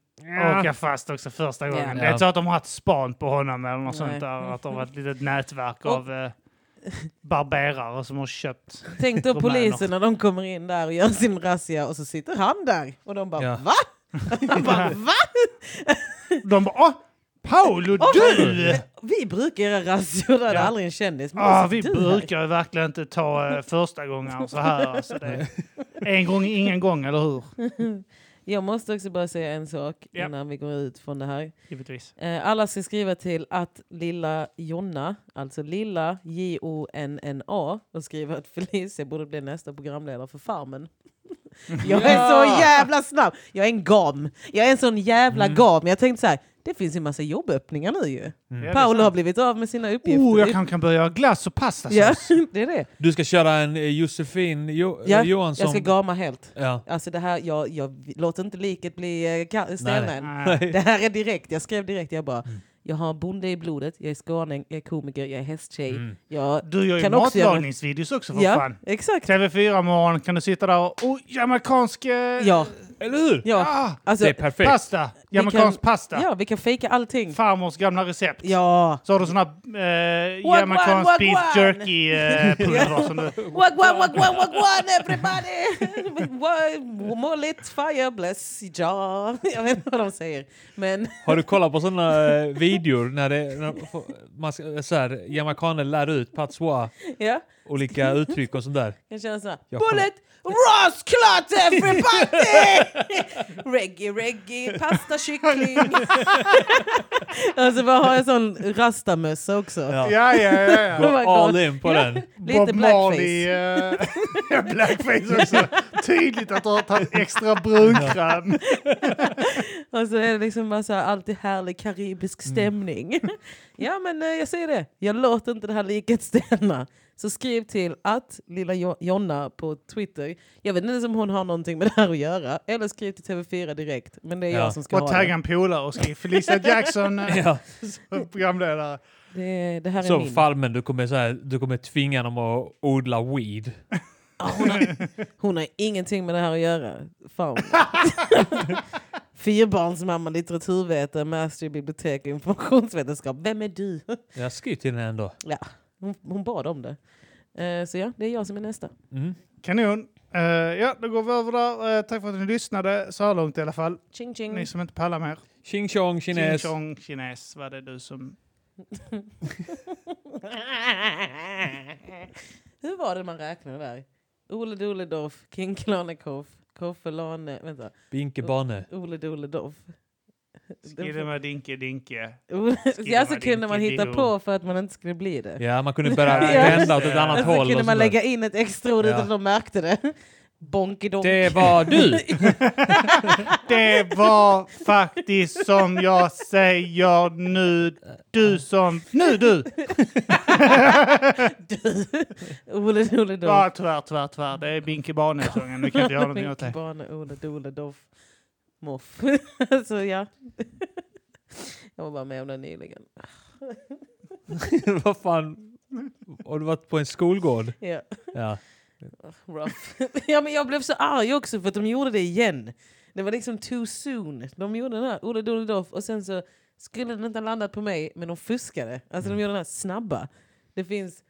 [SPEAKER 2] Åka fast också första gången.
[SPEAKER 3] Ja.
[SPEAKER 2] Det är inte så att de har haft span på honom eller något
[SPEAKER 3] Nej.
[SPEAKER 2] sånt där. Att de har ett litet nätverk
[SPEAKER 3] Och-
[SPEAKER 2] av eh, barberare som har köpt.
[SPEAKER 3] Tänk då
[SPEAKER 2] Romaner.
[SPEAKER 3] polisen när de kommer in där och gör sin razzia och så sitter han där. Och de bara
[SPEAKER 1] Ja.
[SPEAKER 3] va? Han bara va?
[SPEAKER 2] De bara åh, Paolo
[SPEAKER 3] Åh,
[SPEAKER 2] du!
[SPEAKER 3] Vi brukar göra razzior där det
[SPEAKER 2] Ja.
[SPEAKER 3] är aldrig en kändis. men
[SPEAKER 2] Ah,
[SPEAKER 3] alltså,
[SPEAKER 2] vi
[SPEAKER 3] du här."
[SPEAKER 2] brukar ju verkligen inte ta eh, första gången så här. Alltså, det är en gång ingen gång, eller hur?
[SPEAKER 3] Jag måste också bara säga en sak
[SPEAKER 2] Ja.
[SPEAKER 3] innan vi går ut från det här.
[SPEAKER 2] Givetvis.
[SPEAKER 3] Eh, Alla ska skriva till att lilla Jonna, alltså lilla J-O-N-N-A och skriva att Felicia borde bli nästa programledare för Farmen. Jag är så jävla snabb! Jag är en gam. Jag är en sån jävla gam. Jag tänkte så här, Det finns ju en massa jobböppningar nu ju.
[SPEAKER 1] Mm.
[SPEAKER 2] Mm. Ja, det är
[SPEAKER 3] Paolo har
[SPEAKER 2] sant.
[SPEAKER 3] blivit av med sina uppgifter.
[SPEAKER 2] Oh, jag kan, kan börja ha glass och pastasås.
[SPEAKER 3] ja, det är det.
[SPEAKER 1] Du ska köra en eh, Josefin jo
[SPEAKER 3] Ja,
[SPEAKER 1] eh, Johansson.
[SPEAKER 3] Jag ska gama helt.
[SPEAKER 1] Ja.
[SPEAKER 3] Alltså det här, jag, jag låter inte liket bli eh, ka- stelnad.
[SPEAKER 2] Nej.
[SPEAKER 3] Det här är direkt, jag skrev direkt, jag bara, jag har bonde i blodet, jag är skåning, jag är komiker, jag är hästtjej.
[SPEAKER 1] Mm.
[SPEAKER 3] Jag,
[SPEAKER 2] Du gör ju
[SPEAKER 3] Kan också göra-
[SPEAKER 2] matlagningsvideos också för
[SPEAKER 3] ja,
[SPEAKER 2] fan.
[SPEAKER 3] exakt.
[SPEAKER 2] TV4 morgon kan du sitta där och oh, jamaicansk eh,
[SPEAKER 3] Ja,
[SPEAKER 1] Eller hur?
[SPEAKER 3] ja.
[SPEAKER 2] ah,
[SPEAKER 3] Alltså,
[SPEAKER 1] det är perfekt.
[SPEAKER 2] pasta. Jamaicansk pasta.
[SPEAKER 3] ja, vi kan fejka allting.
[SPEAKER 2] Farmors gamla recept.
[SPEAKER 3] Ja.
[SPEAKER 2] Så har du sån här eh,
[SPEAKER 3] Wagwan,
[SPEAKER 2] jamaicansk beef
[SPEAKER 3] wagwan.
[SPEAKER 2] jerky eh, pulver som du...
[SPEAKER 3] Wagwan, wagwan, wagwan everybody! Wa- More lit fire bless ja. Jag vet inte vad de säger. Men
[SPEAKER 1] Har du kollat på sådana eh, videor när, det, när de får- man ska, så här, jamaicaner lär ut patois,
[SPEAKER 3] ja,
[SPEAKER 1] olika uttryck och sånt där?
[SPEAKER 3] jag känner såhär.
[SPEAKER 1] Jag kommer-
[SPEAKER 3] Bullet! Rasklat everybody! reggae, reggae, pasta, kyckling. alltså bara ha en sån rastamössa också.
[SPEAKER 1] Ja.
[SPEAKER 2] Ja, ja, ja. ja.
[SPEAKER 1] Gå
[SPEAKER 3] Oh my God.
[SPEAKER 1] all in på den.
[SPEAKER 3] Lite
[SPEAKER 2] Bob Marley,
[SPEAKER 3] blackface.
[SPEAKER 2] eh, blackface också. Tydligt att du har tagit extra brunkräm.
[SPEAKER 3] Och så är det liksom bara så här, alltid härlig karibisk
[SPEAKER 1] Mm.
[SPEAKER 3] stämning. ja men eh, jag säger det, jag låter inte det här liket stelna. Så skriv till att lilla Jo- Jonna på Twitter. Jag vet inte ens om hon har någonting med det här att göra. Eller skriv till TV4 direkt. Men det är
[SPEAKER 1] Ja.
[SPEAKER 3] jag som ska
[SPEAKER 2] Och
[SPEAKER 3] ha
[SPEAKER 2] tagga
[SPEAKER 3] det.
[SPEAKER 2] en polare och skriv Felicia Jackson eh,
[SPEAKER 1] Ja.
[SPEAKER 2] som programledare.
[SPEAKER 3] det. Det här är
[SPEAKER 1] Så
[SPEAKER 3] min.
[SPEAKER 1] farmen, du kommer, så här, du kommer tvinga dem att odla weed.
[SPEAKER 3] Ah, hon, har, hon har ingenting med det här att göra. Fan. Fyrbarnsmamma, litteraturvetare, master i bibliotek och informationsvetenskap. Vem är du?
[SPEAKER 1] Jag skrev till henne ändå.
[SPEAKER 3] Ja, hon, hon bad om det. Eh, så ja, det är jag som är nästa.
[SPEAKER 1] Mm.
[SPEAKER 2] Kanon. Eh, ja, då går vi över där. Eh, tack för att ni lyssnade så här långt i alla fall.
[SPEAKER 3] Ching ching.
[SPEAKER 2] Ni som inte pallar mer.
[SPEAKER 1] Ching chong kines.
[SPEAKER 2] Ching chong, kines. Vad är du som...
[SPEAKER 3] Hur var det man räknade där? Ole Dole Doff, King Klanekoff, Koffe Lane... Vänta.
[SPEAKER 1] Binke Bane.
[SPEAKER 3] Ole Dole Doff.
[SPEAKER 2] Skidema dinke dinke.
[SPEAKER 3] Ole- Ja, så kunde man hitta
[SPEAKER 2] Skidemadinkidoo.
[SPEAKER 3] på för att man inte skulle bli det.
[SPEAKER 1] Ja, man kunde börja
[SPEAKER 2] Ja.
[SPEAKER 1] vända åt ett
[SPEAKER 2] Ja.
[SPEAKER 1] annat
[SPEAKER 3] Och så
[SPEAKER 1] håll.
[SPEAKER 3] Alltså, kunde
[SPEAKER 1] Och
[SPEAKER 3] man
[SPEAKER 1] sånt där.
[SPEAKER 3] lägga in ett extra ord
[SPEAKER 1] Ja.
[SPEAKER 3] utan att de märkte det. Bonkidonk.
[SPEAKER 1] det var du!
[SPEAKER 2] Det var faktiskt som jag säger nu. Du som... Nu du!
[SPEAKER 3] Ole Dole Doff.
[SPEAKER 2] Ja, tyvärr, tyvärr, tyvärr. Det är Binke Barne-sången. Vi kan inte göra någonting åt det.
[SPEAKER 3] Barn, Ole, Dole, Doff, Moff. så ja. Jag var bara med om den nyligen.
[SPEAKER 1] Vad fan? Har du varit på en skolgård?
[SPEAKER 3] Ja,
[SPEAKER 1] Ja.
[SPEAKER 3] rough. ja, men jag blev så arg också för att de gjorde det igen. Det var liksom too soon. De gjorde den här Ole, Dole, Doff och sen så skulle den inte ha landat på mig men de fuskade. Alltså de gjorde den här snabba. Det finns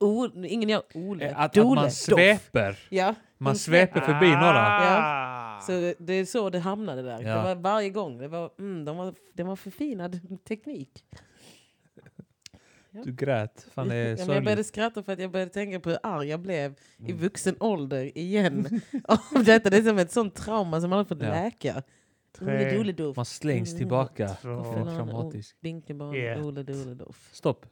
[SPEAKER 3] o- ingen gör Ole,
[SPEAKER 1] Eh, Att, att
[SPEAKER 3] Dole,
[SPEAKER 1] man
[SPEAKER 3] Doff.
[SPEAKER 1] sveper.
[SPEAKER 3] Ja,
[SPEAKER 1] Man
[SPEAKER 3] de svep-
[SPEAKER 1] sveper förbi några.
[SPEAKER 2] Ah.
[SPEAKER 3] Så det är så det hamnade där.
[SPEAKER 1] Ja.
[SPEAKER 3] Det var varje gång. Det var, mm, de var, det var förfinad teknik.
[SPEAKER 1] Du grät. Fan, det
[SPEAKER 3] Ja,
[SPEAKER 1] är
[SPEAKER 3] men jag
[SPEAKER 1] sorgligt. Mm.
[SPEAKER 3] började skratta för att jag började tänka på hur arg jag blev i vuxen ålder igen. av detta. Det är som ett sånt trauma som man har fått
[SPEAKER 1] Ja.
[SPEAKER 3] läka.
[SPEAKER 2] Tre,
[SPEAKER 3] Ole Doledoff.
[SPEAKER 1] Man slängs tillbaka.
[SPEAKER 3] Mm.
[SPEAKER 2] två,
[SPEAKER 1] Det är traumatiskt.
[SPEAKER 3] Binkenbarn,
[SPEAKER 2] ett.
[SPEAKER 3] Ole Doledoff.
[SPEAKER 1] Stopp.